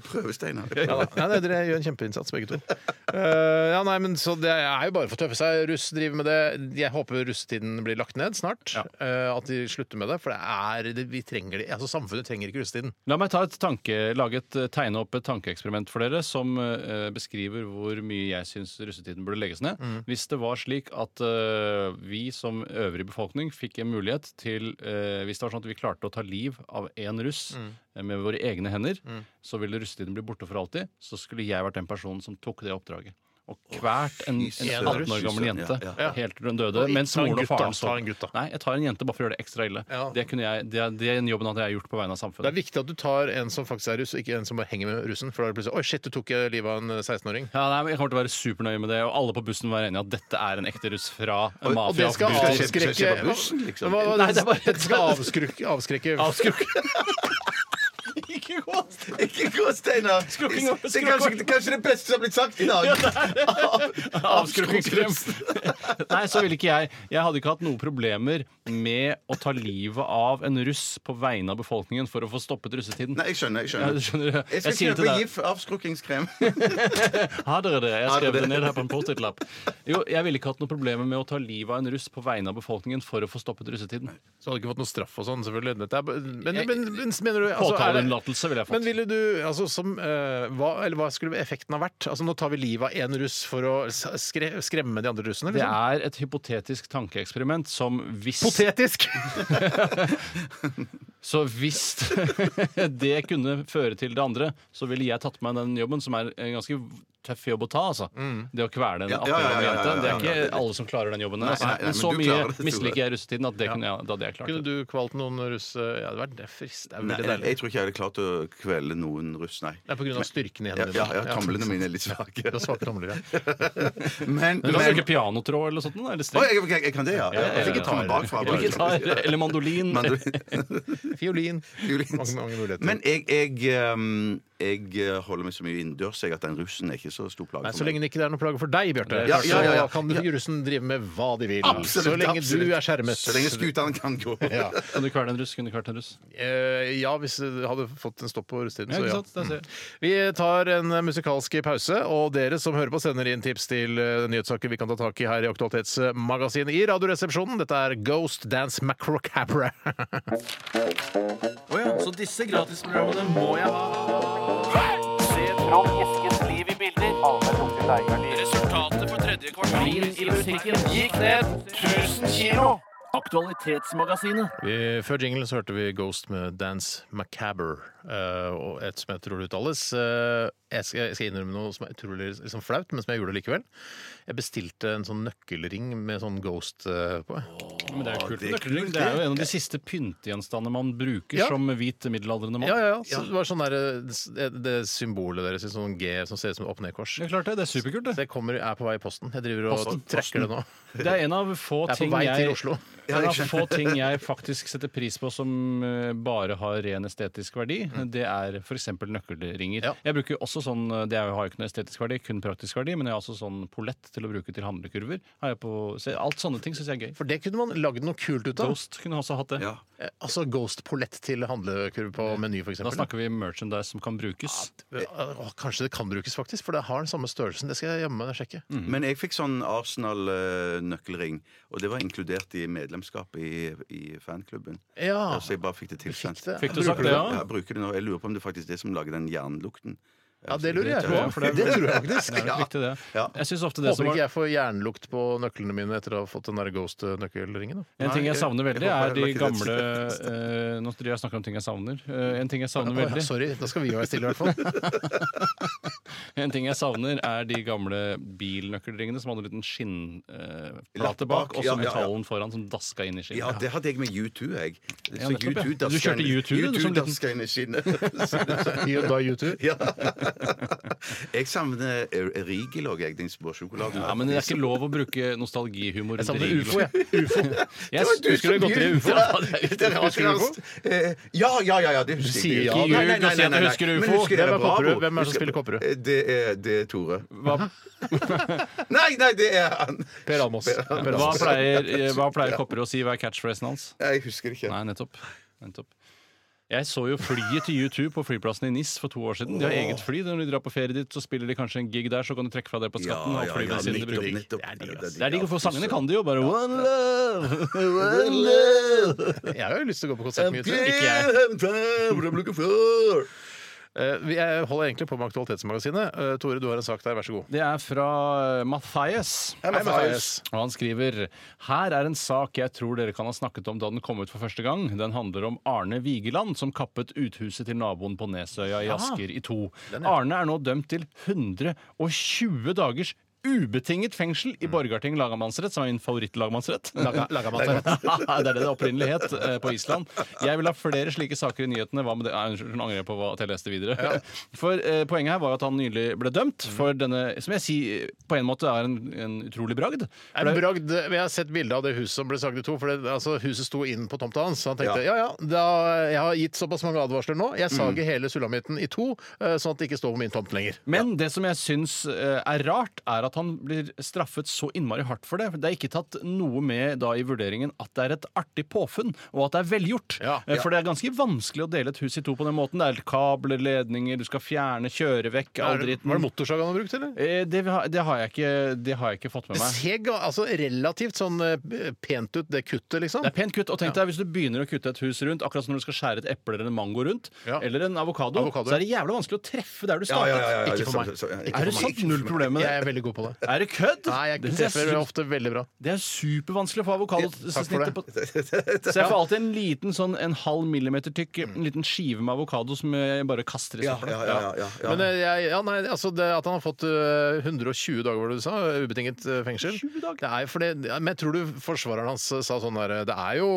E: Prøve, Steinar.
D: Ja, nei, nei, dere gjør en kjempeinnsats, begge to. Eh, ja, nei, men så Det er jo bare for å tøffe seg. Russ driver med det. Jeg håper russetiden blir lagt ned snart. eh, at de slutter med det. For det er, det, vi trenger det. Altså, samfunnet trenger ikke russetiden.
F: La meg ta et tanke, lage et, eh, tegne opp et tankeeksperiment for dere som eh, beskriver hvor mye jeg syns russetiden burde legges ned.
D: Mm.
F: Hvis det var slik at eh, vi som øvrig befolkning fikk en mulighet til eh, Hvis det var sånn at vi klarte å ta liv av én russ
D: Mm.
F: eh, med våre egne hender, så ville russetiden bli borte for alltid. Så skulle jeg vært den personen som tok det oppdraget. Og hvert en,
E: fy
F: en
E: søren.
F: 18 år gammel
E: Ja,
F: jente
E: ja.
F: helt til hun døde.
D: Og
F: Mens
D: ta en
F: moren og
D: gutt, da.
F: faren
D: Ta en gutt, da.
F: Nei, jeg tar en jente bare for å gjøre det ekstra ille.
D: Ja.
F: Det kunne jeg, det, det er en jobben hadde jeg gjort på vegne av
D: Det
F: samfunnet.
D: er viktig at du tar en som faktisk er russ, og ikke en som bare henger med russen. For da er det plutselig Oi, shit, du tok eh, livet av en eh, 16-åring.
F: Ja, nei, men Jeg kommer til å være supernøye med det, og alle på bussen var enige at dette er en ekte russ fra
D: Og det
F: mafia.
D: skal
E: skal skje- skje-
D: avskrekke
E: skje på bussen, liksom.
D: Hva- hva-
F: Nei, det er bare-
D: Dette skal avskrekke, avskrekke.
F: Ikke gå!
E: Ikke gå, Steinar!
F: Skrukking opp,
E: Det er kanskje,
F: skrukking opp.
E: kanskje det beste som har blitt sagt i dag.
F: Avskrukkingskrem. Nei, så ville ikke jeg. Jeg hadde ikke hatt noen problemer med å ta livet av en russ på vegne av befolkningen for å få stoppet russetiden.
E: Nei, jeg skjønner. Jeg
F: Ja,
E: skjønner.
F: du skjønner
E: Jeg
F: Jeg
E: skal
F: sier til
E: kjøpe
F: deg
E: GIF avskrukkingskrem.
F: Ha dere det. Jeg
E: Ha dere
F: skrev det
E: det.
F: ned her på en Post-It-lapp. Jo, jeg ville ikke hatt noen problemer med å ta livet av en russ på vegne av befolkningen for å få stoppet russetiden.
D: Så hadde du ikke fått noe straff og sånn, selvfølgelig. Dette er, bare- men,
F: Jeg-
D: men, men mener du altså, er det-
F: Påtaleunnlatelse ville jeg
D: Men
F: fått.
D: ville du, altså som, eh, hva, eller hva skulle effekten ha vært? Altså Nå tar vi livet av én russ for å s- skre, skremme de andre russene?
F: Det
D: Liksom?
F: er et hypotetisk tankeeksperiment som hvis
D: Potetisk!
F: Så hvis det kunne føre til det andre, så ville jeg tatt meg den jobben, som er en ganske tøff jobb å ta. altså. Det å kvele en
E: Mm. Ja,
F: 18
E: ja, ja,
F: år gammel
E: ja, ja,
F: jente. Det
E: ja,
F: er
E: ja, ja.
F: ikke alle som klarer den jobben.
E: Nei,
F: altså.
E: nei, nei,
F: men
E: men
F: så
E: du
F: mye
E: klarer det, tror jeg.
F: misliker jeg russetiden at det kunne jeg, da hadde jeg klart
D: Kunne
F: det.
D: du kvalt noen russ eh, Ja, det hadde vært det er frist. Det er
E: Nei,
D: veldig
E: jeg,
D: deilig.
E: jeg tror ikke jeg hadde klart å kvele noen russ, nei.
D: Det er pga. styrken i
E: Ja,
D: hendene
E: ja, ja, tomlene mine er litt svake.
D: Du har svake tomler, ja.
E: Men,
F: Du kan
E: men
F: bruke pianotråd eller sånt, da, eller
E: Å,
F: streng.
E: jeg, jeg, jeg kan det, ja.
F: ja, ja.
E: Jeg fikk et tommel bakfra.
F: Eller gitar. Eller mandolin.
E: Mandolin.
D: Fiolin.
E: Fiolin.
D: Mange, mange muligheter.
E: Men jeg, jeg, um, jeg holder meg så mye innendørs jeg, at den russen er ikke så stor plage
D: Nei,
E: for
D: Så
E: meg.
D: lenge det ikke er noe plage for deg, Bjarte,
E: Ja, ja, ja, ja.
D: så kan du russen drive med hva de vil.
E: Absolutt,
D: så lenge
E: absolutt.
D: du er skjermet.
E: Så lenge skutene kan gå.
D: ja.
F: Kan du kvele en russ? Kunne du kvalt en russ?
D: Eh, ja, hvis du hadde fått en stopp på russetiden,
F: Ja,
D: så
F: ikke
D: ja.
F: sant? Der ser jeg.
D: Vi tar en eh, musikalsk pause, og dere som hører på, sender inn tips til eh, nyhetssaker vi kan ta tak i her i Aktualitetsmagasinet i Radioresepsjonen. Dette er Ghost Dance Macrocabra.
H: Så disse gratisprogrammene må jeg ha. Se Trond Eskens liv i bilder. Resultatet for tredje kvartal i musikken gikk ned 1000 kilo. Aktualitetsmagasinet.
D: Vi, før jinglen så hørte vi Ghost med Dance Macabre, eh, og et som jeg tror det uttales. Eh, jeg, skal, jeg skal innrømme noe som er utrolig liksom, flaut, men som jeg gjorde likevel. Jeg bestilte en sånn nøkkelring med sånn ghost eh, på.
F: Men det er
E: det er
F: jo kult.
E: kult,
F: Nøkkelring, Det er jo en av de siste pyntegjenstandene man bruker
D: Ja.
F: som hvit
D: Ja,
F: middelaldrende mann.
D: ja, ja. Så det var sånn der, det, det symbolet deres, sånn G som ser ut som et opp-ned-kors.
F: Det er klart det. Det er superkult, det.
D: Så jeg kommer, er på vei i posten. Jeg driver og
F: Posten.
D: trekker det nå.
F: Det er en av få
D: Jeg er på
F: ting
D: vei
F: jeg
D: til Oslo.
F: Det er en av få ting jeg faktisk setter pris på som eh, bare har ren estetisk verdi. Det er f.eks. nøkkelringer.
D: Mm. Ja.
F: Jeg bruker også sånn eh, Det er jo- har jo ikke noe estetisk verdi, kun praktisk verdi, men jeg har også sånn pollett til å bruke til handlekurver. Har jeg på, så alt sånne ting syns jeg er gøy.
D: For det kunne man lagd noe kult ut av.
F: Ghost kunne også hatt det.
E: Ja.
D: Eh, Altså Ghost-pollett til handlekurv på Meny, f.eks.
F: Da snakker vi merchandise som kan brukes.
D: Kanskje det kan brukes, faktisk, for det har den samme størrelsen. Det skal jeg jammen sjekke.
F: Mm. Mhm.
E: Men jeg fikk sånn Arsenal-nøkkelring, og det var inkludert i medlemskap i, i fanklubben.
D: Ja,
E: Så jeg bare fikk det tilsendt.
D: fikk det.
F: Fikk du sagt det,
E: Ja,
F: ja?
E: jeg bruker det nå. Jeg lurer på om det faktisk er det som lager den jernlukten.
D: Ja, det lurer jeg
F: tror jeg,
D: på.
F: for det er-
D: Det tror jeg faktisk.
F: Det er nok riktig, det.
E: Ja.
F: Jeg synes ofte det
D: Håper
F: som
D: ikke
F: var
D: jeg får jernlukt på nøklene mine etter å ha fått den der Ghost-nøkkelringen. da.
F: en ting
E: Nei,
F: jeg savner
E: jeg-
F: veldig,
E: jeg håper
F: er
E: jeg
F: de
E: har lagt
F: gamle
E: det
F: eh, Nå tror jeg jeg snakker om ting jeg savner. Eh, En ting jeg savner
D: Å, ja,
F: veldig
D: sorry, da skal vi være stille, i hvert fall.
F: En ting jeg savner, er de gamle bilnøkkelringene som hadde en liten skinnplate eh, plate bak,
E: bak,
F: og så
E: ja, ja, ja.
F: metallen foran som daska inn i skinnet.
E: Ja, det hadde jeg med U2, jeg. Så
F: nettopp, ja.
E: U2 daska
F: Du kjørte
E: inn-
F: U2, du,
E: U2
F: som liten-
E: daska inn i skinnet.
D: You die, you too.
E: Ja. Jeg savner er- Rigel òg, jeg. Den småsjokoladen.
F: Ja, men Det er ikke lov å bruke nostalgihumor.
D: Jeg savner
F: rundt
D: ufo,
F: regler.
D: jeg. Ufo.
F: Jeg
E: Det var du
F: husker det
E: som
F: godt det er ufo.
E: begynte.
F: Ja, det er
E: Det er rart,
D: Husker du
E: Lars. Eh, Ja, ja, ja, ja, det husker
D: sier
E: jeg.
D: ikke
E: Ja,
D: ljug,
E: nei, nei,
F: du
E: nei,
F: sier at
E: nei,
F: du
E: nei.
F: husker
E: Men
F: UFO.
D: Hvem
E: jeg
D: er
E: Bravo?
D: Kopperud? Hvem er det som
E: Husker-
D: spiller Kopperud?
E: Eh, Det er, det er Tore.
F: Hva,
E: Nei, nei, det er han!
D: Per Almås. Per
F: hva
D: Almås.
F: pleier, eh, hva pleier Kopperud å si? Hva er catchphrasen hans?
E: Nei, jeg husker det ikke.
F: Nei, nettopp. nettopp. Jeg så jo flyet til U2 på flyplassen i NIS for to år siden. De har eget fly. Når de drar på ferie dit, så spiller de kanskje en gig der, så kan du trekke fra det på skatten. og flybensinen de bruker. Det er digg, for sangene kan de jo. Bare One love, one love
D: Jeg har jo lyst til å gå på konsert med U2.
F: Eh,
D: Ikke jeg.
E: jeg.
D: Eh, vi- Jeg holder egentlig på med Aktualitetsmagasinet. Eh, Tore, du har en sak der, vær så god.
F: Det er fra eh, Mathias.
E: Hei, Mathias.
F: Og han skriver Her er en sak jeg tror dere kan ha snakket om da den kom ut for første gang. Den handler om Arne Vigeland som kappet uthuset til naboen på Nesøya i Asker i to. Arne er nå dømt til 120 dagers ubetinget fengsel i Borgarting lagmannsrett, som er min favorittlagmannsrett. det er det det opprinnelig het eh, på Island. Jeg vil ha flere slike saker i nyhetene. Hva med det? Nei, Unnskyld, nå angrer jeg på hva- at jeg leste videre. For eh, Poenget her var at han nylig ble dømt for denne, som jeg sier på en måte er en, en utrolig bragd. For
D: En
F: det-
D: bragd, men jeg har sett bilde av det huset som ble saget i to. For det, altså, huset sto inn på tomta hans. Så han tenkte ja, ja, da, jeg har gitt såpass mange advarsler nå. Jeg sager hele sulamitten i to, eh, sånn at det ikke står på min tomt lenger.
F: Men Mm. det som jeg syns eh, er rart, er at han blir straffet så innmari hardt for det. Det er ikke tatt noe med da i vurderingen at det er et artig påfunn, og at det er velgjort.
D: Ja.
F: Eh, For det er ganske vanskelig å dele et hus i to på den måten. Det er kabler, ledninger, du skal fjerne, kjøre vekk
D: Er
F: all
D: det-
F: dritten.
D: Var det motorsag han har brukt, eller?
F: Eh, Det, har- det, har jeg ikke, det har jeg ikke fått med
D: Det
F: meg.
D: ser ga- altså, relativt sånn eh, pent ut, det kuttet, liksom.
F: Det er pent kutt. Og tenk deg hvis du begynner å kutte et hus rundt, akkurat som når du skal skjære et eple eller en mango rundt,
D: Ja.
F: eller en avokado,
D: Avokado.
F: så er det jævlig vanskelig å treffe der du
E: Ja,
F: startet.
E: ja, ja, ja,
D: Ikke
E: det
D: for
E: er sant, så- ja, ikke
F: Er det
E: for meg.
F: sant? Null problem med det.
D: Jeg er veldig god på det.
F: Er det kødd?
D: Nei, jeg
F: det, synes
D: treffer
F: jeg er
D: ofte veldig bra.
F: Det er supervanskelig å få
D: Takk for det.
F: avokadosnittet på Så jeg får alltid en liten sånn en halv millimeter tykk en liten skive med avokado som jeg bare kaster i
E: Ja,
F: søpla.
E: ja, ja, ja, ja.
D: Men eh, jeg, ja, nei, altså det at han har fått eh, 120 dager, var det du sa? Ubetinget eh, fengsel.
F: 20 dager?
D: Det er jo fordi, ja, men jeg tror du forsvareren hans eh, sa sånn der eh, Det er jo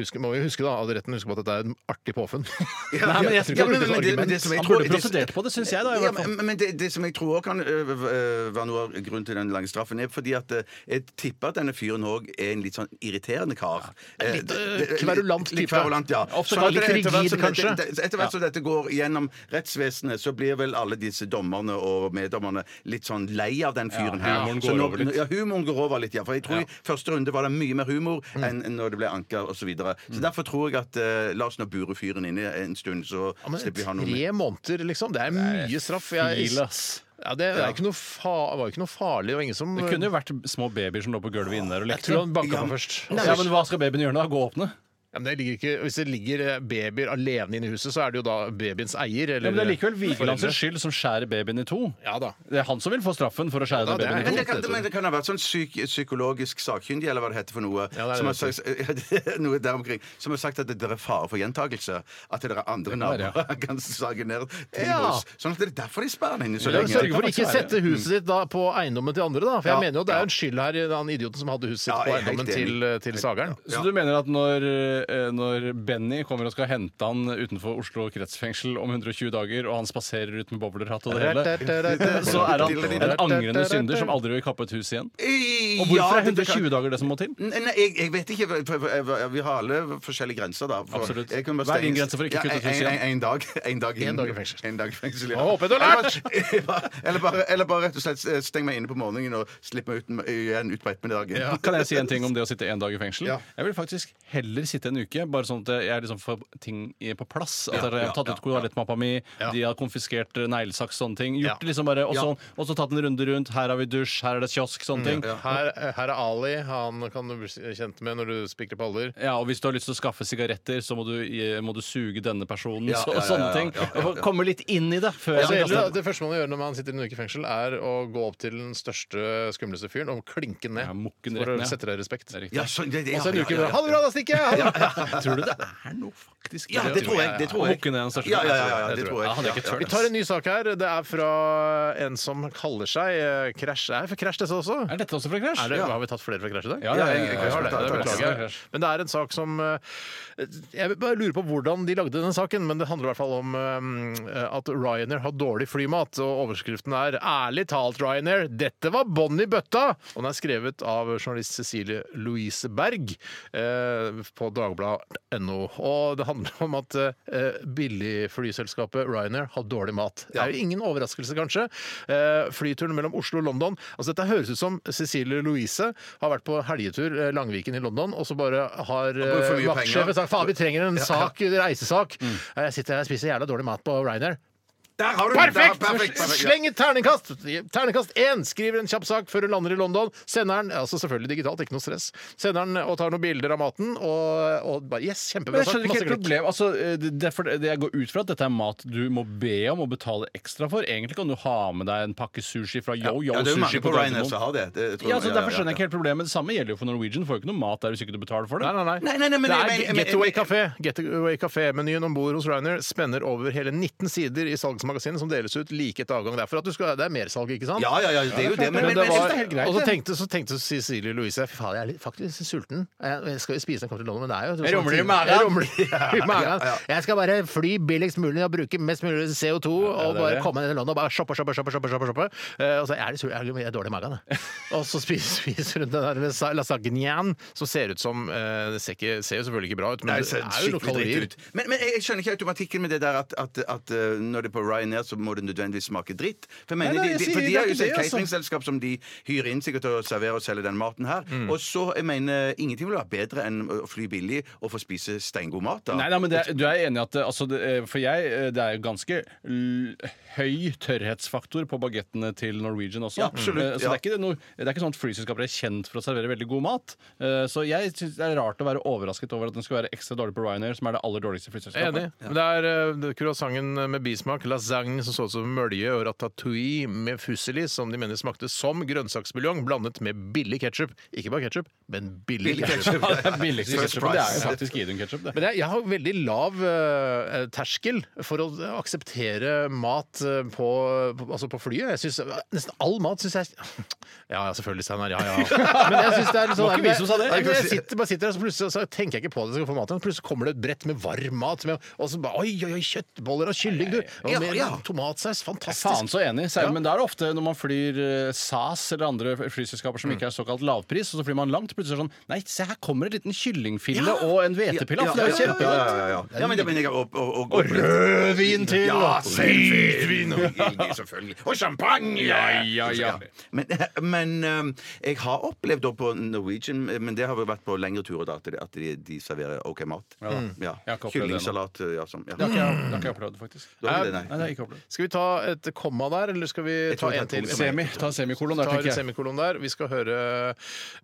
D: husk, Må jo huske, da, all retten husker på at dette er en artig påfunn.
F: Nei, men jeg tror ikke
E: Ja, men-
F: det er
E: men
F: et
E: det- men det
F: argument.
E: som jeg
F: Han
E: tror-
F: burde
E: det-
F: prosedert på det, syns jeg. da
E: Ja,
F: i hvert fall.
E: men men det, det som jeg tror også kan ø, ø, være noe av grunnen til den lange straffen, er fordi at ø, jeg tipper at denne fyren òg er en litt sånn irriterende kar. Eh,
D: litt, ø,
E: det- det-
D: kverulant
E: litt
D: type.
E: Kverulant, ja.
D: Ofte
E: Så
D: kan
E: at
D: litt
E: det- etter hvert
D: rigid,
E: som
D: kanskje.
E: dette- Etter hvert som dette går gjennom rettsvesenet, så blir vel alle disse dommerne og meddommerne litt sånn lei av den fyren her.
F: humoren
E: Så
F: går
E: nå-
F: over litt.
E: Ja, humoren går over litt, ja. For jeg tror i første runde var det mye mer humor
D: Mm.
E: enn når det ble anker osv. Så, videre. så derfor tror jeg at ø, la oss nå bure fyren inne en stund, så
D: Ja, men
E: slipper vi ha noe
D: tre måneder, liksom. Det er mye straff. Jeg,
F: Fil, ass.
D: ja, det, det, er ikke noe fa var jo ikke noe farlig. Det var ingen som
F: Det kunne jo vært små babyer som lå på gulvet inne der og
D: Jeg tror
F: lekte.
D: han banka på først.
F: Ja, men hva skal babyen gjøre da? Gå og åpne?
D: Ja, men det ligger ikke, hvis det ligger eh, babyer alene inne i huset, så er det jo da babyens eier. Eller,
F: Ja, men Det er likevel Vigelands
D: foreldre.
F: skyld som skjærer babyen i to.
D: Ja da.
F: Det er han som vil få straffen for å
D: Ja,
F: skjære den
D: det er-
E: Men
F: babyen i
E: det,
F: to.
E: kan, men det kan ha vært sånn psyk, psykologisk sakkyndig, eller hva det heter for noe,
D: Ja, det er
E: som, har
D: det
E: sagt, noe der omkring, som har sagt at det er fare for gjentakelse. At det er andre
F: være,
E: naboer kan sage ned til
D: Ja.
E: hos. Sånn at det er derfor de sperrer den inne så
D: Ja, men
E: lenge.
D: Sørge for å
F: Det kan
D: ikke
F: faktisk være.
D: sette huset ditt da på eiendommen til andre, da. For jeg
E: Ja,
D: mener jo det er jo en skyld her, i han idioten som hadde huset sitt
E: Ja,
D: på
E: jeg er helt
D: eiendommen
E: enig.
D: til, til sageren.
F: Så du mener at når, eh, når Benny kommer og skal hente han utenfor Oslo kretsfengsel om 120 dager, og han spaserer ut med boblerhatt og det hele, så er han en angrende synder som aldri vil kappe et hus igjen? Og hvorfor er 120 dager det som må til?
E: Nei, nei, jeg, jeg vet ikke. for- for- for- for- Vi har alle forskjellige grenser, da. For
F: Absolutt.
E: jeg kan bare
F: Hva er din
E: stenge-
F: grense for ikke
E: Ja,
F: kutte
E: en-
F: tusen
E: en-
F: igjen?
E: en- En dag. En dag, inn.
D: dag i fengsel.
E: En dag i fengsel, ja.
D: Jeg håper du har lært!
E: Eller bare- Eller bare, eller bare rett og slett steng meg inne på morgenen og slipp meg ut igjen utpå ettermiddagen.
F: Kan jeg si en ting om det å sitte en dag i fengsel?
E: Ja.
F: Jeg vil faktisk heller sitte en uke, bare sånn at jeg liksom får ting i- på plass. At jeg
E: ja,
F: har tatt
E: ja,
F: ut toalettmappa mi,
D: Ja.
F: de har konfiskert eh, neglesaks, sånne ting. Gjort
D: Ja.
F: det liksom bare, og
E: Ja. Mm,
F: så, og så tatt en runde rundt. Her har vi dusj, her er det kiosk, sånne ting.
D: Her, her er Ali. Han kan du bli kjent med når du spikrer paller.
F: Ja, og hvis du har lyst til å skaffe sigaretter, så må du, eh, må du suge denne personen.
E: Ja,
F: så- og
E: ja, ja, ja,
F: sånne ting.
E: ja, ja, ja.
F: Og Komme litt inn i det før
D: Altså,
F: jeg
D: eller, da,
F: kaster den.
D: det første man gjør når man sitter en uke i fengsel, er å gå opp til den største, skumleste fyren og klinke den ned.
F: Ja, mukken
D: for å
F: rett ned.
D: sette deg i respekt.
F: Det er riktig.
E: Ja, så, det, det,
D: Og så en
E: ja,
D: uke
E: ja, ja,
D: med 'Ha det bra, da stikker jeg!' Ha det bra!
F: Tror du det er noe faktisk?
E: Ja, det tror jeg. Det tror jeg.
F: Mukken er den største.
E: Ja, ja, ja, ja, det tror jeg.
F: Ja, hadde jeg ikke
E: Ja,
F: tørt.
D: Vi tar en ny sak her. Det er fra en som kaller seg eh, Crash. Er det for Crash dette også?
F: Er dette også fra Crash?
D: Er det, Har vi tatt flere fra Crash i dag?
F: Ja, ja, ja, ja,
E: jeg-
F: ja,
E: jeg
D: Vi
F: ja,
D: har det,
E: ta-
D: det
E: ta- ta-
D: beklager jeg. Men det er en sak som eh, Jeg bare lurer på hvordan de lagde den saken, men det handler i hvert fall om eh, at Ryanair har dårlig flymat, og overskriften er 'Ærlig talt, Ryanair, dette var bånn i bøtta!' Og den er skrevet av journalist Cecilie Louise Berg eh, på dagbladet.no. Og det handler om at eh, billigflyselskapet Ryanair har dårlig mat. Det er jo ingen overraskelse, kanskje. Eh, flyturen mellom Oslo og London altså Dette høres ut som Cecilie Louise har vært på helgetur eh, Langviken i London, og så bare har
E: bruker for mye
D: eh, vaktsjefen
E: penger.
D: sagt faen, vi trenger en sak, reisesak.
E: Mm.
D: Eh, Jeg sitter her og spiser jævla dårlig mat på Ryanair.
E: Der har du den! Der,
D: Perfekt!
E: perfekt, perfekt, ja.
D: Sleng et terningkast! Terningkast 1 skriver en kjapp sak før hun lander i London. Sender den, altså selvfølgelig digitalt, ikke noe stress. Sender den og tar noen bilder av maten, og, og bare Yes,
F: Men
D: kjempebra
F: jeg
D: sak!
F: skjønner ikke
D: Masse
F: helt
D: klikk.
F: problem. Altså, det, det, er for, det Jeg går ut fra at dette er mat du må be om og betale ekstra for. Egentlig kan du ha med deg en pakke sushi fra Yo Yo
E: Ja, det er jo
F: Sushi.
E: mange på Ryanair
F: Gardermoen.
E: som har det. det jeg tror-
F: ja, altså,
E: ja, ja,
F: derfor skjønner jeg
E: ja.
F: ikke helt problemet. Det samme gjelder jo for Norwegian. Får jo ikke noe mat der hvis ikke du betaler for det.
D: Nei, nei, nei.
E: Nei, nei, nei, men-
D: det
E: men-
D: er
E: men-
D: Getaway Café. Getaway Café-menyen om bord hos Ryanair spenner over hele 19 sider i salgsmagasinet som deles ut like etter avgang. Det er, for at du skal, det er mersalg, ikke sant?
E: Ja, ja, ja, det er jo det. Men,
D: Men
E: men,
D: det var,
E: men, jeg synes det er helt greit.
D: og så tenkte, så tenkte Cecilie Louise Fy faen, jeg er litt, faktisk sulten. Jeg, jeg skal jo spise når jeg kommer til London, men det er jo
F: Jeg rumler i
D: sånn-
F: magen.
D: Jeg rumler i magen. Jeg skal bare fly billigst mulig og bruke mest mulig CO2 og
F: det er
D: bare
F: det.
D: komme ned til London og bare shoppe, shoppe, shoppe. shoppe, shoppe, shoppe. Eh, Og så er det sulten, jeg er- jeg er dårlig i magen. jeg. Og så spiser spiser hun den der lasa- lasagnen som ser ut som eh, Det ser, ikke, ser jo selvfølgelig ikke bra ut, men
E: Nei,
D: det
E: det
D: er
E: ser
D: jo noen
E: skikkelig
D: kalorier.
E: dritt ut. Men, men jeg skjønner ikke automatikken med det der at, at, at eh, når det er på Ryanair, så må det nødvendigvis smake dritt. For, jeg mener,
F: Nei, nei, jeg
E: de, de,
F: sier
E: for
F: det
E: de
F: er
E: har jo
F: ikke
E: et
F: det, altså.
E: cateringselskap som de hyrer inn sikkert til å servere og selge den maten her.
F: Mm.
E: Og så, jeg mener, ingenting vil være bedre enn å fly billig og få spise steingod mat. da.
F: Nei, nei, men det, er- du er enig i at det- altså, det, eh, For jeg, eh, det er jo ganske l høy tørrhetsfaktor på bagettene til Norwegian også.
E: Ja, absolutt,
F: Eh, Så
E: ja.
F: det, er ikke noe, det er ikke sånn at flyselskaper er kjent for å servere veldig god mat. Eh, Så jeg syns det er rart å være overrasket over at den skal være ekstra dårlig på Ryanair, som er det aller dårligste
D: Jeg er
F: flyselskapet.
D: Enig. Men det er eh, det- croissanten med bismak, lasagne som så ut som mølje, og ratatouille med fusillis, som de mener smakte som grønnsaksbuljong blandet med billig ketsjup. Ikke bare ketsjup, men billig,
E: Billig
D: ketchup.
E: ketchup.
F: Ja, det er billigste
E: First
F: ketchupen. Det er
E: price.
F: jo faktisk Idun ketchup, det.
D: Men jeg, jeg har veldig lav eh, terskel for å akseptere mat eh, på, på, altså på flyet. Jeg synes, nesten all mat syns jeg Ja, ja, selvfølgelig, Steinar. Ja, ja. Men jeg synes det er litt sånn
F: Var ikke vi som sa det.
D: Nei, men Jeg sitter, bare sitter her, så plutselig så tenker jeg ikke på det. Så skal jeg få mat igjen. Plutselig kommer det et brett med varm mat. Med, og så bare, oi, oi, oi, kjøttboller og kylling, du. Og
E: Ja,
D: med
E: ja.
D: tomatsaus.
F: Faen
D: Fantastisk.
F: så enig. Særlig, Men det er ofte når man flyr eh, SAS eller andre flyselskaper
E: Mm.
F: som ikke er såkalt lavpris, og så flyr man langt, plutselig er det sånn Nei, se her kommer det en liten kyllingfille og en hvetepilaf. det er
E: ja,
F: jo
E: ja,
F: kjempegodt.
E: ja, ja. ja, men det mener jeg og, og, og,
D: Rødvin til!
E: Ja, selvfølgelig! Heldig, selvfølgelig. Og champagne!
F: ja, ja.
E: Men, men øhm, jeg har opplevd da på Norwegian øh, Men det har vel vært på lengre turer da, at de, at de, de serverer OK mat. Ja,
F: har ikke opplevd det nå.
E: Kyllingsalat øh, ja, sånn. Ja.
F: Det har ikke jeg- det har ikke jeg opplevd, faktisk.
E: Du har ikke det, nei.
F: Nei, det har jeg ikke opplevd.
D: Skal vi ta et komma der, eller skal vi
E: tror
D: ta
E: vi tar
D: en til?
E: to.
F: Semi. Ta semikolon der,
D: tar
F: tenker jeg.
D: semikolon der. Vi skal høre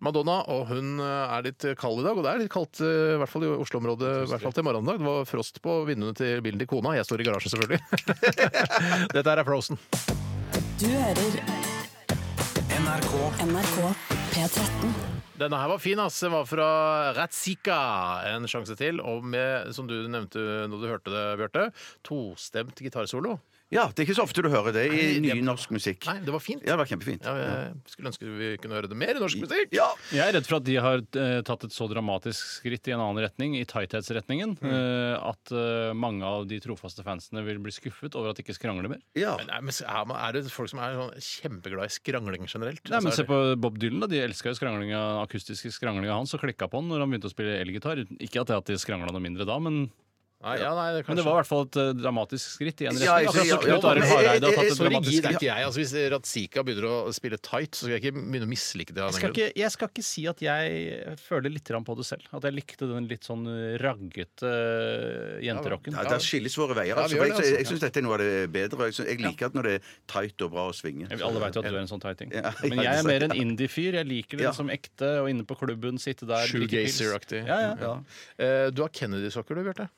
D: Madonna, og hun eh, er litt kald i dag. Og det er litt kaldt, eh, i hvert fall i Oslo-området, i hvert fall til morgendag. Det var frost på vinduene til bilen til kona. Jeg står i garasjen, selvfølgelig. Dette her er Frozen.
G: Du hører
C: NRK
G: NRK P13.
D: Denne her var fin, ass. Den var fra Ratzika. En sjanse til. Og med, som du nevnte når du hørte det, Bjarte, tostemt gitarsolo.
E: ja, det er ikke så ofte du hører det i
D: Nei, det-
E: ny norsk musikk.
D: Nei, det var fint.
E: Ja, det var kjempefint.
D: Ja, jeg skulle ønske vi kunne høre det mer i norsk musikk.
E: Ja.
F: Jeg er redd for at de har eh, tatt et så dramatisk skritt i en annen retning, i tighthetsretningen,
E: Mm.
F: eh, at eh, mange av de trofaste fansene vil bli skuffet over at de ikke skrangler mer.
E: Ja.
D: Men, er- men er, man- er det folk som er sånn kjempeglad i skrangling generelt?
F: Nei, men
D: Altså,
F: Se
D: er det-
F: på Bob Dylan. da, De elska jo skranglinga, akustiske skranglinga hans og klikka på han når han begynte å spille elgitar. Ikke at det at de skrangla noe mindre da, men,
D: Nei, ja, nei, det,
F: men det var i hvert fall et eh, dramatisk skritt i en
E: Ja, jeg-
F: retning. Akkurat som
E: ja, ja,
F: Knut
E: men-
F: Arild Hareide
E: jeg- jeg-
F: har tatt et
D: Rigid
E: så
F: dramatisk
D: er
F: skritt.
D: ikke jeg. Altså, hvis Ratzika begynner å spille tight, så skal jeg ikke begynne å mislike det. av
F: Jeg
D: den
F: skal,
D: grunn.
F: ikke, jeg skal ikke si at jeg føler litt grann på det selv. At jeg likte den litt sånn raggete eh, jenterocken.
E: Ja, Der skilles våre veier.
D: Ja, vi
E: Altså,
D: gjør
E: for jeg
D: det, altså.
E: jeg syns dette er noe av det bedre. og Jeg, synes, jeg liker at når det er tight og bra å svinge.
F: Jeg- Alle veit jo at du er en sånn teiting.
E: Ja, ja,
F: Men jeg
E: det-
F: er mer en indie-fyr. Jeg liker det
E: Ja.
F: som ekte, og inne på klubben, sitte der drikke pils.
D: Shoegazer-aktig.
F: Ja, ja.
D: Eh, Du har Kennedy-sokker, du, Bjarte.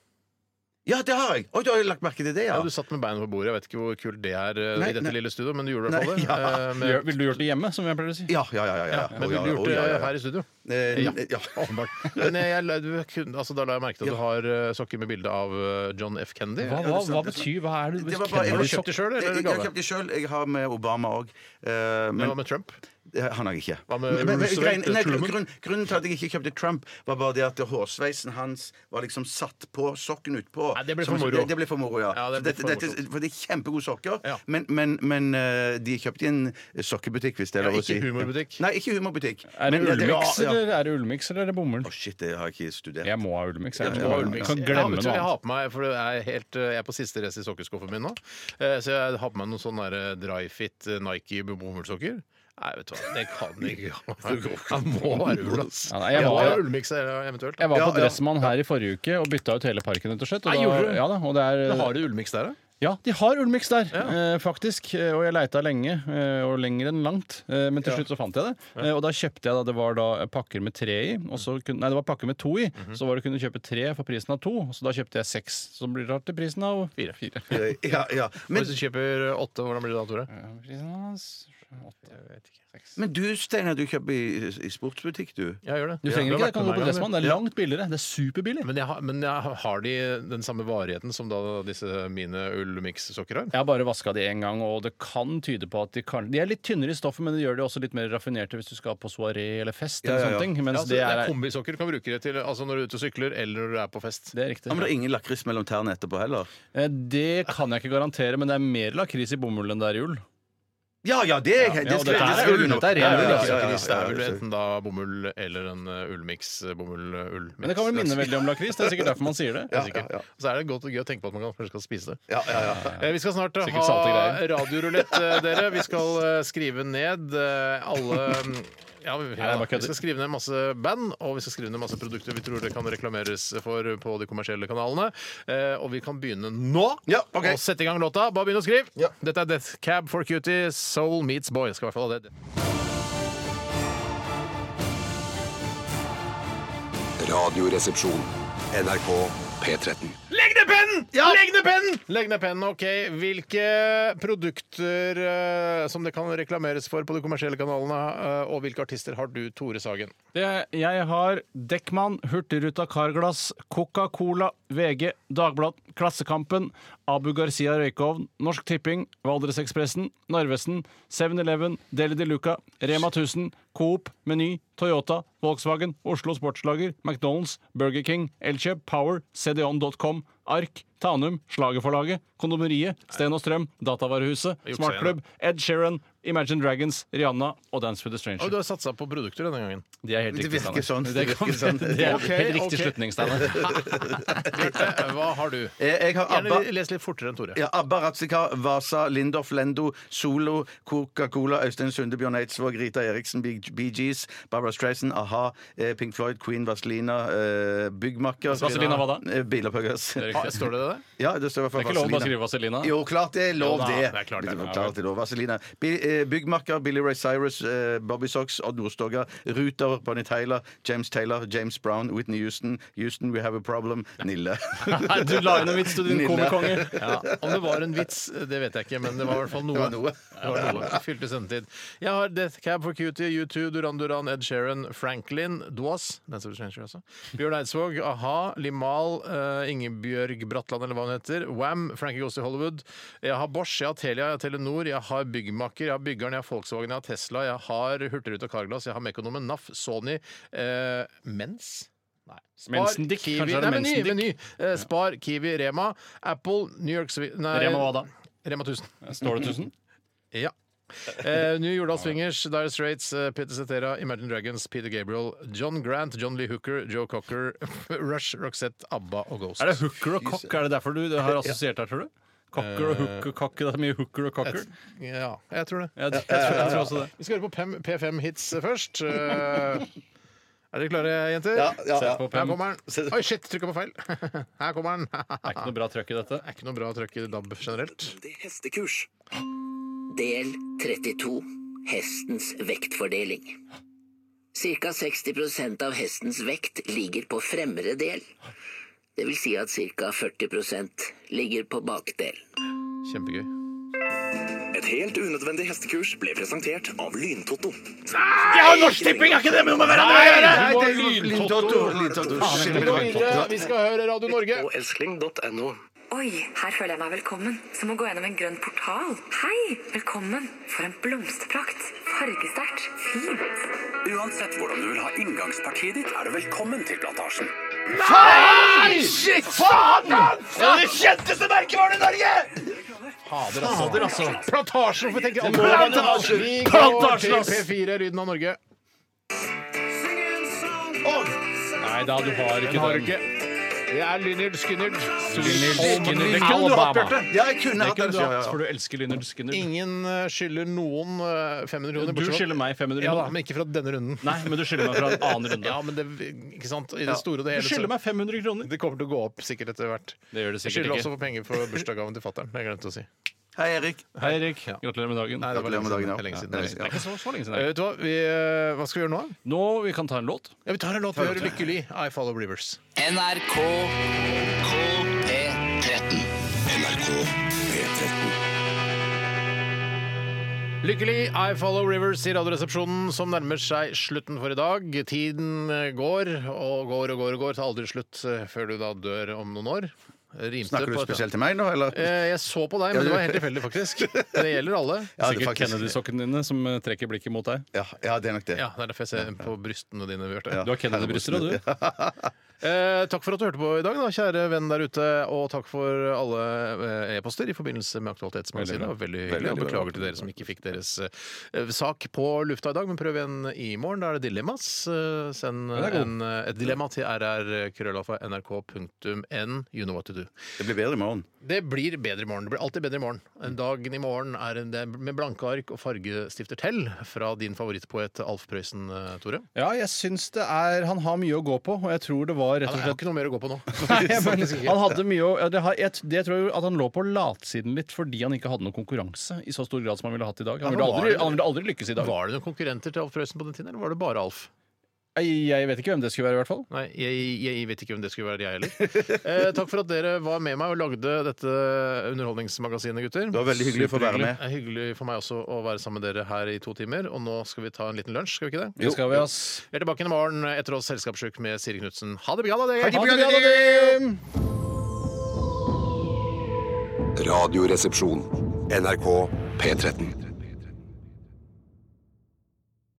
E: Ja, det har jeg! Oi, du har lagt merke til det, ja.
D: Ja. du satt med beina på bordet. Jeg vet ikke hvor kult det er eh,
E: Nei,
D: i dette
E: nei.
D: lille studioet, men du gjorde i hvert fall det.
E: Nei, ja.
D: Eh,
F: Gjør-
D: Med,
F: Ville du gjort det hjemme, som jeg pleier å si?
E: Ja, ja, ja. ja, ja.
D: men
E: Å,
D: ville
E: ja,
D: du gjort
E: å,
D: det
E: ja, ja, ja.
D: her i studio?
E: Eh,
D: Ja.
E: ja.
D: Åpenbart. Men eh, jeg, jeg, du, kunne- altså, da la jeg merke til at du har eh, sokker med bilde av eh, John F. Kennedy.
F: Hva, hva, hva betyr Hva er det?
E: Det var bare- jeg
D: Har
E: var
D: du kjøpt de sjøl, eller er det
E: Jeg har
D: gave?
E: kjøpt de sjøl. Jeg har med Obama òg.
D: Men hva med Trump?
E: Eh, Han har jeg ikke.
D: Hva med
E: Men- men- men
D: Roosevelt,
E: greien- nei,
D: Truman?
E: grunn, grunnen til at jeg ikke kjøpte Trump, var bare det at hårsveisen hans var liksom satt på sokken utpå.
D: Nei, det ble
E: Som-
D: for moro.
E: Det, det ble for moro, ja.
D: Ja, det
E: Så
D: ble
E: dette,
D: for
E: dette,
D: morsomt.
E: for det er kjempegode sokker,
D: Ja.
E: men, men, men eh, de er kjøpt i en sokkebutikk, hvis det er
D: Ja,
E: lov å
D: ikke
E: si.
D: humorbutikk.
E: Nei, ikke humorbutikk.
F: Er det
E: Men-
F: ullmiks,
E: Ja, ja.
F: eller er det ullmiks, eller er det bomull?
E: Å, shit, det har jeg ikke studert.
F: Jeg må ha ullmiks. Jeg,
E: Ja, du må
F: må ha
E: ha
F: ullmiks.
E: ullmiks.
F: kan
D: Ja,
F: glemme
D: vet du,
F: noe
D: jeg har
F: annet.
D: på meg, for det er helt, eh, jeg er på siste rest i sokkeskuffen min nå. Eh, Så jeg har på meg noen sånne der, eh, dry fit eh, Nike bomullssokker. Nei, vet du hva, det kan jeg ikke. Jeg må være ull, ass.
F: Ja, nei, jeg
D: jeg må
F: var-
D: være ullmiks eh, eventuelt.
F: Jeg var på
E: Ja, ja.
F: Dressmann her i forrige uke og bytta ut hele parken, rett og slett. Og
D: Nei,
F: da-
D: gjorde du?
F: ja, da, og det er, eh,
D: Men Har du ullmiks der, da?
F: Ja, de har Ulmix der, eh, faktisk. Eh, Og jeg leita lenge, eh, og lenger enn langt. Eh, men til slutt så fant jeg det. Eh, og da kjøpte jeg da det var da eh, pakker med tre i. Og så kunne, nei, det var pakker med to i.
D: Mhm.
F: Så var det kunne kjøpe tre for prisen av to. Så da kjøpte jeg seks. Så blir det rart til prisen av fire. fire.
E: Ja, ja. Men,
D: Hvis du kjøper eh, åtte, hvordan blir det da, Tore?
F: Prisen av s- åtte.
E: men du, Steinar, du kjøper i, i sportsbutikk, du.
D: Jeg gjør det.
F: Du
D: Ja,
F: trenger ikke det.
D: har vært med meg
F: Kan du gå på
D: en gang,
F: Dressmann. Det er
D: ja.
F: langt billigere. Det er superbillig.
D: Men, jeg, har- men jeg, har de den samme varigheten som da disse mine ullmiks-sokker har?
F: Jeg har bare vaska de én gang, og det kan tyde på at de kan De er litt tynnere i stoffet, men det gjør de også litt mer raffinerte hvis du skal på soaré eller fest. eller
E: Ja, ja, ja.
F: sånne ting Mens
D: Ja, altså, det er
F: det er
D: kombisokker. Du kan bruke det til altså når du er ute og sykler, eller når du er på fest.
F: det er riktig.
E: Ja, men det er ingen lakris mellom tærne etterpå heller.
F: Eh, Det kan jeg ikke garantere, men det er mer lakris i bomull enn det er i ull.
E: Ja, ja, det, det,
F: ja, og
E: skal-
F: dette
E: det
F: er
E: skal
F: ull,
E: du nå.
F: dette er ren
E: Ja, ja,
F: ull,
E: ja,
F: altså,
E: ja, ja,
D: Lakris, det
E: ja,
D: er vel
E: ja, ja.
D: enten da bomull eller en eh, ullmiks. eh, Bomull, eh, ullmiks.
F: Men det kan vel minne veldig om lakris. Det er sikkert derfor man sier det.
D: Ja, ja, ja. Så er det godt og gøy å tenke på at man kan- kanskje skal spise det.
E: Ja, ja, ja.
D: Eh, Vi skal snart eh,
F: Sikkert salte
D: ha
F: greier.
D: radiorulett, eh, dere. Vi skal eh, skrive ned eh, alle ja, vi,
F: jeg bare
D: vi
F: kødder.
D: skal skrive ned masse band, og vi skal skrive ned masse produkter vi tror det kan reklameres for på de kommersielle kanalene. Eh, Og vi kan begynne nå
E: Ja, ok.
D: og sette i gang låta. Bare begynn å skrive.
E: Ja.
D: Dette er Death Cab for Cutie, Soul Meets Boy. Jeg skal i hvert fall ha det.
I: Radioresepsjon. NRK P13.
D: Legg ned pennen! Legg ned pennen! Legg ned pennen, ok. Hvilke produkter eh, som det kan reklameres for på de kommersielle kanalene, eh, og hvilke artister har du, Tore Sagen?
F: Det er- Jeg har Dekkmann, Hurtigruta Carglass, Coca-Cola, VG, Dagbladet, Klassekampen, Abu Garcia Røykovn, Norsk Tipping, Valdresekspressen, Narvesen, 7-Eleven, Deli de Luca, Rema 1000, Coop, Meny, Toyota, Volkswagen, Oslo Sportslager, McDonald's, Burger King, Elkjøp, Power, cdon.com, Ark, Tanum, Slagerforlaget, Kondomeriet, Sten og Strøm, Datavarehuset, Smartklubb, Ed Sheeran, Imagine Dragons, Rihanna og Dance with a Stranger.
D: Og du har satsa på produkter denne gangen.
F: De er helt
E: Det
F: riktig,
E: virker
F: Steinar.
E: sånn, det
F: Det,
E: virker
F: kan-
E: sånn.
F: det er
D: Ok,
F: helt riktig
D: ok.
F: slutning, Steinar.
D: Bjarte, hva har du?
E: Jeg, jeg har ABBA,
D: Gjerne les litt fortere enn Tore.
E: ja, Abba Ratzika, Vasa, Lindorf, Lendo, Solo, Coca-Cola, Øystein Sunde, Bjørn Eidsvåg, Rita Eriksen, Bee Bee Gees, Barbara Streisand, a-ha, eh, Pink Floyd, Queen, Vazelina, eh, Byggmakker
F: Vaselina hva da?
E: Eh, Bilopphøggers.
D: Ah, Står det det der?
E: Ja, det står i hvert fall
F: Det er ikke lov å bare
E: Vaselina.
F: skrive Vaselina.
E: Jo, klart det er lov,
F: Jo da,
E: det.
F: det er klart det.
E: Klart det er lov. Vaselina. Bi- eh, Byggmakker, Billy Ray Cyrus, eh, Bobby Socks, Odd Nordstoga, Ruter, Bonnie Taylor, James Taylor, James Brown, Whitney Houston, Houston, We Have a Problem, Nille.
F: Nei, du la inn en vits, du, din
E: Nille.
F: komikonge.
D: Ja, om det var en vits, det vet jeg ikke, men det var i hvert fall noe.
E: Det var noe.
D: Det var noe. Fylte sendetid. Jeg har Death Cab for Cutie, U2, Duran Duran, Ed Sheeran, Franklin, Dwas Dance of the Stranger også. Bjørn Eidsvåg, a-ha, Limal, eh, Ingebjørg Bratland, eller hva hun heter, Wam, Frankie Goes to Hollywood. Jeg har Bosch, jeg har Telia, jeg har Telenor, jeg har Byggmaker, jeg har Byggeren, jeg har Volkswagen, jeg har Tesla, jeg har Hurtigruta Carglass, jeg har Mekonomen, NAF, Sony, eh, Mens. Nei. Spar,
F: Mensendick,
D: Kiwi,
F: kanskje
D: nei,
F: er det
D: meny,
F: Mensendick?
D: meny. Eh, Spar, Kiwi, Rema, Apple, New York Swi- nei,
F: Rema hva da?
D: Rema 1000.
F: Står det 1000?
D: Ja. Eh, New Jordal Swingers, Dire Straits, eh, Peter Cetera, Imagine Dragons, Peter Gabriel, John Grant, John Lee Hooker, Joe Cocker, Rush, Roxette, ABBA og Ghost.
F: Er det hooker og cock? Er det derfor du har assosiert her, tror du? Cocker og hooker, cocker. Det er mye hooker og cocker.
D: Ja, jeg tror det.
F: Jeg, jeg, tror, jeg tror også det.
D: Vi skal høre på Pem- P5 Hits først. Eh, er dere klare, jenter?
E: Ja, ja,
F: Se
E: ja.
F: på
D: Her
F: Pem.
D: kommer den. Oi, shit, trykka på feil. Her kommer den.
F: Det er
D: Det
F: ikke noe bra trøkk i dette.
D: er ikke noe bra trøkk i DAB generelt.
B: Hestekurs. Del 32. Hestens vektfordeling. Ca. 60 av hestens vekt ligger på fremre del. Det vil si at ca. 40 ligger på bakdelen.
D: Kjempegøy.
J: Et helt unødvendig hestekurs ble presentert av Lyntotto.
E: Nei, det er
D: Lintotto.
E: Lintotto. Lintotto.
D: Vi skal høre Radio Norge.
J: Og esling.no.
K: Oi, her føler jeg meg velkommen. Som å gå gjennom en grønn portal. Hei, velkommen. For en blomsterprakt. Fargesterkt. Fint.
J: Uansett hvordan du vil ha inngangspartiet ditt, er du velkommen til plantasjen.
H: Nei! Shit! Faen!
J: Det er det kjenteste merkevaren i Norge!
D: Fader, altså. Fader, altså.
A: Plantasjen! Hvorfor tenker
D: Plantasjen!
A: Vi går
D: Plantasjen,
A: til
D: ass! P4, Lyden av Norge.
F: Nei da, du har ikke
D: Den har du
F: den.
D: ikke. Det er Lynyrd Skynyrd.
F: Lynyrd
D: Solid
F: Skynyrd.
D: Lynyrd
F: Det kunne du hatt,
D: Alabama.
F: Bjarte.
E: Ja, jeg kunne
F: Det
E: hatt det,
F: kunne du
E: ja, ja, ja.
F: hatt, for du elsker Lynyrd Skynyrd.
D: Ingen eh, skylder noen eh, 500 kroner.
F: Du
D: bortsett fra-
F: skylder meg 500
D: Ja da,
F: kroner.
D: men ikke fra denne runden.
F: Nei, men du skylder meg fra en annen runde.
D: Ja, men det, ikke sant? I det
F: Ja.
D: store og det hele.
F: Du skylder meg 500
D: så-
F: kroner.
D: Det kommer til å gå opp sikkert etter hvert.
F: Det gjør det
D: Jeg
F: sikkert
D: skylder
F: ikke.
D: også for penger for bursdagsgaven til fattern. Jeg glemte å si.
E: Hei, Erik.
F: Hei, Erik. Gratulerer med dagen.
D: Nei, det var lenge
E: Gratulerer med
D: siden.
E: dagen, ja.
D: Det er lenge siden.
E: Ja,
D: Det er lenge siden.
E: det er lenge siden.
F: Det er ikke så, så lenge
D: Eh,
F: siden.
D: Vet du hva? Vi, eh, hva skal vi gjøre nå?
F: Nå, vi kan ta en låt.
D: Ja, vi tar en låt. Vi hører Lykke Ly, I Follow Rivers.
C: NRK P13.
I: NRK P13.
D: Lykkelig, I follow rivers i Radioresepsjonen, som nærmer seg slutten for i dag. Tiden eh, går og går og går og går, tar aldri slutt eh, før du da dør om noen år. Rimte
E: Snakker du
D: på et-
E: spesielt til meg nå, eller?
D: Eh, Jeg så på deg, men det var helt tilfeldig, faktisk. Men det gjelder alle.
E: Ja, det er
F: Sikkert
E: faktisk-
F: Kennedy-sokkene dine som eh, trekker blikket mot deg.
E: Ja, ja, det er nok det.
D: Ja, Det er derfor jeg ser på brystene dine. Bjarte.
E: Ja.
F: Du har Kennedy-bryster, og du.
D: Eh, takk for at du hørte på i dag, da, kjære venn der ute. Og takk for alle eh, e-poster i forbindelse med Aktualitetsmagasinet. Det var veldig hyggelig. Og beklager til dere som ikke fikk deres eh, sak på lufta i dag, men prøv igjen i morgen. Da er det dilemmas. Eh, send
F: er god.
D: en, eh, et dilemma til rrkrøllalfa.nrk.n. You know what to do.
E: Det blir bedre i morgen.
D: Det blir bedre i morgen. Det blir alltid bedre i morgen. Dagen i morgen er en, det er med blanke ark og fargestifter til fra din favorittpoet Alf Prøysen, eh, Tore.
F: Ja, jeg syns det er Han har mye å gå på, og jeg tror det var rett
D: Han
F: og
D: har jo
F: slett
D: ikke noe mer å gå på nå.
F: Nei, men han hadde mye å, ja, det, har, jeg, det tror jeg jo at han lå på latsiden litt fordi han ikke hadde noe konkurranse i så stor grad som han ville hatt i dag. Han
D: Ja, men
F: ville
D: var
F: aldri,
D: det-
F: han ville aldri lykkes i dag.
D: Var det noen konkurrenter til Alf Prøysen på den tiden, eller var det bare Alf?
F: Jeg, jeg vet ikke hvem det skulle være, i hvert fall.
D: Nei, jeg, jeg vet ikke hvem det skulle være, jeg heller. Eh, takk for at dere var med meg og lagde dette underholdningsmagasinet, gutter.
E: Det var veldig hyggelig å få være
D: Det
E: med.
D: er hyggelig for meg også å være sammen med dere her i to timer. Og nå skal vi ta en liten lunsj, skal vi ikke det?
F: Det skal vi, ass.
D: Vi er tilbake i morgen etter oss Selskapssjuk med Siri Knutsen. Ha det bra, da, dere!
F: Ha det bra, da, dere!
I: Radioresepsjon. NRK P13.